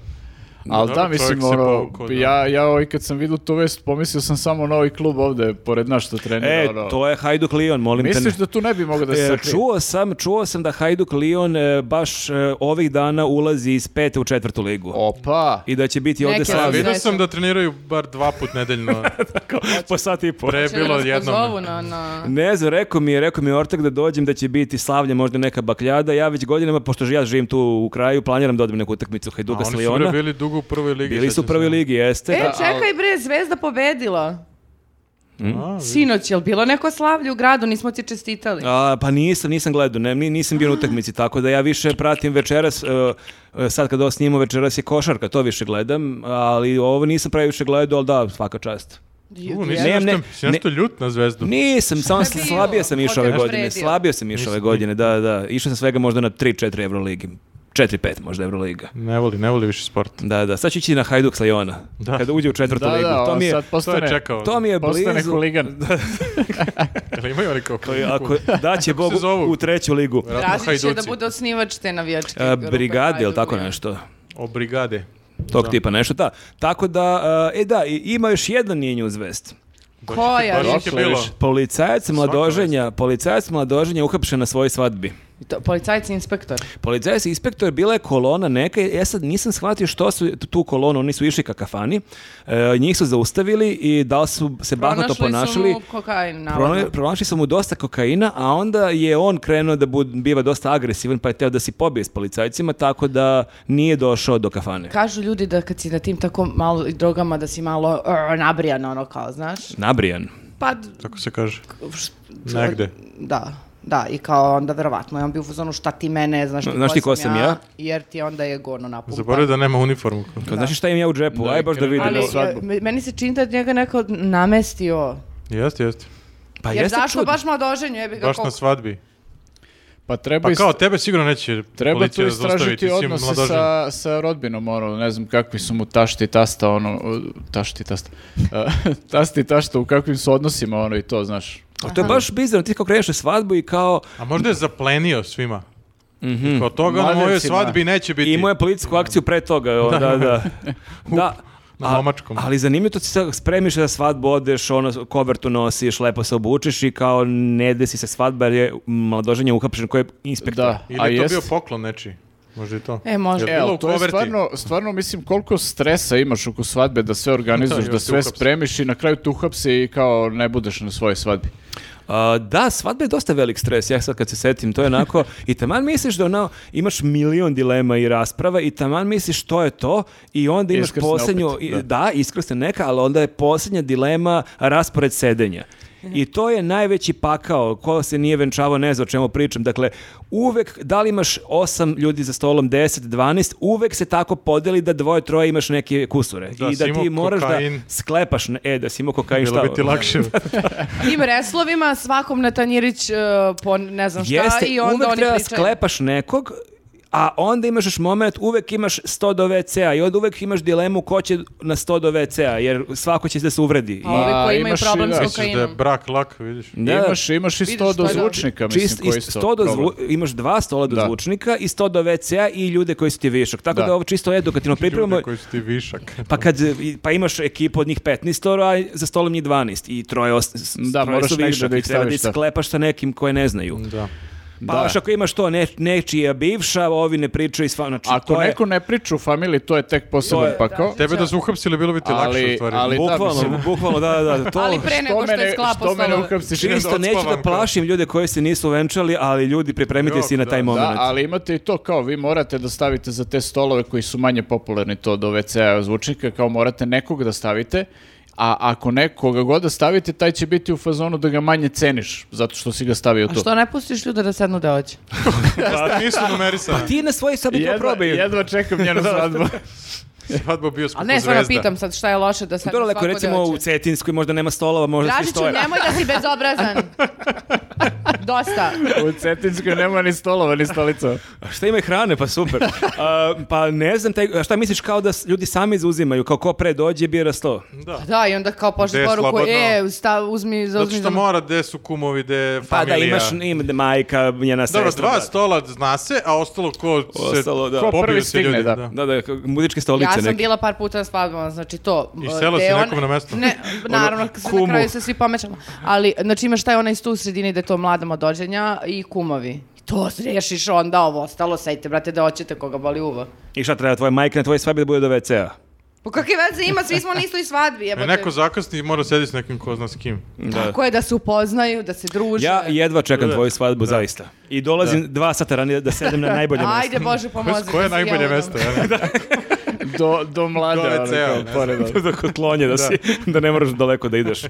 Ali da, Dobro, mislim, čovjek se ono, povukao, da. ja, ja ovaj kad sam vidio tu vest, pomislio sam samo na ovaj klub ovde, pored nas što trenira. E, ono. to je Hajduk Lion, molim te. Misliš da tu ne bi mogao da se E, sakrije? čuo sam, čuo sam da Hajduk Lion e, baš e, ovih dana ulazi iz pete u četvrtu ligu. Opa! I da će biti ovde Neke sa Vidio Pa, Vidio Sreća. sam da treniraju bar dva put <laughs> nedeljno. po sat i po. Pre Hoće da bilo nas pozovu jednom. na, na... Ne znam, rekao mi je, rekao mi je Ortak da dođem da će biti slavlje, možda neka bakljada. Ja već godinama, pošto ja živim tu u kraju, planiram da odem na neku utakmicu A Hajduka oni s su bre Liona. bili dugo u prvoj ligi. Bili su u sećam se. prvoj ligi, jeste. E, Da. čekaj bre, Zvezda pobedila. A, vidi. Sinoć, jel bilo neko slavlje u gradu? Nismo ti čestitali. A, pa nisam, nisam gledao, ne, ni- nisam bio na utakmici, tako da ja više pratim večeras, e, e, sad kada ovo snimamo večeras je košarka, to više gledam, ali ovo nisam previše gledao, ali da, svaka čast. U, Je- nisi Ne, ne, nešto, si nešto ljut na zvezdu. Nisam, samo je sam- bilo? slabije sam išao ove Odeš godine, vredio. slabije sam išao ove godine, da, da, išao sam svega možda na 3-4 Euroligi, 4-5 možda Euroliga. Ne voli, ne voli više sport. Da, da, sad ću ići na Hajduk sa Liona. Da. Kada uđe u četvrtu Da, ligu. da, to on mi je, sad To je postane, čekao. to mi je postane blizu. huligan. Jel imaju oni kao Ako, da će Bog se zovu? u treću ligu. Vjerojatno Tražit će da Hajduci. bude osnivač te navijačke. E, grupe brigade ili Hajduk tako Lion. nešto. O brigade. Tog tipa nešto, da. Tako da, e, e da, i- ima još jedan nije news vest. Koja Baš je? ih je bilo. Policajac mladoženja, policajac mladoženja uhapšen na svojoj svadbi. To- Policajci inspektor. Policajac i inspektor, bila je kolona neka, ja sad nisam shvatio što su t- tu kolonu, oni su išli ka kafani, e, njih su zaustavili i da li su se bahnato ponašali. su mu kokain, Prona- navodno. Pronašli su mu dosta kokaina, a onda je on krenuo da bud, biva dosta agresivan, pa je teo da si pobije s policajcima, tako da nije došao do kafane. Kažu ljudi da kad si na tim tako malo i drogama da si malo uh, nabrijan ono kao, znaš? Nabrijan. Pa, Tako se kaže. š- Negde. Da, da, i kao onda verovatno je on bio u fazonu šta ti mene, znaš ti, Znaš ti ko sam ja? Jer ti onda je ono, gono napumpa. Zaboravio da nema uniformu. Kao, znaš šta im ja u džepu? Da, Aj baš da krenuo. vidim. Ali na e, svadbu. me- meni se čini da je njega neko namestio. Jeste, jeste. Pa Jer jeste zašto čudno. baš mladoženju, jebi ga Baš koliko- na svadbi. Pa treba Pa ist- kao tebe sigurno neće Treba tu policija zaustaviti. istražiti si odnose mladoženjen. sa, sa rodbinom, ono, ne znam kakvi su mu tašti i tasta, ono, uh, tašti i tasta, <laughs> Uh, tasti i tašta u kakvim su odnosima, ono, i to, znaš. A to je baš bizarno, ti kao kreneš na svadbu i kao A možda je zaplenio svima. Mhm. Mm Kod toga na mojoj Mladencima. svadbi neće biti. imao je policijsku akciju pre toga. o, Da, <laughs> da. da. na a- momačkom. ali zanimljivo to ti se spremiš za svadbu, odeš, ono, kovertu nosiš, lepo se obučeš i kao ne desi se svadba jer je mladoženje uhapšen koji je inspektor. Da, Ili a je to jest. bio poklon nečiji. Možda i to. E, možda. E, Jel bilo ali u to je koverti? stvarno, stvarno, mislim, koliko stresa imaš oko svadbe da sve <laughs> organizuješ, Da, da, još te sve uhapse. spremiš i na kraju te uhapse i kao ne budeš na svojoj svadbi. A, da, svadba je dosta velik stres, ja sad kad se setim, to je onako, i taman misliš da ono, imaš milion dilema i rasprava i taman misliš što je to i onda imaš Iskrsne posljednju, opet, i- da. da, iskrsne neka, ali onda je posljednja dilema raspored sedenja. I to je najveći pakao, ko se nije venčavao ne zna o čemu pričam. Dakle, uvek, da li imaš osam ljudi za stolom, 10, 12, uvek se tako podeli da dvoje, troje imaš neke kusure. Da, I si da imao ti moraš kokain. da sklepaš, ne- e, da si imao kokain, Bilo šta? Pa bi ti lakše. Tim reslovima svakom na tanjirić e, po ne znam šta Jeste, i onda uvek oni treba pričaju. sklepaš nekog, a onda imaš još moment, uvek imaš 100 do WC-a i onda uvek imaš dilemu ko će na 100 do WC-a, jer svako će da se uvredi. A ovi Ma, koji imaju imaš i problem da- s Misliš Misliš da je kokainom. brak lak, vidiš. Da, da. Imaš, imaš i Vidiš sto do šta je zvučnika, mislim, Čist, koji ist- su to 100 do problem. zvu- imaš dva stola do Da. zvučnika i 100 do WC-a i ljude koji su ti višak. Tako Da. da, ovo čisto edukativno pripremamo. Ljudi koji su ti višak. Pa kad e, i- pa imaš ekipu od njih 15, a za stolom njih 12 i troje os, s- Da, troje moraš su negde višak da i ih treba da staviš, da. sklepaš sa nekim koje ne znaju. Da. Pa Da. još ako imaš to ne, nečija bivša, ovi ne pričaju sva, znači Ako to je- neko ne priča u familiji, to je tek poseban pakao. Tebe da su uhapsili bilo bi ti lakše Ali- u stvari. ali- <laughs> da, Bukvalno, mislim. bukvalno, da, da, da, to. Ali <laughs> pre nego što je sklapao što mene stolove. uhapsiš, idem Čisto da neću odspavam da kao. plašim ljude koji se nisu venčali, ali ljudi pripremite Jok, se i na da, taj da, moment. Da, ali imate i to kao, vi morate da stavite za te stolove koji su manje popularni to do WC-a zvučnika, kao morate nekog da stavite, a ako nekoga god da stavite, taj će biti u fazonu da ga manje ceniš, zato što si ga stavio A tu. što ne pustiš ljude da sednu da hoće? Da, Pa nisu numerisane. Ti na svoj sabi to Jedva, probaju. jedva čekam <laughs> njenu svadbu. Svadbo bio skupo Ali zvezda. ne, stvarno pitam sad šta je loše da sednu Dobro, svako leko, da recimo u hoće. Cetinskoj možda nema stolova, možda svi Dražiću, stoje. nemoj da si <laughs> bezobrazan. Dosta. U Cetinskoj nema ni stolova, ni stolica. A Šta ima i hrane, pa super. A, pa ne znam, taj, a šta misliš kao da s- ljudi sami zauzimaju, kao ko pre dođe bira sto. Da. Da, i onda kao Gde je pošli poruku, slobodno? e, sta, uzmi, Zato zauzmi. što mora gde su kumovi, gde je Pa da, familija. imaš ima da majka, njena sestra. Dobro, dva brat. stola zna se, a ostalo ko se... Ostalo, da. ko Ko pobiju prvi se stigne, ljudi, da. Da, da, kao muzičke stolice Ja sam neke. bila par puta na svadbama, znači to. I e, sela gde si ona- nekom na mesto? Ne, naravno, Ono, k- na kumu. kraju se svi pomećamo. Ali, znači imaš taj onaj stu u sredini da je to mlada mladođenja i kumovi. I to rešiš onda ovo, ostalo sajte, brate, da hoćete koga boli uvo. I šta treba, tvoja majka na tvojoj svadbi da bude do WC-a? Pa kakve veze ima, svi smo na istoj svadbi, E, jebote. neko zakasni i mora sedi s nekim ko zna s kim. Tako je da se upoznaju, da se druže. Ja jedva čekam Da. tvoju svadbu, zaista. I dolazim dva sata ranije da sedem na najbolje mjesto. Ajde, Bože, pomozi. Koje je da si najbolje ono. jebote. mesto? Ja, ne? Do, do mlade, Do ono, WC-a, kao ne znam. <laughs> pored, ono. da kod klonje, da, si, da ne moraš daleko da ideš. Uh,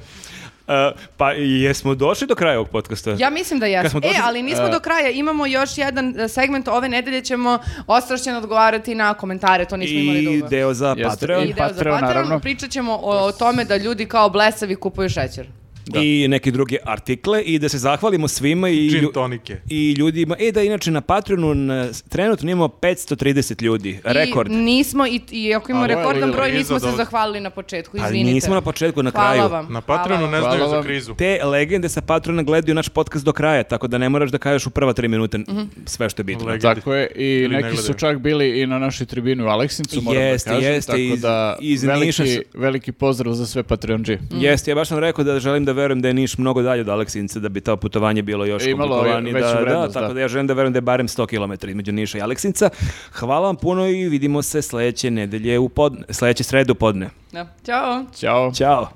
pa jesmo došli do kraja ovog podcasta? Ja mislim da jesmo. smo došli- E, ali nismo do kraja. Imamo još jedan e, segment. Ove nedelje ćemo ostrašćeno odgovarati na komentare. To nismo imali I dugo. deo za Jeste. Patreon I deo za Patreon, naravno. Pričat ćemo o, o tome da ljudi kao blesavi kupuju šećer. i neke druge artikle i da se zahvalimo svima i, Gin lju- tonike. i ljudima. E da, inače na Patreonu na, trenutno imamo 530 ljudi, rekord. I nismo, i, i ako imamo Alo, rekordan alo, broj, alo, nismo se izadov- zahvalili na početku. Pa Izvinite. nismo na početku, na Hvala kraju. vam. hvala Na Patreonu vam. ne Hvala znaju za vam. krizu. Te legende sa Patreona gledaju naš podcast do kraja, tako da ne moraš da kažeš u prva tri minute Mhm. sve što je bitno. Legende. Tako je, i ne neki su gledaju. čak bili i na našoj tribini u Aleksincu, moram Jeste, da kažem, jeste, tako iz- da iz Niša veliki, su- veliki pozdrav za sve patreon Jeste, ja baš sam rekao da želim da verujem da je Niš mnogo dalje od Aleksinca, da bi to putovanje bilo još E, Imalo komplikovanije. veću Da, da, vrednost, tako da. da ja želim da verujem da je barem 100 km između Niša i Aleksinca. Hvala vam puno i vidimo se sledeće nedelje u podne, sledeće sredu podne. Da. Ćao. Ćao. Ćao.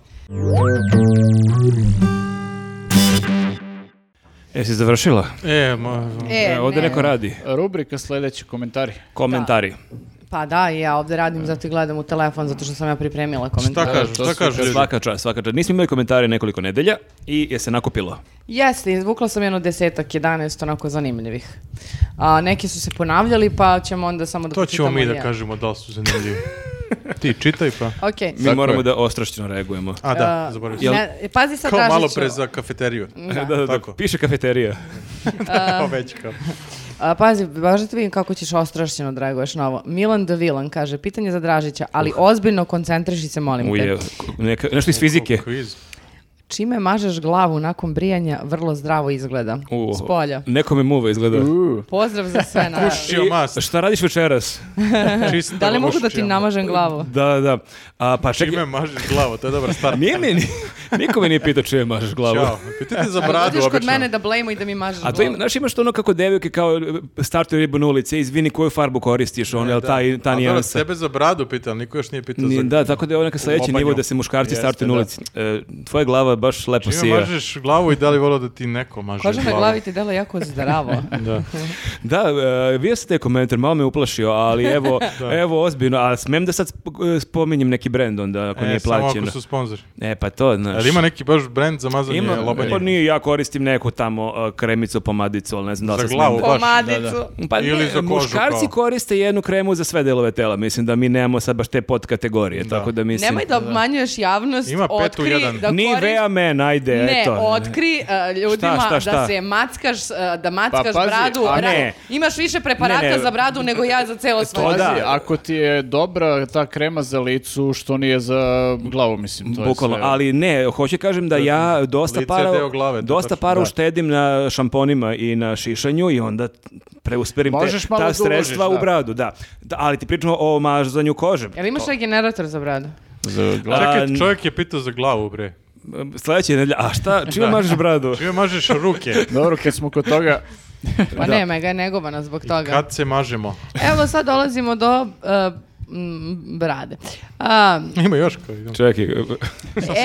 E, si završila? E, ma, E, E, ovde ne. neko radi. Rubrika sledeći komentari. Komentari. Pa da, i ja ovdje radim, zato i gledam u telefon, zato što sam ja pripremila komentar. šta kažu, to šta su kažu ljudi? Svaka čast, svaka čast. Nismo imali komentare nekoliko nedelja i je se nakupilo. Jeste, izvukla sam jedno desetak, jedanaest onako zanimljivih. A, neki su se ponavljali, pa ćemo onda samo da To ćemo pročitamo mi da jedan. <laughs> kažemo da li su zanimljivi. Ti čitaj pa. Okej. Mi Tako moramo je. da ostrašćeno reagujemo. A da, Uh, zaboravio sam. ne, e, pazi sad Kao Dražiću. malo pre za kafeteriju. E. <laughs> Da, da, da, Tako. Piše kafeterija. <laughs> Kao već kao. A, pazi, baš da te vidim kako ćeš ostrašćeno, draguješ novo. Milan Davilan kaže, pitanje za Dražića, ali ozbiljno koncentriši se, molim Uje, te. neka, nešto iz fizike. Kviz. Čime mažeš glavu nakon brijanja, vrlo zdravo izgleda. U, S polja. Neko me muva izgleda. Pozdrav za <laughs> sve nas. Čio <laughs> mast. Šta radiš večeras? Čista Da li mogu da ti guščija namažem glavu? Da, da. A, pa mast. čekaj, Čime mažeš glavu, to je dobar start. nije mi, <laughs> niko me nije pitao čije mažeš glavu. Ćao. Pitajte za bradu Dođeš obično. kod mene da blejmo i da mi mažeš A glavu. to ima, znaš, imaš to ono kako devojke kao e, startuju ribu na ulici, "E, izvini koju farbu koristiš, E, ono, jel ta, ta A dobro, nijansa. tebe za bradu pitao, niko još nije pitao Ni- za Da, tako da je ovo neka sledeći Lopanju. nivo da se muškarci Jeste, startuju na da. ulici. E, tvoja glava baš lepo Čime sija. mažeš glavu i da li volao da ti neko maže glavu? Koža na glavi ti dela jako <laughs> zdravo. Da, e, vidio sam taj komentar, malo me uplašio, ali <laughs> evo, evo ozbiljno, a smem da sad sp- e, spominjem neki brend onda ako E, nije Samo plaćeno. ako su sponzori. E, pa to, znaš. Ali ima neki baš brend za mazanje Ima, lobanje? pa nije, ja koristim neku tamo e, kremicu, pomadicu, ali ne znam da li Za se smem glavu. da- Baš, Pomadicu. Pa Ili ne, za kožu muškarci kao. koriste jednu kremu za sve delove tela. Mislim da mi nemamo sad baš te podkategorije, tako da mislim... Nemoj da obmanjuješ javnost, Ima pet u otkri jedan. da Ni koristiš- vea men, ajde, Ne, eto. otkri uh, ljudima Šta, šta, šta? Pa da se mackaš, uh, da mackaš pazi, bradu. a ra- ne. Imaš više preparata Ne, ne. za bradu nego ja za celo svoje. da. Pazi, ako ti je dobra ta krema za licu, što nije za glavu, mislim, to je Bukvalno, sve. ali ne, hoću kažem da ja dosta Lice je para, deo glave, to dosta tačno, para da. uštedim na šamponima i na šišanju i onda preusperim Možeš te, malo ta da sredstva uložiš, da. u bradu, da. da. Ali ti pričamo o mažanju kože. Jel imaš taj generator za bradu? Za glavu. Čekaj, A, čovjek je pitao za glavu, bre. Sljedeće nedelje, a šta, čime mažeš bradu? Čime mažeš <laughs> ruke? Dobro, kad smo kod toga, Pa ne, mega je negovana zbog toga. Kad se mažemo? <laughs> Evo sad dolazimo do uh, mm, brade. A, Ima još koji. idemo. Čekaj,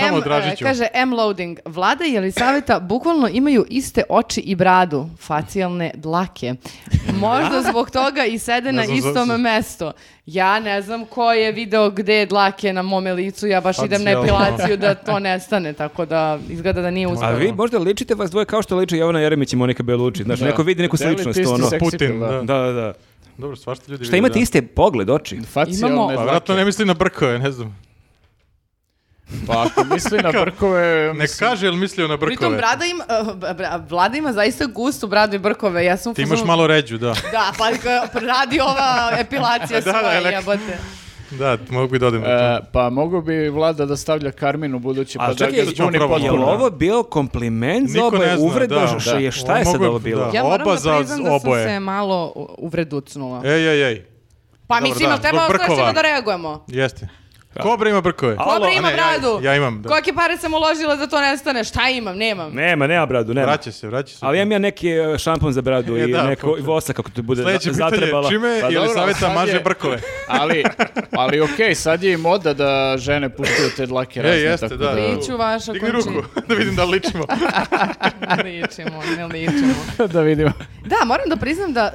samo M, Dražiću. e, Kaže M-loading. Vlada i Jelisaveta bukvalno imaju iste oči i bradu, facijalne <laughs> dlake. Možda zbog toga i sede na Ne znam istom zašto. mestu. Ja ne znam ko je video gde je dlake na mome licu, ja baš idem na Facijalno. epilaciju da to nestane, tako da izgleda da nije a uspjelo. vi možda ličite vas dvoje kao što liče Jovana Jeremić i Monika Belucci, znači neko vidi neku Deli ti sličnost, isti ono. seksi Putin, appeal, da. Da, da, da. Dobro, svašta ljudi Šta imate da. iste pogled, oči? Facijalne Imamo- Pa dlake. vjerojatno ne misli na brkove, ne znam. Pa ako misli na brkove, Ne mislim, kaže jel mislio na brkove. Pritom brada ima, uh, bra- Vlada ima zaista gustu bradu i brkove. Ja sam u Ti imaš fazonu- malo ređu, da. Da, pa ka- radi ova epilacija <laughs> Da, da, svoje, elekt- jebote. Da, mogu bi da odem. na to. e, pa mogu bi vlada da stavlja Karminu budući pa Ali da čekaj, ga zbuni jel Je potpuno. ovo bio kompliment za Niko oboje ne zna, uvreda? da, Š- da. je- Šta je Ovo sad mogu- ovo bilo? da. Ja moram Oba da za priznam da sam oboje. se malo u- uvreducnula. E. Ej, ej, ej. Pa Dobro, mislim, da, jel treba zbog brkova. ostrašćeno da reagujemo? Jeste. Kobra ima brkove. Alo, Kobra ima ne, ja- bradu. ja imam, da. Kolike pare sam uložila da to nestane? Šta imam? Nemam. Nema, nema bradu, nema. Vraća se, vraća se. Ali imam ja neki e, šampon za bradu E, i da, neko pa- vosa kako ti bude Sljedeće za- pitanje, zatrebala. čime Pa ili dobro, saveta sad maže je- brkove? ali, ali okej, sad je i moda da žene puštaju te dlake E, razne. jeste, tako da. Liču vaša Digni konči. ruku, <laughs> da vidim da ličimo. <laughs> Ne ličimo, ne ličimo. da, <laughs> da vidimo. Da, moram da priznam da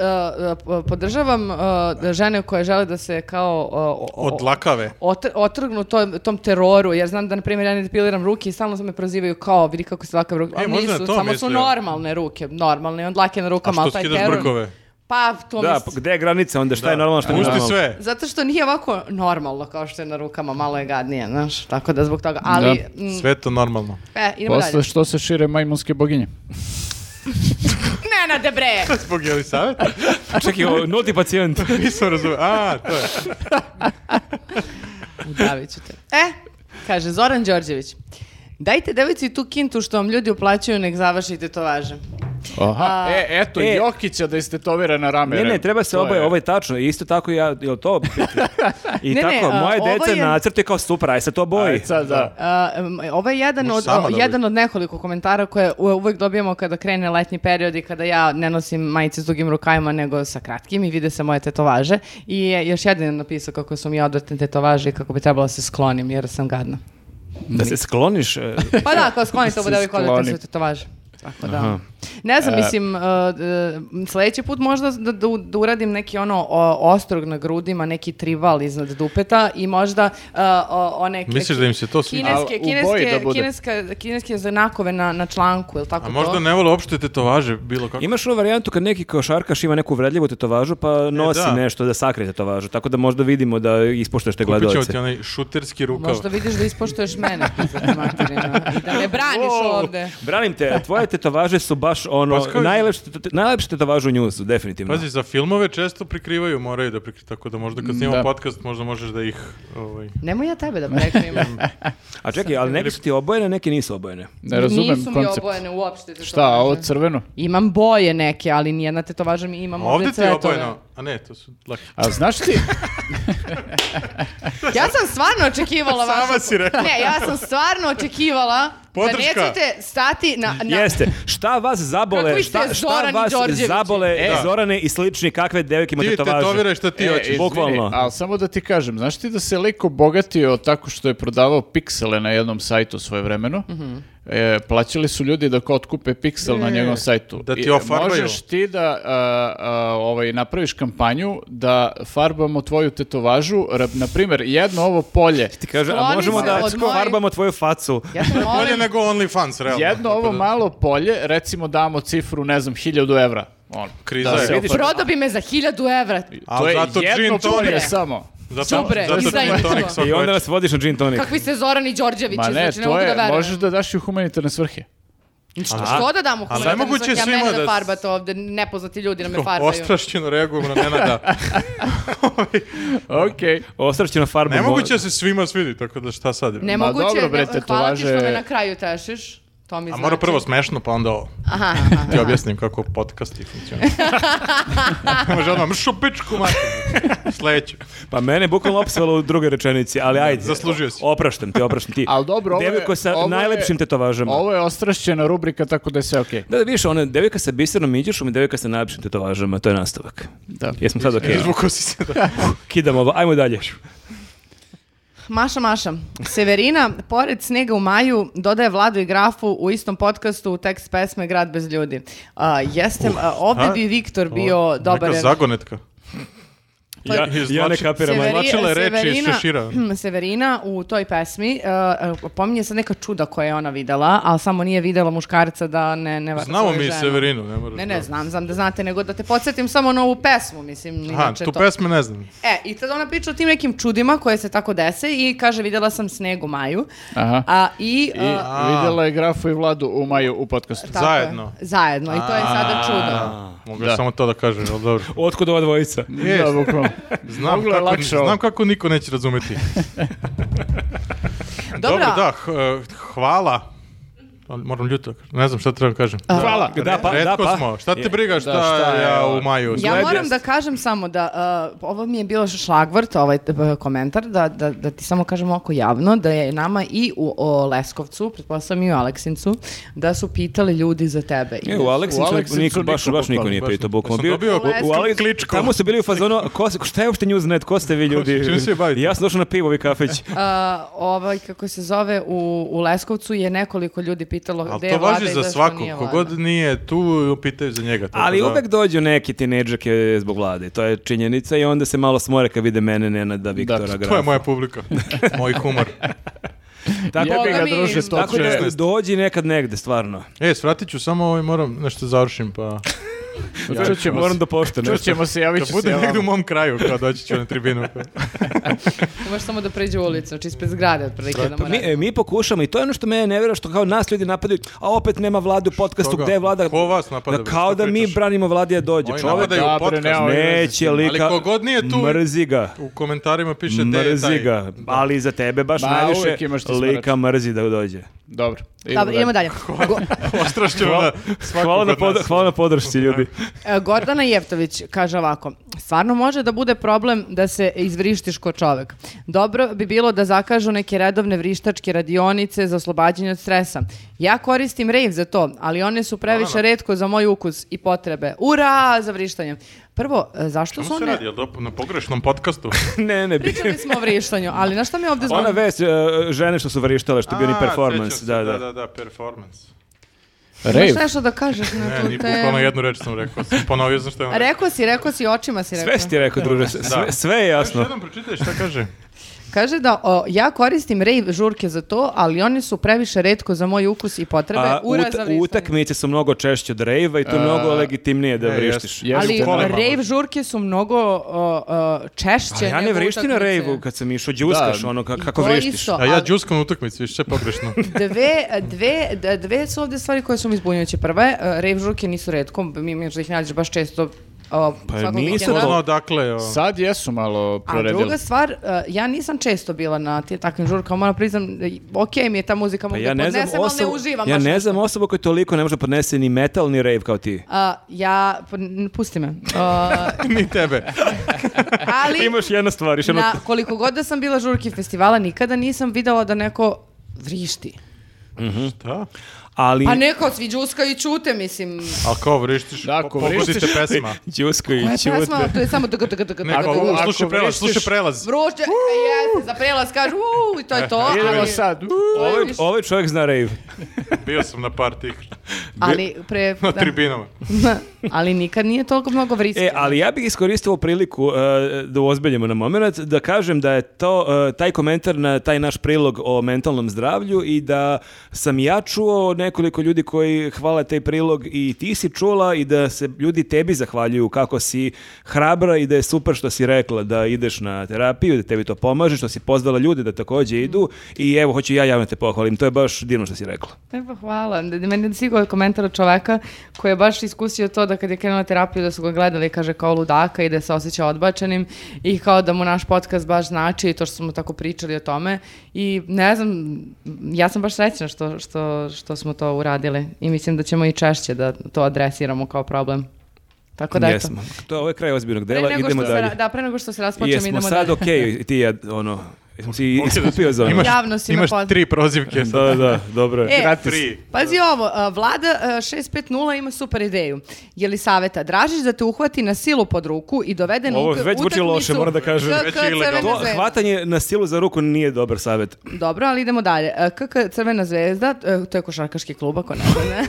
uh, uh, podržavam uh, da žene koje žele da se kao... uh, o- o- Od lakave. otr- otrgnu tom, tom teroru, jer znam da, na primjer, ja ne depiliram ruke i stalno me prozivaju kao, vidi kako se ovakav ruke. E, E, možda je nisu, to samo su mislio. normalne ruke, normalne, on dlake na A rukama, što ali taj skidaš teror... brkove? Pa, to Da, mislim. pa gde je granica onda, šta je normalno, šta nije Pusti normalno? sve. Zato što nije ovako normalno kao što je na rukama, malo je gadnije, znaš, tako da zbog toga. Ali, mm, Sve to normalno. e, idemo <laughs> Posle dalje. što se šire majmunske boginje. Nenade bre! <laughs> Zbog Jelisave? A čekaj, o, nulti pacijent. <laughs> Nisam razumio. A, to je. Udavit ću te. E, kaže Zoran Đorđević. Dajte devici tu kintu što vam ljudi uplaćuju, nek završi tetovaže. Aha, e, eto, e. Jokića da istetovira na rame. Ne, ne, rekao. treba se To oboje, je- ovo je tačno, isto tako ja, jel to? I Ne, ne, tako, a, moje ovo deca je- nacrte kao super, aj se to boji. Aj, sad, da. A, em, ovo je E, ovaj jedan Možeš od, sama o, da jedan od nekoliko komentara koje u- uvek dobijamo kada krene letnji period i kada ja ne nosim majice s dugim rukavima nego sa kratkim i vide se moje tetovaže. I je još jedan je napisao kako su mi odvratne tetovaže i kako bi trebalo da se sklonim jer sam gadna. Da se skloniš. e, Pa da, kao sklonite ovo Se da uvijek odvratne skloni. su tetovaže. Tako da. Ne znam, mislim, e, e, sljedeći put možda da, da, u- da uradim neki ono o, ostrog na grudima, neki trival iznad dupeta i možda e, o, one... Misliš da im se to sviđa? Ali Kineske, u boji kineske, da bude. kineska- kineske znakove na, na članku, ili tako A možda to? ne vole uopšte tetovaže bilo kako. Imaš onu varijantu kad neki kao šarkaš ima neku vredljivu tetovažu pa nosi da. nešto da sakrije tetovažu, tako da možda vidimo da ispoštaš te Kupit ćemo gledalce. ti ono- onaj šuterski rukav. Možda vidiš da ispoštuješ mene, pizda <laughs> materina, i da ne braniš Wow. ovde. Branim te, tvoje tetovaže su baš ono, Pa skoj- najlepše, tet- najlepše tetovaže u njuzu, definitivno. Pazi, za filmove često prikrivaju, moraju da prikrivaju, tako da možda kad snimamo Da. podcast možda možeš da ih... Ovaj, Nemoj ja tebe da prekrijem. A čekaj, ali neke su ti obojene, neke nisu obojene. Ne razumem Nisu mi koncept. obojene uopšte. tetovaže. Šta, ovo crveno? Imam boje neke, ali nijedna tetovaža mi imam ovde ovde ti je cvetove. obojeno. A ne, to su laki. A znaš <laughs> ti, Ja sam stvarno očekivala Sama vašu... si rekla. Ne, ja sam stvarno očekivala Podrška. da nećete stati na... na... Jeste, šta vas Kako zabole, vi ste šta, šta Zoran i vas Đorđevići? zabole E. Zorane i slični, kakve devojke ima Ti tetovaže? tetoviraj šta ti E, hoćeš. izvini, Bukvalno. ali samo da ti kažem, znaš ti da se lik obogatio tako što je prodavao piksele na jednom sajtu svoje vremeno? Mhm. E, plaćali su ljudi da kao otkupe piksel na njegovom sajtu. Da ti I, e, ofarbaju. Možeš ti da a, a, ovaj, napraviš kampanju da farbamo tvoju tetovažu, ra- na primjer, jedno ovo polje. Ti kaže, a Skloni možemo se da od moje- farbamo tvoju facu. Ja te Bolje molim, nego OnlyFans, realno. Jedno Tako ovo da- malo polje, recimo damo cifru, ne znam, hiljadu evra. Ono, Kriza da je. se Vidiš, ofarbi. prodao bi me za hiljadu evra. To Ali je zato jedno gin tonic. polje samo. Zato, Đubre, zato izdajništvo. gin tonic svako I onda večer. nas vodiš na gin tonic. Kakvi ste Zoran i Đorđević, Ma ne, znači ne to mogu da je, verujem. možeš da daš i u humanitarne svrhe. Što, što da dam u humanitarnu nemoguće svrhu? je Ja mene svima da da- farbate ovde, nepoznati ljudi na me farbaju. Ostrašćeno reagujemo na Nenada. Okej. Ostrašćeno farbu. Nemoguće da se svima svidi, tako da šta sad? Nemoguće, dobro, je, bre, ne- hvala ti što tetovaže- me na kraju tešiš. To mi A znači. mora prvo smešno, pa onda ovo. Aha, aha, Ti aha. objasnim kako podcasti funkcionuju. Može odmah mršu pičku mati. Sledeću. Pa mene je bukvalno opsvalo u drugoj rečenici, ali ajde. Zaslužio si. Opraštam ti, opraštam ti. Ali dobro, ovo je... Devojko sa ovo je- najlepšim tetovažama. Ovo je ostrašćena rubrika, tako da je sve okej. Da, da, vidiš, ona devojka sa bisernom iđešom i devojka sa najlepšim tetovažama, to je nastavak. Da. Jesmo sad okej. Izvukao si se da. Kidamo ovo, ajmo dalje. Maša, Maša. Severina, pored snega u maju, dodaje Vladu i Grafu u istom podcastu u tekst pesme Grad bez ljudi. A, jeste, a, ovde a? bi Viktor bio dobar. Neka zagonetka. Pa- Ja, ja ne Izvlači- kapiram. Severi- ajmo. izvlačila je reči iz Severina- šešira. <clears throat> Severina u toj pesmi, uh, pominje se neka čuda koja je ona videla, ali samo nije videla muškarca da ne... ne vara Znamo svoju mi ženu. Severinu, ne moraš Ne, da- ne, znam, znam da znate, nego da te podsjetim samo na ovu pesmu, mislim, Aha, inače tu to. pesme ne znam. E, i tad ona priča o tim nekim čudima koje se tako dese i kaže, videla sam sneg u maju. Aha. <laughs> A, i, I uh, A. vidjela je Grafu i Vladu u maju u podcastu. Tako je. Zajedno. Zajedno i to je sada čudo. Mogu Da. samo to da kažem, ali dobro. Otkud ova dvojica? Da, bukvalno. Znam Moglo je kako, lakše ovo. znam kako niko <laughs> neće razumeti. Dobro, Dobro, da, h- eh, hvala. Ali Moram ljuto, da kažem. ne znam šta trebam kažem. Hvala. Da, pa, da, Retko pa. smo, šta te briga šta, šta je ja ovo? u maju. Ja Gled moram jest. da kažem samo da, uh, ovo mi je bilo šlagvrt, ovaj eh, komentar, da, da, da ti samo kažem oko javno, da je nama i u o Leskovcu, pretpostavljam i u Aleksincu, da su pitali ljudi za tebe. I E, u Aleksincu, Aleksincu niko, baš, niko, baš niko bukvalno, nije baš pitao, niko. bukvalno. Jesam dobio u- u Alek- kličku? Tamo su bili u fazonu, ko, se- šta je uopšte Newsnet, ko ste vi ljudi? čime se vi bavite? Ja sam došao na pivo i kafeć. <laughs> A, E, ovaj, kako se zove, u, u Leskovcu je nekoliko ljudi pitalo Ali Pa gde to je vlada važi i za zašto svakog, nije vlada. kogod nije tu, pitaju za njega. tako Ali da- uvek dođu neki tinejdžake zbog vlade, to je činjenica i onda se malo smore kad vide mene, Nenada, Viktora, Grafa. To je moja <laughs> publika, moj humor. Tako, Jebi Boga ga, mi, druže, to tako će... da dođi nekad negde, stvarno. E, svratit ću samo ovaj, moram nešto završim, pa... Čućemo Moram se. da pošte nešto. Čućemo se, javit Kad ću se. bude ja negdje u vama. mom kraju, kao doći ću na tribinu. pa <laughs> Možeš samo da pređe u ulicu, znači ispred zgrade, otprilike da Pa mora. mi, e, mi pokušamo i to je ono što mene ne vjera što kao nas ljudi napadaju, a opet nema vlade u podcastu Što ga? gde je vlada. Ko vas napada, Da bre? kao Šta da mi pričaš? branimo vlade dođe. Oni Čovjek napadaju Da, u bre, nema podcastu. veze s neće tim. lika. Ali kogod nije tu- Mrzi ga. U komentarima piše te je taj. Mrzi ga. <laughs> Ali za tebe baš Ma, najviše uvijek imaš ti lika smarač. mrzi da dođe. Dobro. E, Dobro, idemo <laughs> dalje. Go- Ostrašćeno Hvala, na hvala svakog na, od pod, nas. hvala na podršci, ljudi. E, Gordana Jeftović kaže ovako, stvarno može da bude problem da se izvrištiš ko čovek. Dobro bi bilo da zakažu neke redovne vrištačke radionice za oslobađanje od stresa. Ja koristim rave za to, ali one su previše redko za moj ukus i potrebe. Ura za vrištanje. Prvo, e, zašto Čemu su se one... radi? Jel to na pogrešnom <laughs> podcastu? ne, ne, bi. Pričali smo o vrištanju, ali na šta mi ovdje Ona zvoni? vest, e, žene što su vrištale, što je bio ni A, performans. sjećam se, Da, da. da, da, performance. Rave. Možeš nešto da kažeš na Ne, tu ni bukvalno temu? jednu reč sam rekao. Sam ponovio sam što je on rekao. Rekao si, rekao si, očima si rekao. Sve si ti rekao, druže, sve, sve je Još jasno. jednom pročitaj šta kaže. Kaže da o, ja koristim rave žurke za to, ali one su previše redko za moj ukus i potrebe. A, Ura ut- za vrisanje. utakmice su mnogo češće od rejva i to je mnogo legitimnije da ne, vrištiš. jes- Ali Jeste. Kolima. rave žurke su mnogo o, o, češće Ali ja ne nego vrištim na utakmice. rejvu kad sam išao, džuskaš Da. ono ka- I kako to vrištiš. isto, A ja ali- džuskam utakmicu, više <laughs> pogrešno. dve, dve, d- dve su ovdje stvari koje su mi zbunjujuće. Prva je, e, rave žurke nisu redko, mi možda ih nađeš baš često o, Pa svakog nisu vikenda. Nisam znao dakle. Sad jesu malo A proredili. druga stvar, e, ja nisam često bila na ti takvim žurkama, moram priznam, e, okej mi je ta muzika, mogu Pa da ja ne znam podnesem, ali osobu, ne uživam. ja baš ne ništa. znam osobu koja toliko ne može da podnese ni metal ni rave kao ti. A, ja, pa n- pusti me. A, Ni tebe. ali, Imaš jedna stvar, još jedno- na, koliko god da sam bila žurki festivala, nikada nisam videla da neko vrišti. Šta? ali... Pa neko, svi džuskaju i čute, mislim. A kao vrištiš, Da, da, ako pogledajte vrištiš- pesma. Đusko i Koja je pesma? Ćute. To je samo dg, dg, dg, dg, Ne, dg, kao, dg. u, slušaj ako prelaz, vrištiš- slušaj prelaz. Vruće, jeste, za prelaz kažu, uuu, i to je to. Idemo Ali, sad. Ovaj, Viš- ovaj čovjek zna rave. Bio sam na par tih, ali, pre, na da. tribinama. ali nikad nije toliko mnogo vriskio. E, ali ja bih iskoristio ovu priliku uh, da uozbiljimo na moment, da kažem da je to uh, taj komentar na taj naš prilog o mentalnom zdravlju i da sam ja čuo nekoliko ljudi koji hvale taj prilog i ti si čula i da se ljudi tebi zahvaljuju kako si hrabra i da je super što si rekla da ideš na terapiju, da tebi to pomaže, što si pozvala ljude da takođe idu i evo, hoću ja javno te pohvalim, to je baš divno što si rekla. E, pa hvala. Da- Meni je sigurno komentar od čoveka koji je baš iskusio to da kad je krenuo na terapiju da su ga gledali, kaže, kao ludaka i da se osjeća odbačenim i kao da mu naš podcast baš znači i to što smo tako pričali o tome. I ne znam, ja sam baš srećna što, što, što smo to uradili i mislim da ćemo i češće da to adresiramo kao problem. Tako da, eto. Jesmo. To je ovaj kraj ozbiljnog Pre dela, nego idemo što se dalje. ra- da, pre nego što se raspočem, Jesmo idemo sad dalje. okej, <laughs> i ti ja, ono, jesmo si iskupio za ono. Imaš, Javno si me imaš pozvao. tri prozivke sad. Da, da, dobro. E, je. Gratis. Tri. Pazi ovo, a, vlada e, a, 650 ima super ideju. Je li saveta, dražiš da te uhvati na silu pod ruku i dovede na Ovo uk- već zvuči loše, utakmicu moram da kažem. KK Već je Crvena ilegalno. To zvezda. hvatanje na silu za ruku nije dobar savjet. Dobro, ali idemo dalje. E, KK Crvena zvezda, e, to je košarkaški klub, ako ne znam.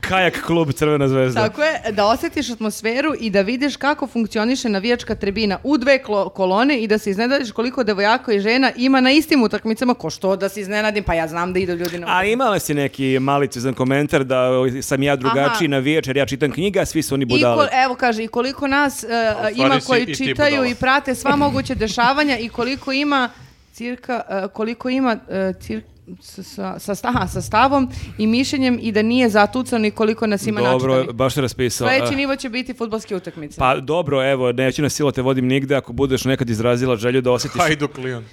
Kajak klub Crvena zvezda. Tako je, da osjetiš atmosferu i da vidiš kako funkcioniše navijačka tribina u dve klo- kolone i da se iznenadiš koliko devojaka i žena ima na istim utakmicama, ko što da se iznenadim, pa ja znam da idu ljudi na A imala si neki malicizan komentar da o, sam ja drugačiji Aha. na večer, ja čitam knjiga, a svi su oni I e, budale. kol- evo kaže, i koliko nas e, stvari ima si i koji ti čitaju budala. i prate sva moguće dešavanja i koliko ima cirka, e, koliko ima e, cir- sa, sa, sa sta- aha, sa stavom i mišljenjem i da nije zatucan i koliko nas ima Dobro, načitani. baš je raspisao. Sljedeći Eh, nivo će biti futbolske utakmice. Pa dobro, evo, neću na silu te vodim nigde, ako budeš nekad izrazila želju da osjetiš Hajduk Lion.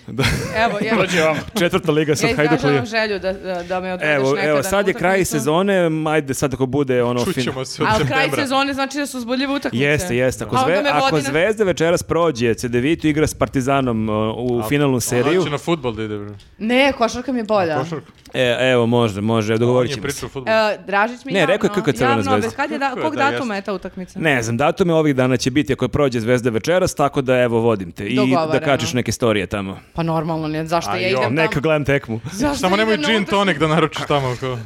Evo, evo. Dođe vam. četvrta liga sa Ja Hajduklija. izražavam želju da, da, da me odvedeš Evo, nekada. evo, na sad je kraj utakmicu. sezone, ajde sad ako bude ono fin- Čućemo se od Ali kraj septembra. sezone znači da su zboljive utakmice. Jeste, jeste. Ako, A onda zve, me ako vodi na- Zvezda večeras prođe, CDV tu igra s Partizanom uh, u finalnu seriju. Ona će Znači na futbol da ide, bre. Ne, košarka mi je bolja. Košarka. E, evo, može, može, On dogovorit je ćemo se. pričao o futbolu. E, Dražić mi Ne, javno, rekao je kako je Crvena javno, zvezda. bez kad je da- Kako je, kog da, datuma jeste. je ta utakmica? Ne znam, datume ovih dana će biti ako je prođe Zvezda večeras, tako da evo, vodim te. I da Dogovoreno. kačiš neke storije tamo. Pa normalno, ne, zašto ja jo, idem Neka tamo? gledam tekmu. pa Zašto Samo nemoj idem na gin utakmicu? tonic da naručiš tamo. Kao.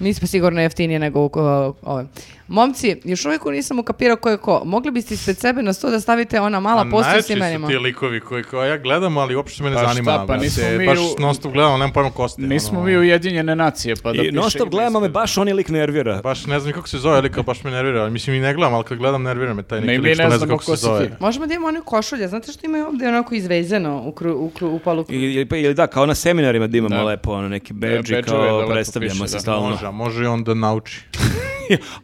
Nismo sigurno jeftinije nego u ko- ove. Momci, još uvijek nisam ukapirao ko je ko. Mogli biste ispred sebe na sto da stavite ona mala A postoja s najjači imenima? su ti likovi koji kao ja gledam, ali uopšte me ne Pa šta, zanima. pa brate. nismo mi Baš u- non stop gledam, nemam pojma ko ste. Nismo ono. mi ujedinjene nacije, pa da I ono piše non stop ime gledamo me, ispred. baš oni lik nervira. Baš ne znam ni kako se zove, ali kao baš me nervira. Mislim i ne gledam, ali kad gledam nervira me taj Ne, neki mi lik što ne ne znam znamo kako ko se si zove. ti. Možemo da imamo one košulje, znate što imaju ovdje onako izvezeno u, kru, u, kru, u palu? I- Ili, pa, ili da, kao na seminarima da imamo Da. lepo ono, neki badge badge-ove da kao lepo predstavljamo piše, se da. stalno. Može, a može i on da nauči.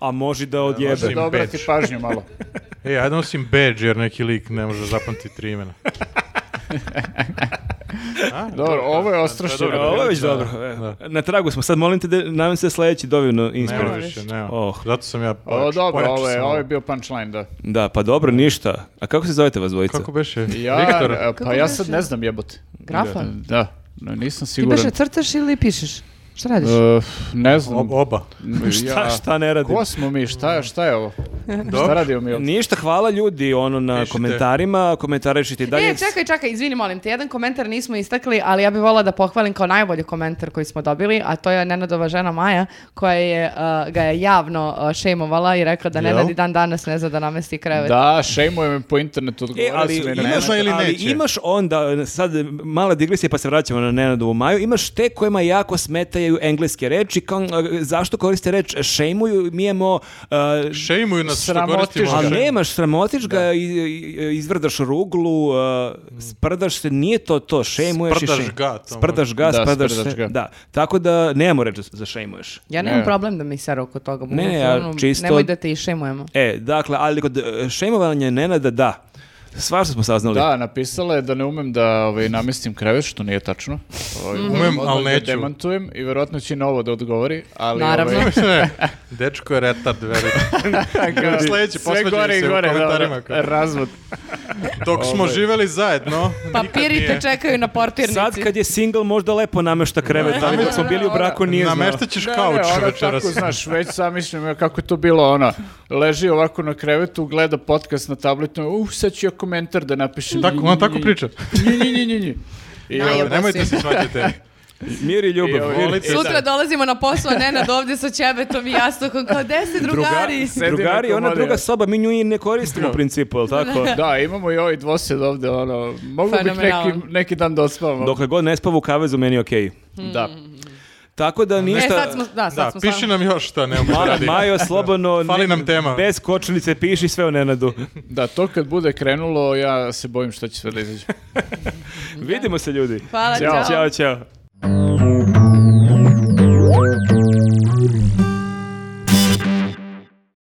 A može da Da odjebe. može. da obrati Badge. pažnju malo. Ej, E, ajde nosim badge jer neki lik ne može zapamtiti tri <laughs> imena. A, Dobro, ovo je To je ostrašćeno. dobro. Ovo je već dobro. e. Na tragu smo, sad molim te, da, nadam se da sledeći dovino Nema inspiraš. više, nema. Oh. Zato sam ja O, pojač- dobro, pojačao ovo je, sam ovo je bio punchline, da. Da, pa dobro, ništa. A kako se zovete vas dvojica? Kako beše? Ja, Viktor, e, Kako pa ja beše? sad ne znam jebote. Grafon? Da, no, nisam Ti siguran. beše crtaš ili pišeš? Šta radiš? E, ne znam. Ob- oba. Šta- šta ne radimo? Ko smo mi? Šta, šta je ovo? Dobro. šta radimo mi? ovdje? Ništa, hvala ljudi ono na Pišite. komentarima, komentarišite i dalje. E, čekaj, čekaj, izvini, molim te, jedan komentar nismo istakli, ali ja bih volila da pohvalim kao najbolji komentar koji smo dobili, a to je Nenadova žena Maja, koja je, uh, ga je javno uh, šejmovala i rekla da Jel? Nenad i dan danas ne zna da namesti krevet. Da, šejmujem im po internetu, E, odgovaraju ali, su mi na imaš, mene. ili ali neće? imaš onda, sad mala digresija pa se vraćamo na Nenadovu Maju, imaš te kojima jako smetaju engleske reči, kao, zašto koriste reč šejmuju, mi imamo, uh, Šejmuju nas što Sramotiš koristimo. ga. a šejmu. nemaš, sramotiš ga, i- i- izvrdaš ruglu, uh, sprdaš se, nije to to, šejmuješ Sprdaš i šej- ga, to Sprdaš ga, Da, sprdaš, sprdaš se, ga. da. Tako da nemamo reč za šejmuješ. Ja nemam Ne. problem da mi se oko toga budu. Ne, ja ono, čisto- Nemoj da te išemujemo. E, dakle, ali kod e, šejmovanja Nenada, da. Svašta smo saznali. Da, napisala je da ne umem da ovaj, namestim krevet, što nije tačno. Ovaj, Umem, odmah ali ga neću. demantujem i verovatno će i na ovo da odgovori. Ali, Naravno. <laughs> <laughs> ovaj, Ne, Dečko je retard, verujem. kao, Sljedeće, sve posvađaju gore i se u gore, da, komentarima, da, kao. <laughs> razvod. Dok smo Ovaj. živeli zajedno, Pa, Papiri te čekaju na portirnici. Sad kad je single možda lepo namešta krevet, ali dok smo bili u braku nije znao. nameštaćeš Ne, kauč ne, ona večeras. Tako, znaš, već sam mislim kako je to bilo ona. Leži ovako na krevetu, gleda podcast na tabletu, uh, sad ću ja komentar da napišem. Tako, ona tako priča. Nji, nji, nji, nji, nji. I, Najbolje. ovaj, Nemojte da se <laughs> svađate. Mir i I ljubav. ovo- Mir i- Volite se. Sutra dolazimo na posao, Nenad ovdje sa ćebetom i jastokom, kao, gde ste drugari? se- Sedi na Drugari, ona komodiju. druga soba, mi nju i ne koristimo u principu, jel tako? Da, imamo i ovaj dvosed ovde, ono, mogu bih neki, Fenomenalan. neki dan da ospavamo. Dokle god ne spavu u kavezu, meni je okej. Da. Tako da E, ništa... sad smo, da, sad Da, smo piši stvarno- nam još šta nemamo da Ma- radimo. Majo, slobodno, Fali ne- nam tema. bez kočnice, piši sve o Nenadu. Da, to kad bude krenulo, ja se bojim šta će sve da izađe. Vidimo se, ljudi. Hvala, Ćao. Pa, čao. Ćao, ćao.